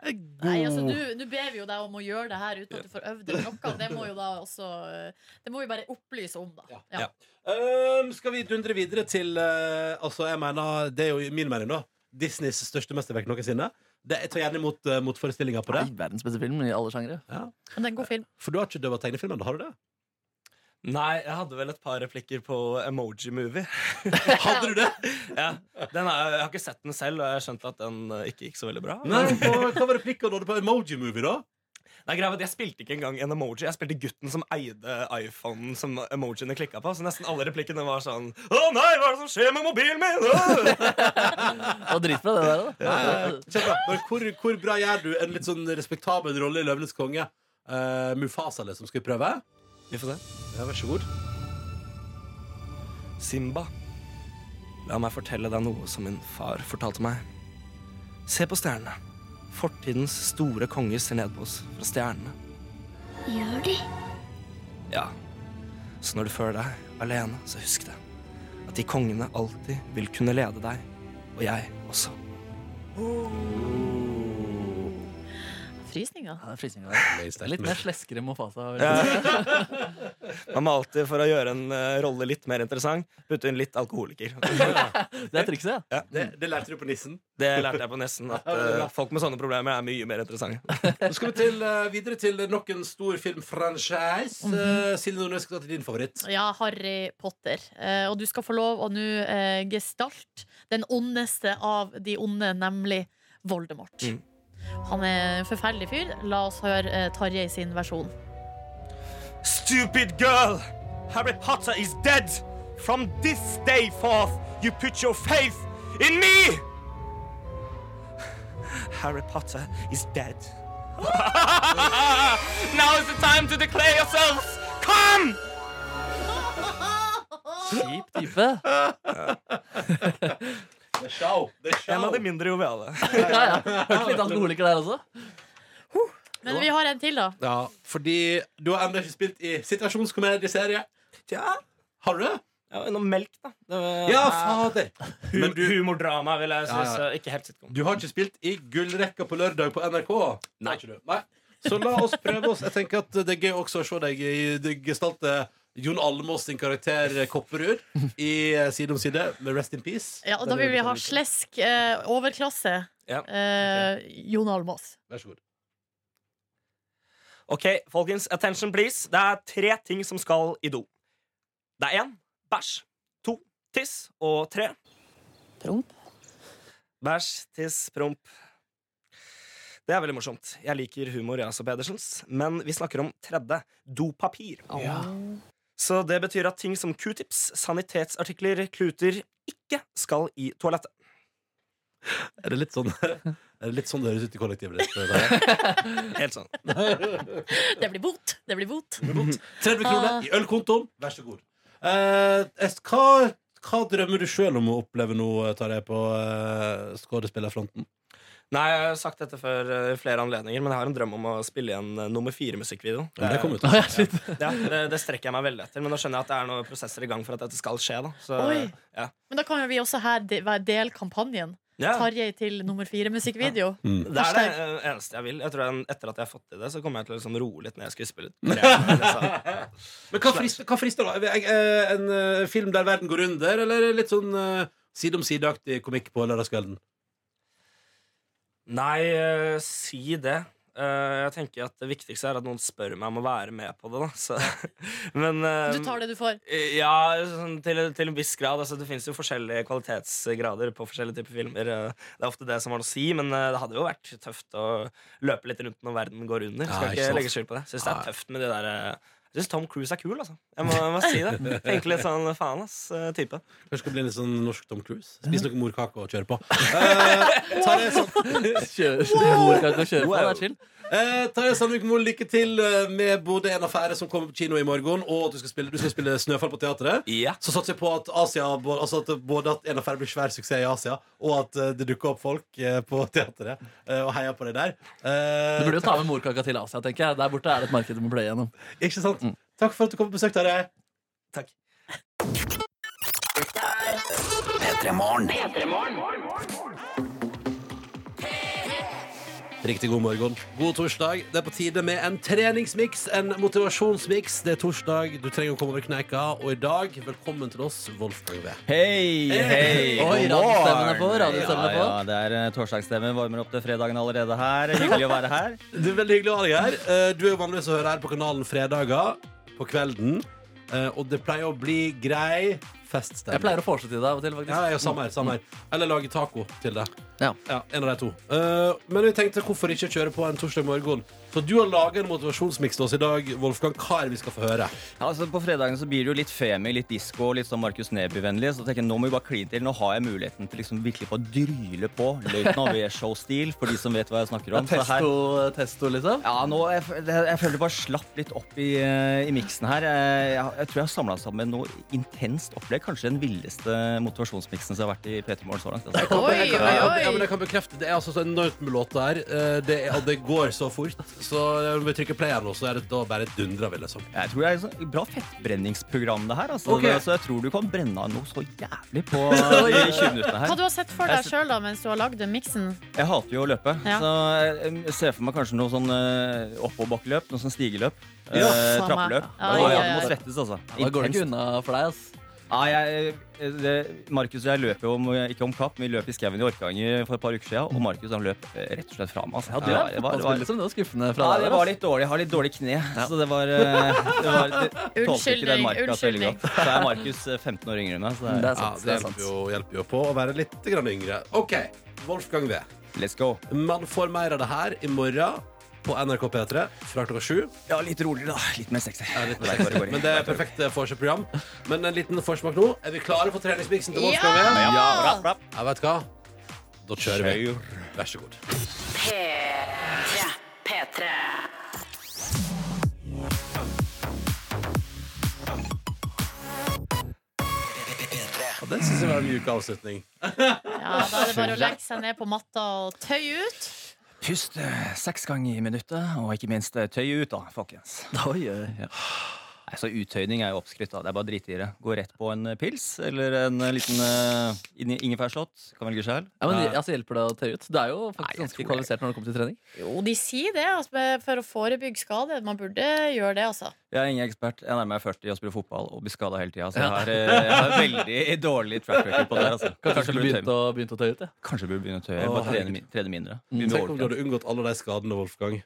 Speaker 4: er god
Speaker 6: Nei, altså, du- Nå ber vi jo deg om å gjøre det her uten at du får øvd deg noe. Det må jo da også eh, Det må vi bare opplyse om, da. Ja.
Speaker 4: Ja. Øhm, skal vi dundre videre til eh, Altså, jeg mener, det er jo min mening nå Disneys største mesterverk noensinne det, Jeg tar gjerne imot uh, motforestillinger på det
Speaker 5: Nei, verdens beste film i alle sjangre.
Speaker 6: Men det er en god film.
Speaker 4: For du har ikke døva tegnefilmen, har du det?
Speaker 8: Nei, jeg hadde vel et par replikker på Emoji Movie.
Speaker 4: Hadde du det?
Speaker 8: Ja, den er, jeg har ikke sett den selv, og jeg skjønte at den eh, ikke gikk så veldig bra.
Speaker 4: Nei, og hva var replikken du hadde på Emoji Movie da?
Speaker 8: Nei, greia var at Jeg spilte ikke engang en emoji. Jeg spilte gutten som eide iPhonen som emojiene klikka på. Så nesten alle replikkene var sånn Å nei, hva er det som skjer med mobilen min? Åh!»
Speaker 5: Og dritbra, det der, da.
Speaker 4: Ja, ja, ja. Kjempebra. Men hvor, hvor bra gjør du en litt sånn respektabel rolle i Løvenes konge? Eh, Mufasa, liksom. Skal vi prøve?
Speaker 8: Vi får se.
Speaker 4: Ja, vær så god.
Speaker 8: Simba, la meg fortelle deg noe som min far fortalte meg. Se på stjernene. Fortidens store konger ser ned på oss fra stjernene.
Speaker 11: Gjør de?
Speaker 8: Ja. Så når du føler deg alene, så husk det. At de kongene alltid vil kunne lede deg. Og jeg også.
Speaker 6: Frysninger.
Speaker 5: Ja, frysninger der. Litt mer sleskere Mofasa.
Speaker 8: Man må alltid, for å gjøre en eh, rolle litt mer interessant, putte inn litt alkoholiker.
Speaker 5: Det er trikset.
Speaker 8: Ja.
Speaker 4: Det, det lærte du på nissen.
Speaker 8: Det lærte jeg på nesten, at eh, folk med sånne problemer er mye mer interessante.
Speaker 4: Nå skal vi til, eh, videre til nok en stor filmfranchise. Eh, Silje Nordnes skal ta til din favoritt.
Speaker 6: Ja, Harry Potter. Eh, og du skal få lov å nå eh, gestalte den ondeste av de onde, nemlig Voldemort.
Speaker 8: Mm.
Speaker 6: Han er en forferdelig fyr. La oss høre eh, Tarjei sin versjon.
Speaker 12: Stupid girl! Harry Potter is dead! From this day forth, you put your faith in me!
Speaker 8: Harry Potter is dead.
Speaker 12: Now is the time to declare yourselves! Come!
Speaker 5: Kjip type.
Speaker 4: Det er show. Det er
Speaker 8: En av
Speaker 4: show.
Speaker 8: de mindre joviale.
Speaker 5: Ja, ja. Hørte litt alkoholiker der også.
Speaker 6: Men vi har en til, da.
Speaker 4: Ja, fordi du har ennå ikke spilt i situasjonskomedieserie.
Speaker 8: Tja,
Speaker 4: Har du det?
Speaker 8: ja, noe melk, da. Det var-
Speaker 4: Ja, fader! Men
Speaker 8: Hum
Speaker 4: du,
Speaker 8: Humordrama, vil jeg
Speaker 4: Ja, ja.
Speaker 8: synes. eh, Ikke helt sitcom.
Speaker 4: du har ikke spilt i gullrekka på lørdag på NRK? Nei. Nei. Så la oss prøve oss. Jeg tenker at det er gøy også å se deg i det gestalte Jon Almaas sin karakter eh, Kopperud i eh, Side om side med Rest in Peace.
Speaker 6: Ja, og da vil vi
Speaker 4: sånn-
Speaker 6: ha slesk eh, overklasse.
Speaker 8: Ja,
Speaker 6: Eh, Jon Almaas.
Speaker 4: Vær så god.
Speaker 8: Ok, folkens, attention please. Det er tre ting som skal i do. Det er én bæsj, to tiss og tre
Speaker 6: Promp.
Speaker 8: Bæsj, tiss, promp. Det er veldig morsomt. Jeg liker humor, jeg også, Pedersens. Men vi snakker om tredje dopapir. Så det betyr at ting som q-tips, sanitetsartikler, kluter ikke skal i toalettet.
Speaker 4: Er det litt sånn, er det litt sånn det høres ut i kollektivet ditt? Tarjei?
Speaker 8: Helt sånn.
Speaker 6: Det blir bot! Det blir bot.
Speaker 4: 30 Mhm. kroner i ølkontoen. Vær så god. Eh, es- hva, hva drømmer du sjøl om å oppleve nå, Tarjei, på eh, skuespillerfronten?
Speaker 8: Nei, jeg har sagt dette før eh, flere anledninger, men jeg har en drøm om å spille i en eh, nummer fire-musikkvideo.
Speaker 4: Ah, Ja, men det kommer jo til å
Speaker 5: Å, ja, shit.
Speaker 8: Ja, det, det strekker jeg meg veldig etter, men nå skjønner jeg at det er noen prosesser i gang for at dette skal skje. da Så,
Speaker 6: Oi.
Speaker 8: ja.
Speaker 6: Men da kan jo vi også her de være del kampanjen.
Speaker 8: Ja,
Speaker 6: Tarjei til nummer fire-musikkvideo.
Speaker 4: Mm.
Speaker 8: det er det eh, eneste jeg vil. Jeg tror jeg, Etter at jeg har fått til det, så kommer jeg til å liksom roe litt ned skuespillet. Liksom.
Speaker 4: Men hva frister, hva frister da? Jeg- jeg- eh, En eh, film der verden går under, eller litt sånn eh, side om side-aktig komikk på lørdagskvelden?
Speaker 8: Nei, eh, si det. Eh, jeg tenker at Det viktigste er at noen spør meg om å være med på det. da så, Men eh,
Speaker 6: Du tar det du får.
Speaker 8: Eh, Ja, sånn, til, til en viss grad. Altså, det fins jo forskjellige kvalitetsgrader på forskjellige typer filmer. eh, Det er ofte det som har noe å si, men eh, det hadde jo vært tøft å løpe litt rundt når verden går under.
Speaker 4: Ja,
Speaker 8: Skal
Speaker 4: ikke
Speaker 8: ikke
Speaker 4: sant.
Speaker 8: legge skjul på det. Syns det
Speaker 4: Nei.
Speaker 8: er tøft med de der eh, Jeg syns Tom Cruise er kul, altså. Jeg må, jeg må si det. Tenke litt sånn faen, ass. eh, Type.
Speaker 4: Kanskje skal bli en litt sånn norsk Tom Cruise? Spise noe morkake og kjøre på. Eh, Tarjei Sand-
Speaker 5: Kjører, mor kan ikke kjøre på, det er chill.
Speaker 4: Eh, Tarjei Sandvik Moe, lykke til eh, med både en affære som kommer på kino i morgen, og at du skal spille, du skal spille Snøfall på teatret.
Speaker 8: Ja.
Speaker 4: Så satser jeg på at, Asia, altså at både at en affære blir svær suksess i Asia, og at eh, det dukker opp folk eh, på teatret eh, og heier på deg der.
Speaker 5: Du
Speaker 4: Eh,
Speaker 5: burde jo ta med morkaka til Asia, tenker jeg. Der borte er det et marked du må pløye gjennom.
Speaker 4: Ikke sant? Takk for at du kom på besøk, Tarjei.
Speaker 8: Takk.
Speaker 4: Riktig god morgen. God torsdag. Det er på tide med en treningsmiks, en motivasjonsmiks. Det er torsdag, du trenger å komme over kneika. Og i dag, velkommen til oss, Wolfgang V.
Speaker 7: Hei, hei!
Speaker 5: Oi,
Speaker 7: god
Speaker 5: radiostemmen er
Speaker 7: morgen.
Speaker 5: på, radiostemmen er på.
Speaker 7: Ja, ja, det er eh, torsdagsstemmen. Varmer opp til fredagen allerede her. Hyggelig å være her.
Speaker 4: Det er veldig hyggelig å ha deg her. Eh, Du er jo vanligvis å høre her på kanalen fredager på kvelden. Eh, Og det pleier å bli grei feststemning.
Speaker 5: Jeg pleier å foreslå til deg av og til, faktisk.
Speaker 4: Ja, ja, samme her, samme her. Eller lage taco til det.
Speaker 5: Ja.
Speaker 4: En av de to. Eh, men vi tenkte hvorfor ikke kjøre på en torsdag morgen Så du har laga en motivasjonsmiks til oss i dag, Wolfgang. Hva er det vi skal få høre?
Speaker 7: Ja, altså På fredagene så blir det jo litt femi, litt disko, litt sånn Markus Neby-vennlig. Så tenker jeg, nå må vi bare kline til. Nå har jeg muligheten til liksom virkelig på å dryle på. Løyten Avé-show-stil, for de som vet hva jeg snakker om. Så her-
Speaker 5: Testo, testo, liksom?
Speaker 7: Ja, nå, jeg, f- det- jeg føler det bare slapp litt opp i, eh, i miksen her. Jeg, jeg, jeg tror jeg har samla sammen noe intenst opplegg. Kanskje den villeste motivasjonsmiksen som har vært i P3 Morgen så langt. Altså.
Speaker 6: Oi,
Speaker 4: Jeg kan,
Speaker 6: oi,
Speaker 4: ja,
Speaker 6: oi.
Speaker 4: ja, men jeg kan bekrefte Det er altså så enormt med låter her. Eh, Det, er, og det går så fort. Så når vi trykker play her nå, så er det da bare dundrer vi, liksom.
Speaker 7: Jeg tror det er et sånn bra fettbrenningsprogram, det her. Altså.
Speaker 4: Ok.
Speaker 7: Så jeg tror du kan brenne av noe så jævlig på de 20 minuttene her.
Speaker 6: Hva du har sett for
Speaker 7: Jeg
Speaker 6: deg sjøl mens du har lagd den miksen?
Speaker 7: Jeg hater jo å løpe,
Speaker 6: Ja.
Speaker 7: så eh, jeg ser for meg kanskje noe sånn eh, oppåbakkeløp, noe sånn stigeløp.
Speaker 6: Ja.
Speaker 7: eh,
Speaker 6: Samme.
Speaker 7: trappeløp.
Speaker 6: Ja,
Speaker 7: Å,
Speaker 6: ja,
Speaker 7: ja, det må
Speaker 6: ja.
Speaker 7: svettes, altså.
Speaker 5: Da går det
Speaker 7: Intenst.
Speaker 5: ikke unna for deg, ass.
Speaker 7: Nei, jeg, eh, det, Markus og jeg løper jo om, ikke om kapp, men vi løp i skauen i Orkanger for et par uker siden, og Markus han løp eh, rett og slett fra meg. Altså.
Speaker 5: Ja, du er
Speaker 7: det var, det var,
Speaker 5: fotballspiller, liksom. Det var skuffende fra
Speaker 7: ja,
Speaker 5: deg.
Speaker 7: det
Speaker 5: ass.
Speaker 7: var litt dårlig. Jeg har litt dårlig kne. Så det var, eh, det var det, tålte ikke den
Speaker 6: Unnskyldning,
Speaker 7: marka så veldig
Speaker 6: unnskyldning.
Speaker 7: godt. Så er Markus eh, 15 år yngre enn meg, så
Speaker 5: Det
Speaker 7: det
Speaker 5: er
Speaker 4: Ja,
Speaker 5: sant.
Speaker 4: det
Speaker 5: det er sant.
Speaker 4: hjelper jo, hjelper jo på å være litt grann yngre. OK, Wolfgang V.
Speaker 7: er let's go.
Speaker 4: Man får mer av det her i morgen på NRK P3 fra klokka sju.
Speaker 7: Ja, litt roligere, da. Litt mer sexy.
Speaker 4: Ja, litt mer sexy. Men det er perfekt eh, forskjellsprogram. Men en liten forsmak nå. Er vi klare for treningsmiksen til Wolfgang V?
Speaker 6: Ja!
Speaker 7: rapp, rapp.
Speaker 4: Jeg vet hva. Da kjører vi. Vær så god. Ja, det syns jeg var en mjuk avslutning.
Speaker 6: Ja, da er det bare å legge seg ned på matta og tøye ut.
Speaker 7: Pust eh, seks ganger i minuttet, og ikke minst eh, tøy ut, da, folkens.
Speaker 5: Oi, oi, oi.
Speaker 7: Nei, så Uttøyning er jo oppskrytt. da. Det er bare å drite i det. Gå rett på en eh, pils eller en eh, liten eh, in- ingefærshot. Kan velge sjøl.
Speaker 5: Ja, men altså, Hjelper det å tøye ut? Du er jo
Speaker 7: Nei, jeg
Speaker 5: faktisk ganske
Speaker 7: tror
Speaker 5: kvalifisert når det kommer til trening.
Speaker 6: Jo, de sier det altså, med- for å forebygge skade. Man burde gjøre det, altså.
Speaker 7: Jeg er ingen ekspert. Jeg nærmer meg 40 og spiller fotball og blir skada hele tida. Så jeg har, eh, jeg har veldig dårlig track record på det. her, Altså.
Speaker 5: Kanskje du
Speaker 7: Kanskje jeg
Speaker 5: skulle
Speaker 7: burde
Speaker 5: begynt
Speaker 7: tøye-
Speaker 5: å, begynt å tøye ut? Ja.
Speaker 7: Kanskje jeg burde begynne å tøye.
Speaker 4: Å,
Speaker 7: Bare
Speaker 4: herregud.
Speaker 7: trene, min- trene mindre. Begynne med
Speaker 4: Tenk om du
Speaker 7: overtrening.
Speaker 4: hadde unngått alle de skadene, Wolfgang.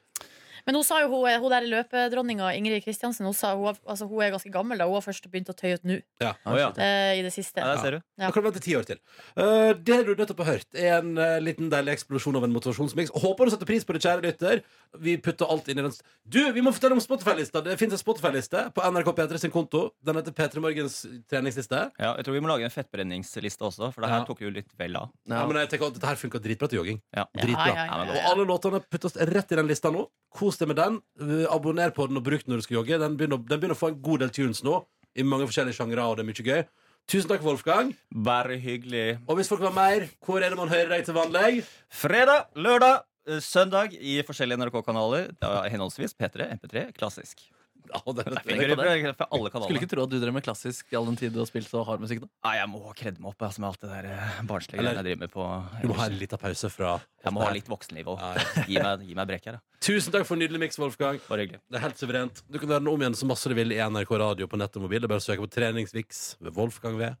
Speaker 6: Men hun sa jo, hun, hun der løpedronninga Ingrid Kristiansen hun, sa, hun, har- altså, hun er ganske gammel. da Hun har først begynt å tøye ut nå.
Speaker 4: Ja.
Speaker 7: Å, ja.
Speaker 6: eh, I det siste.
Speaker 7: Ja, der ser du.
Speaker 6: Ja.
Speaker 4: Da kan du vente ti år til. Eh, det du nettopp har hørt, er en eh, liten deilig eksplosjon av en motivasjonsmiks. Håper du setter pris på det, kjære lytter. Vi putter alt inn i den. s- Du, vi må fortelle om Spotify-lista. Det fins en Spotify-liste på NRK P3 sin konto. Den heter P3 Morgens treningsliste.
Speaker 7: Ja, jeg tror vi må lage en fettbrenningsliste også, for det her
Speaker 4: Ja.
Speaker 7: tok jo litt vel av.
Speaker 4: Ja. men jeg tenker at Dette her funker dritbra til jogging.
Speaker 7: Ja.
Speaker 4: Dritbra.
Speaker 6: Ja, ja, ja, ja,
Speaker 4: Og
Speaker 6: ja.
Speaker 4: alle låtene puttes rett i den lista nå. Kos deg med den. Eh, Abonner på den og bruk den når du skal jogge. Den begynner, den begynner å få en god del tunes nå. I mange forskjellige sjangre, og det er mye gøy. Tusen takk, Wolfgang.
Speaker 7: Bare hyggelig.
Speaker 4: Og hvis folk vil ha mer, hvor er det man hører deg til vanlig?
Speaker 7: Fredag, lørdag, eh, søndag i forskjellige NRK-kanaler. Ja, henholdsvis P3, MP3, klassisk.
Speaker 4: Ja, det er
Speaker 7: Jeg
Speaker 5: på det.
Speaker 7: hører fra alle
Speaker 5: Skulle
Speaker 7: kanalene.
Speaker 5: ikke tro at du drev med klassisk i all den tid du har spilt så hard musikk. da
Speaker 7: Nei, jeg må kredde meg opp altså, med alt det der eh, barnslige
Speaker 4: Eller-
Speaker 7: jeg driver med på.
Speaker 4: Du må ha en liten pause fra
Speaker 7: Jeg må ha litt voksenliv òg.
Speaker 4: Ja, ja.
Speaker 7: Gi meg, gi meg brekk her, da.
Speaker 4: Tusen takk for en nydelig miks, Wolfgang.
Speaker 7: Bare hyggelig.
Speaker 4: Det er helt suverent. Du kan høre den om igjen så masse du vil i NRK Radio på nett og mobil. Det er bare å søke på Treningsviks ved Wolfgang V,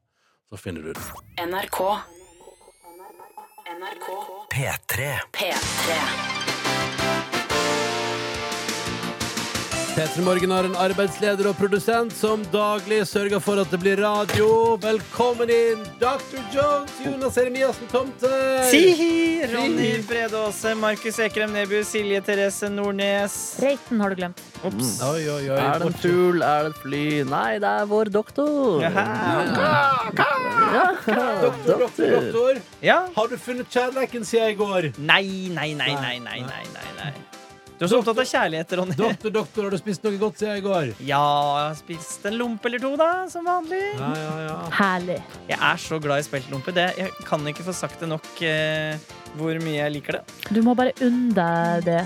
Speaker 4: så finner du den.
Speaker 1: NRK. NRK.
Speaker 13: P3.
Speaker 1: P3.
Speaker 4: Peter Morgen har en arbeidsleder og produsent som daglig sørger for at det blir radio. Velkommen inn, Dr. Jones, Jonas Eremiassen Tomte.
Speaker 2: Sihi! Ronny Bredåse, Markus Ekrem Neby, Silje Therese Nordnes.
Speaker 6: Reiten har du glemt.
Speaker 2: Ops.
Speaker 4: Oi, oi, oi.
Speaker 5: Er det en fugl? Er det et fly? Nei, det er vår doktor.
Speaker 4: Doktor, doktor, doktor.
Speaker 2: Ja.
Speaker 4: Har du funnet kjærleiken siden i går?
Speaker 2: Nei, nei, nei, nei, nei, nei, nei, nei. Du er så opptatt av kjærlighet, Ronny.
Speaker 4: Doktor, doktor, har du spist noe godt siden i går?
Speaker 2: Ja, jeg har spist en lompe eller to, da, som vanlig.
Speaker 4: Ja, ja, ja.
Speaker 6: Herlig.
Speaker 2: Jeg er så glad i speltlompe. Det, jeg kan ikke få sagt det nok eh, hvor mye jeg liker det.
Speaker 6: Du må bare unne deg det.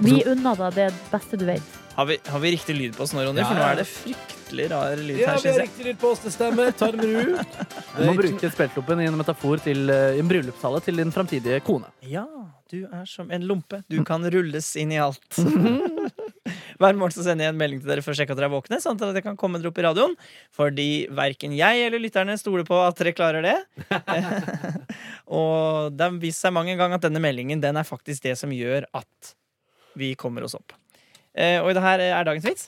Speaker 6: Vi unner deg det beste du vet.
Speaker 2: Har vi, har vi riktig lyd på oss nå, Ronny? For nå er det fryktelig rar
Speaker 4: Ja,
Speaker 2: lyd
Speaker 4: vi
Speaker 2: her,
Speaker 4: har
Speaker 2: syns jeg.
Speaker 4: riktig lyd på oss, det stemmer. Ta det med ro.
Speaker 5: Du må bruke speltloppen i en metafor til eh, i en bryllupstale til din framtidige kone.
Speaker 2: Ja, du er som en lompe. Du kan rulles inn i alt. Hver morgen så sender jeg en melding til dere for å sjekke at dere er våkne, sånn at jeg kan komme dere opp i radioen. Fordi verken jeg eller lytterne stoler på at dere klarer det. Og det har vist seg mang en gang at denne meldingen den er faktisk det som gjør at vi kommer oss opp. Eh, Og det her er dagens vits.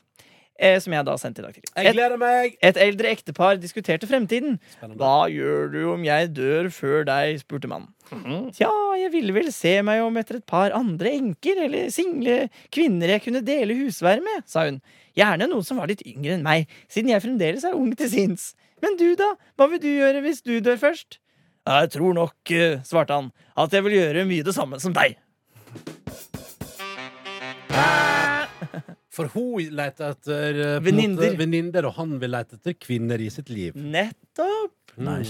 Speaker 2: eh, som jeg da sendte i dag tidlig.
Speaker 4: Jeg
Speaker 2: Et,
Speaker 4: gleder meg!
Speaker 2: et eldre ektepar diskuterte fremtiden.
Speaker 4: Spennende.
Speaker 2: Hva gjør du om jeg dør før deg? spurte mannen. Tja, jeg ville vel se meg om etter et par andre enker eller single kvinner jeg kunne dele husvær med, sa hun. Gjerne noen som var litt yngre enn meg, siden jeg fremdeles er ung til sinns. Men du, da? Hva vil du gjøre hvis du dør først? Jeg tror nok, eh, svarte han, at jeg vil gjøre mye det samme som deg.
Speaker 4: For hun leter etter eh, på en
Speaker 2: Venninner.
Speaker 4: måte venninner, og han vil lete etter kvinner i sitt liv.
Speaker 2: Nettopp!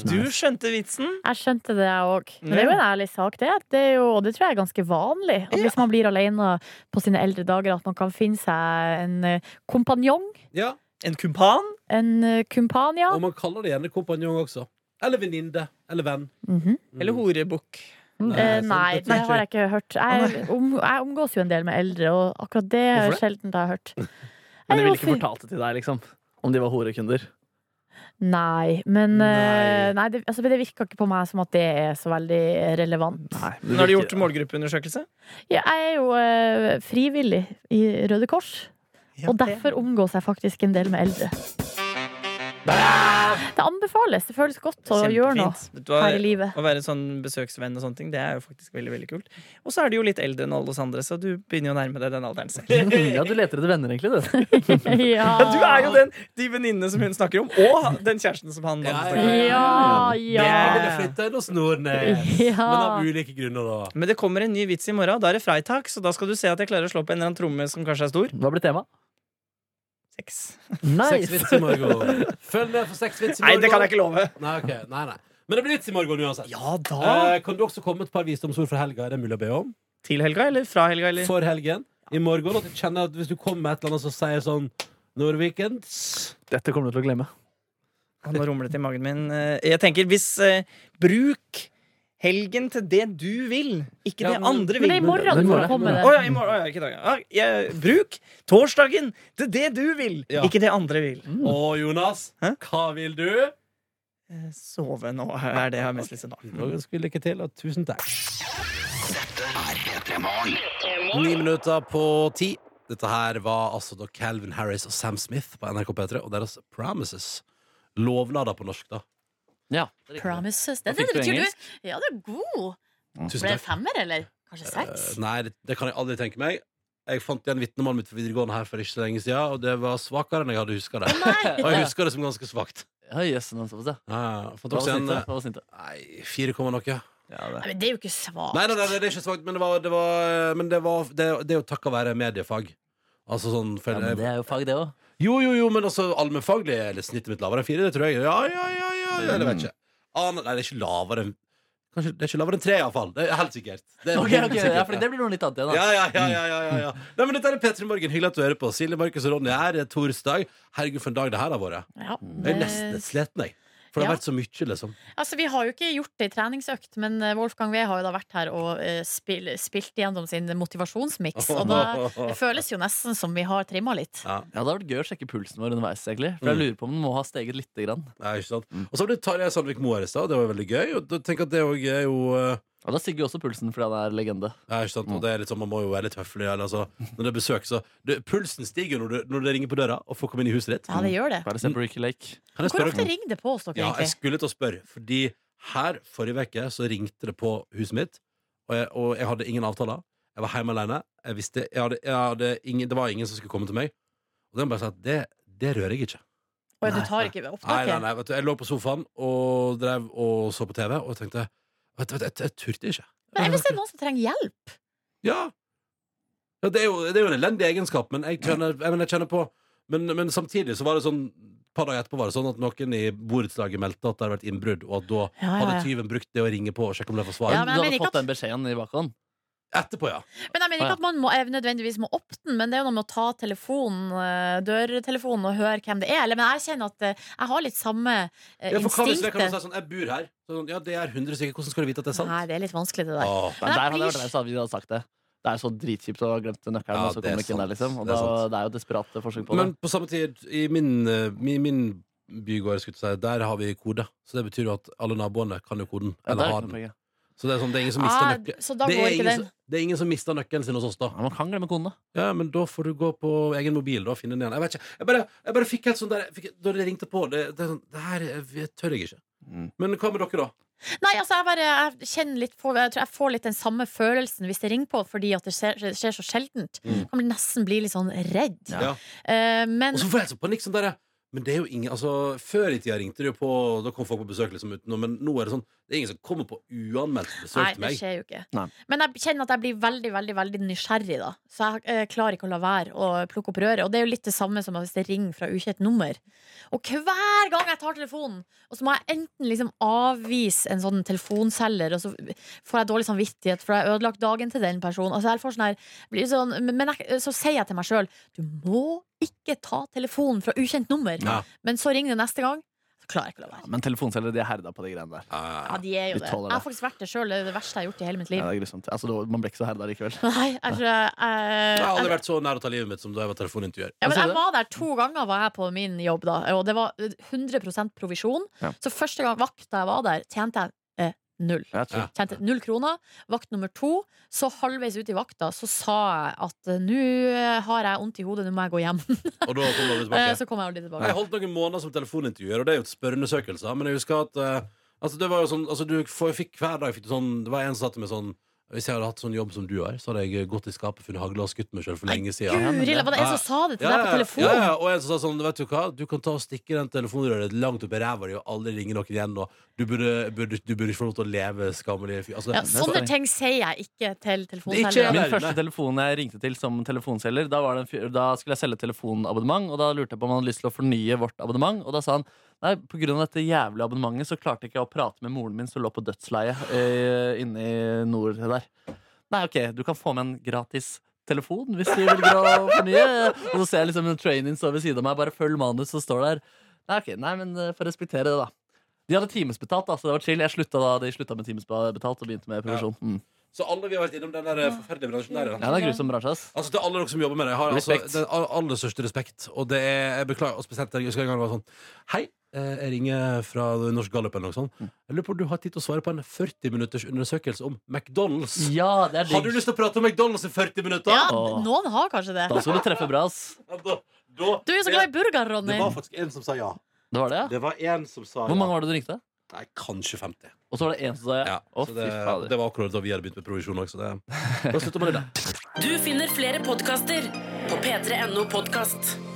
Speaker 2: Du skjønte vitsen.
Speaker 6: Jeg skjønte det, jeg òg. Men det er jo en ærlig sak, det. det er jo, og det tror jeg er ganske vanlig. At Hvis man blir alene på sine eldre dager, at man kan finne seg en eh, kompanjong.
Speaker 4: Ja,
Speaker 2: En kumpan.
Speaker 6: En eh, kumpan, ja.
Speaker 4: Og man kaller det gjerne kompanjong også. Eller venninne. Eller venn.
Speaker 6: Mhm.
Speaker 2: Eller horebukk.
Speaker 6: Eh,
Speaker 4: sant,
Speaker 6: Nei,
Speaker 4: det tror
Speaker 6: det
Speaker 4: jeg
Speaker 6: har jeg ikke hørt. Jeg, om, jeg omgås jo en del med eldre, og akkurat det er
Speaker 5: Hvorfor
Speaker 6: sjelden jeg har hørt.
Speaker 5: Men
Speaker 6: Jeg
Speaker 5: de
Speaker 6: er jo
Speaker 5: ville ikke
Speaker 6: fyr-
Speaker 5: fortalt det til deg, liksom. Om de var horekunder.
Speaker 6: Nei, men eh, nei, det, altså, det virka ikke på meg som at det er så veldig eh, relevant.
Speaker 2: Nå har de gjort målgruppeundersøkelse.
Speaker 6: Ja, jeg er jo eh, frivillig i Røde Kors, og derfor omgås jeg faktisk en del med eldre. Det anbefales. Det føles godt å gjøre noe
Speaker 2: Vet du hva?
Speaker 6: her i livet.
Speaker 2: Å være sånn besøksvenn og sånne ting, det er jo faktisk veldig veldig kult. Og så er du jo litt eldre enn alle oss andre, så du begynner jo å nærme deg den alderen selv.
Speaker 5: Ja, du leter etter venner, egentlig, du.
Speaker 6: ja.
Speaker 2: Ja, du er jo den, de venninnene som hun snakker om, og den kjæresten som han mannen snakker om.
Speaker 6: Ja,
Speaker 4: Jeg
Speaker 6: ja.
Speaker 4: ville flytte inn hos Nordnes.
Speaker 6: Ja.
Speaker 4: Men av ulike grunner, da.
Speaker 2: Men det kommer en ny vits i morgen. Da er det Freitag, så da skal du se at jeg klarer å slå på en eller annen tromme som kanskje er stor.
Speaker 5: Hva blir temaet?
Speaker 2: Sex.
Speaker 4: Seks
Speaker 5: Nice!
Speaker 4: vits i morgen. Følg med for seks vits i morgen.
Speaker 2: Nei, det kan jeg ikke love.
Speaker 4: Nei, ok. nei, nei. Men det blir vits i morgen uansett.
Speaker 2: Ja da.
Speaker 4: Eh, kan du også komme med et par visdomsord fra helga? Er det mulig å be om?
Speaker 2: Til helga, eller fra helga, eller
Speaker 4: For helgen? I morgen? At du kjenner at hvis du kommer med et eller annet som sier sånn Nordweekends
Speaker 5: Dette kommer du til å glemme.
Speaker 2: Ja, Nå rumler det til magen min. Eh, Jeg tenker, hvis eh, Bruk helgen til det du vil, ikke
Speaker 4: Ja,
Speaker 2: det
Speaker 4: men-
Speaker 2: andre
Speaker 6: Men
Speaker 2: vil.
Speaker 6: det er i morgen
Speaker 5: Det er i
Speaker 6: du
Speaker 5: morgen.
Speaker 6: får komme med
Speaker 2: Å
Speaker 6: det.
Speaker 2: ja, i morgen. Å, ja, ikke i dag. Ja. Ah, Jeg, bruk torsdagen til det du vil,
Speaker 4: Ja.
Speaker 2: ikke det andre vil.
Speaker 4: Og Jonas,
Speaker 2: Mm. Hæ?
Speaker 4: hva vil du?
Speaker 2: Eh, Sove nå er det jeg har mest lyst til nå.
Speaker 4: Og ønsker vi lykke til, og tusen takk. Ni minutter på ti. Dette her var altså da Calvin Harris og Sam Smith på NRK P3 og deres Promises. Lovnader på norsk, da.
Speaker 5: Ja.
Speaker 6: Promises. Det,
Speaker 5: Hva
Speaker 6: det,
Speaker 5: fikk du
Speaker 6: betyr
Speaker 5: engelsk?
Speaker 6: du Ja, du er god.
Speaker 4: Tusen
Speaker 6: Ble det
Speaker 4: takk.
Speaker 6: femmer, eller? Kanskje seks?
Speaker 4: Eh, Nei, det- det kan jeg aldri tenke meg. Jeg fant igjen vitnemålet mitt fra videregående her for ikke så lenge siden, og det var svakere enn jeg hadde huska det.
Speaker 6: Nei.
Speaker 4: Og jeg husker det som ganske svakt.
Speaker 5: Ja, jøss, nå skal vi se.
Speaker 4: Ja, ja. Fant
Speaker 5: Hva var
Speaker 4: også en
Speaker 5: snittet?
Speaker 4: eh,
Speaker 5: Hva var snittet?
Speaker 4: Nei, 4, komma noe.
Speaker 6: Nei, Men det er jo ikke svakt.
Speaker 4: Nei, nei, nei, det er ikke svakt, men det var, det var, men det, var det, det er jo takket være mediefag. Altså sånn for,
Speaker 5: Ja, men det er jo fag, det òg.
Speaker 4: Jo, jo, jo, men altså allmennfaglig er litt snittet mitt lavere enn fire, det tror jeg. Ja, ja, ja, ja, ja det
Speaker 5: Mm.
Speaker 4: vet jeg ikke. Ah, nei, det er ikke lavere enn Kanskje det er ikke lavere enn tre, iallfall. Det er helt sikkert. Det er
Speaker 5: Ok,
Speaker 4: helt
Speaker 5: ok,
Speaker 4: sikkert,
Speaker 5: ja, for det blir noe litt annet igjen, da.
Speaker 4: Ja, ja, ja, ja, ja, ja, ja. Nei, men Dette er P3 Morgen. Hyggelig at du hører på. Silje, Markus og Ronny her. Det er torsdag. Herregud, for en dag det her har vært.
Speaker 6: Ja,
Speaker 4: Jeg er
Speaker 6: det-
Speaker 4: nesten litt sliten, jeg. For det har
Speaker 6: Ja.
Speaker 4: vært så mye, liksom.
Speaker 6: Altså, Vi har jo ikke gjort det i treningsøkt, men eh, Wolfgang Wee har jo da vært her og eh, spill, spilt igjennom sin motivasjonsmiks. Og da det føles jo nesten som vi har trimma litt.
Speaker 5: Ja, Det hadde vært gøy å sjekke pulsen vår underveis. egentlig For
Speaker 4: Mm.
Speaker 5: jeg lurer på om den må ha steget lite grann.
Speaker 4: Nei, ikke sant?
Speaker 5: Mm.
Speaker 4: Og så ble Tarjei Sandvik Moe her i stad. Det var veldig gøy. Og da tenker jeg at det også er jo eh,
Speaker 5: Og da stiger jo også pulsen fordi han er legende.
Speaker 4: Ja, ikke
Speaker 6: Mm.
Speaker 4: sant? Og det er litt sånn, Man må jo være litt høflig. Eller, altså, når det er besøk, så du, Pulsen stiger jo når, du- når det ringer på døra, og folk kommer inn i huset ditt.
Speaker 6: Ja, det gjør det.
Speaker 5: Bare
Speaker 4: Mm.
Speaker 5: se på Ricky Lake.
Speaker 4: Kan jeg
Speaker 6: Hvor
Speaker 4: spørre-
Speaker 6: ofte ringer det på hos dere,
Speaker 4: Ja, jeg
Speaker 6: egentlig?
Speaker 4: skulle til å spørre, fordi her forrige uke så ringte det på huset mitt, og jeg, og jeg hadde ingen avtaler. Jeg var hjemme alene. Jeg visste, jeg hadde, jeg hadde ingen, det var ingen som skulle komme til meg. Og den bare sa at det, det rører jeg ikke.
Speaker 6: Og du tar ikke
Speaker 4: Nei, nei,
Speaker 6: opptaket?
Speaker 4: nei, vet du, Jeg lå på sofaen og drev og så på TV, og jeg tenkte Vet du, vet du, jeg, jeg turte ikke.
Speaker 6: Men hvis det er noen som trenger hjelp
Speaker 4: Ja. ja det, er jo, det er jo en elendig egenskap, men jeg kjenner, jeg, men jeg kjenner på men, men samtidig så var det sånn et par dager etterpå var det sånn at noen i borettslaget meldte at det hadde vært innbrudd, og at da
Speaker 6: Ja, ja,
Speaker 4: hadde
Speaker 6: ja.
Speaker 4: tyven brukt det å ringe på og sjekke om det var svar.
Speaker 6: Ja,
Speaker 5: du
Speaker 6: men jeg
Speaker 5: hadde
Speaker 6: mener ikke
Speaker 5: fått
Speaker 6: at-
Speaker 5: den beskjeden i bakhånd.
Speaker 4: Etterpå, ja.
Speaker 6: Men jeg mener ikke at man må, eh, nødvendigvis må opp den, men det er jo noe med å ta telefonen, eh, dørtelefonen, og høre hvem det er. Eller, men jeg kjenner at eh, jeg har litt samme eh,
Speaker 4: ja for hva hvis jeg kan
Speaker 6: instinktet.
Speaker 4: si sånn, jeg bor her. Så Sånn, ja, det er 100 stykker. Hvordan skal du vite at det er sant? Ah,
Speaker 6: Nei, det er litt vanskelig, det der.
Speaker 4: Åh,
Speaker 5: Men
Speaker 6: jeg
Speaker 5: der hadde
Speaker 6: blir
Speaker 5: jeg vært der, så hadde vi hadde sagt det. Det er så dritkjipt å ha glemt nøkkelen,
Speaker 4: Ja,
Speaker 5: og så
Speaker 4: det er
Speaker 5: kommer du ikke inn der,
Speaker 4: sant.
Speaker 5: liksom. Og
Speaker 4: Det er
Speaker 5: da,
Speaker 4: sant.
Speaker 5: det er jo desperate forsøk på det.
Speaker 4: Men på samme tid, i min, eh, mi- min bygård, skulle jeg til å si, der har vi kode. Så det betyr jo at alle naboene kan jo koden.
Speaker 5: ja, det
Speaker 4: Eller
Speaker 5: er
Speaker 4: har
Speaker 5: ikke noe
Speaker 4: den.
Speaker 5: poeng, ja.
Speaker 4: Så det er, sånn, det er ingen som mister
Speaker 6: Ah,
Speaker 4: nøkkelen.
Speaker 6: så da
Speaker 4: Det
Speaker 6: går
Speaker 4: er,
Speaker 6: ikke
Speaker 4: ingen,
Speaker 6: den.
Speaker 4: som- det er ingen som mister nøkkelen sin hos oss, da.
Speaker 5: Ja, man kan glemme kona.
Speaker 4: Ja, men da får du gå på egen mobil da, og finne den igjen. Jeg vet ikke, jeg bare, jeg bare fikk helt sånn der jeg fikk, Da det ringte på Det, det, er sånn, det her eh, vi- tør jeg ikke. Men hva med dere, da?
Speaker 6: Nei, altså jeg bare jeg kjenner litt på, jeg, tror jeg får litt den samme følelsen hvis det ringer på, fordi at det skjer, skjer så sjeldent. Man Kan bli- nesten bli litt sånn redd.
Speaker 4: Mm. Ja.
Speaker 6: Eh, men
Speaker 4: Og så får jeg så panikk sånn der Men det er jo ingen Altså, før i tida ringte det jo på Da kom folk på besøk liksom utenom Men nå er det sånn Det er ingen som kommer på uanmeldt besøk
Speaker 6: Nei,
Speaker 4: til
Speaker 6: det
Speaker 4: meg
Speaker 6: skjer jo ikke.
Speaker 5: Nei.
Speaker 6: Men jeg kjenner at jeg blir veldig veldig, veldig nysgjerrig. da Så jeg eh, klarer ikke å la være å plukke opp røret. Og det er jo litt det samme som hvis det ringer fra ukjent nummer. Og hver gang jeg tar telefonen, Og så må jeg enten liksom avvise en sånn telefonselger, og så får jeg dårlig samvittighet, for jeg har ødelagt dagen til den personen. Altså, jeg får sånn her, blir sånn, men jeg, så sier jeg til meg sjøl du må ikke ta telefonen fra ukjent nummer.
Speaker 4: Ja.
Speaker 6: Men så ringer det neste gang. Så klarer jeg ikke å la være.
Speaker 5: Men telefonselgere de er herda på de greiene der.
Speaker 6: Ja,
Speaker 4: Ah.
Speaker 6: de er jo
Speaker 5: Vi
Speaker 6: det.
Speaker 5: tåler det.
Speaker 6: Jeg har faktisk vært det sjøl. Det er det verste jeg har gjort i hele mitt liv.
Speaker 5: Ja, det er grusomt. Altså, da- man ble ikke så herda likevel.
Speaker 6: Nei, jeg tror jeg,
Speaker 4: Jeg har aldri
Speaker 6: jeg,
Speaker 4: vært så nær å ta livet mitt Som da jeg var telefonintervjuer
Speaker 6: ja, men
Speaker 5: Hva sier
Speaker 6: jeg
Speaker 5: du?
Speaker 6: var der to ganger var jeg på min jobb, da, og det var 100 provisjon.
Speaker 5: Ja.
Speaker 6: Så første gang vakta jeg var der, tjente jeg eh, null.
Speaker 5: Jeg tror.
Speaker 4: Ja.
Speaker 6: Tjente null kroner. Vakt nummer to. Så halvveis ut i vakta så sa jeg at eh, nå eh, har jeg vondt i hodet, nå må jeg gå hjem.
Speaker 4: Og da kom det
Speaker 6: Eh,
Speaker 4: tilbake
Speaker 6: Så kom jeg aldri tilbake.
Speaker 4: Jeg holdt noen måneder som telefonintervjuer Og det er jo et spørreundersøkelse Men jeg husker at eh, Altså det var jo sånn Altså du får- fikk hver dag fikk du sånn, Det var en som satte meg sånn Hvis jeg hadde hatt sånn jobb som du har Så hadde jeg gått i skapet Funnet hagle og skutt meg selv for lenge siden
Speaker 6: Guri, var det en som sa det til deg på
Speaker 4: Ja,
Speaker 6: telefon?
Speaker 4: ja, og en som sa sånn, vet du hva, du kan ta og stikke den telefonrøret langt opp i ræva di og aldri ringe noen igjen, og du burde, burde, du burde ikke få lov til å leve skammelig fyr. Altså,
Speaker 6: Ja, sånn sånne
Speaker 5: sant.
Speaker 6: ting sier jeg ikke til
Speaker 4: Det er ikke
Speaker 6: telefonselgere.
Speaker 5: Min
Speaker 4: Nei, nei.
Speaker 5: første telefon jeg ringte til som telefonselger, da, var det en fyr, da skulle jeg selge telefonabonnement, og da lurte jeg på om han hadde lyst til å fornye vårt abonnement, og da sa han Nei, på grunn av dette jævlige abonnementet så klarte ikke jeg å prate med moren min som lå på dødsleiet eh, inne i nord der. Nei, ok, du kan få med en gratis telefon hvis du vil dra og fornye. Og så ser jeg liksom en train-in stå ved siden av meg, bare følg manus, og står der. Nei, ok, nei, men eh, får respektere det, da. De hadde timesbetalt, da, så det var chill. Jeg slutta da, de slutta med timesbetalt og begynte med provisjon. Mm.
Speaker 4: Så alle vi har vært innom den der eh, forferdelige bransjen der, ja.
Speaker 5: Ja, det er en grusom bransje, ass.
Speaker 4: Altså til alle dere som jobber med det, jeg har altså,
Speaker 5: Respekt.
Speaker 4: den all- aller største respekt, og det er, jeg beklager, og spesielt jeg husker en gang det var sånn, hei, eh, jeg ringer fra Norsk Gallup eller noe sånt, jeg lurer på om du har tid til å svare på en 40 minutters undersøkelse om McDonalds.
Speaker 5: Ja, det er
Speaker 4: Har du
Speaker 5: digg.
Speaker 4: lyst til å prate om McDonalds i 40 minutter?
Speaker 6: Ja,
Speaker 5: Åh.
Speaker 6: noen har kanskje det.
Speaker 5: Da skal du treffe bra, ass.
Speaker 4: Ja, da, da,
Speaker 6: Du er jo så glad i burger, Ronny.
Speaker 4: Det var faktisk en som sa ja.
Speaker 5: Det var det, ja.
Speaker 4: Det var en som sa
Speaker 5: Hvor
Speaker 4: ja.
Speaker 5: mange var det du ringte?
Speaker 4: Nei, kanskje 50.
Speaker 5: Og så var det én som sa ja.
Speaker 4: Ja,
Speaker 5: Å,
Speaker 4: så
Speaker 5: fy
Speaker 4: det,
Speaker 5: fader.
Speaker 4: det var akkurat da vi hadde begynt med provisjon også. Det. Da slutter man det der.
Speaker 1: Du finner flere podkaster på p3.no podkast.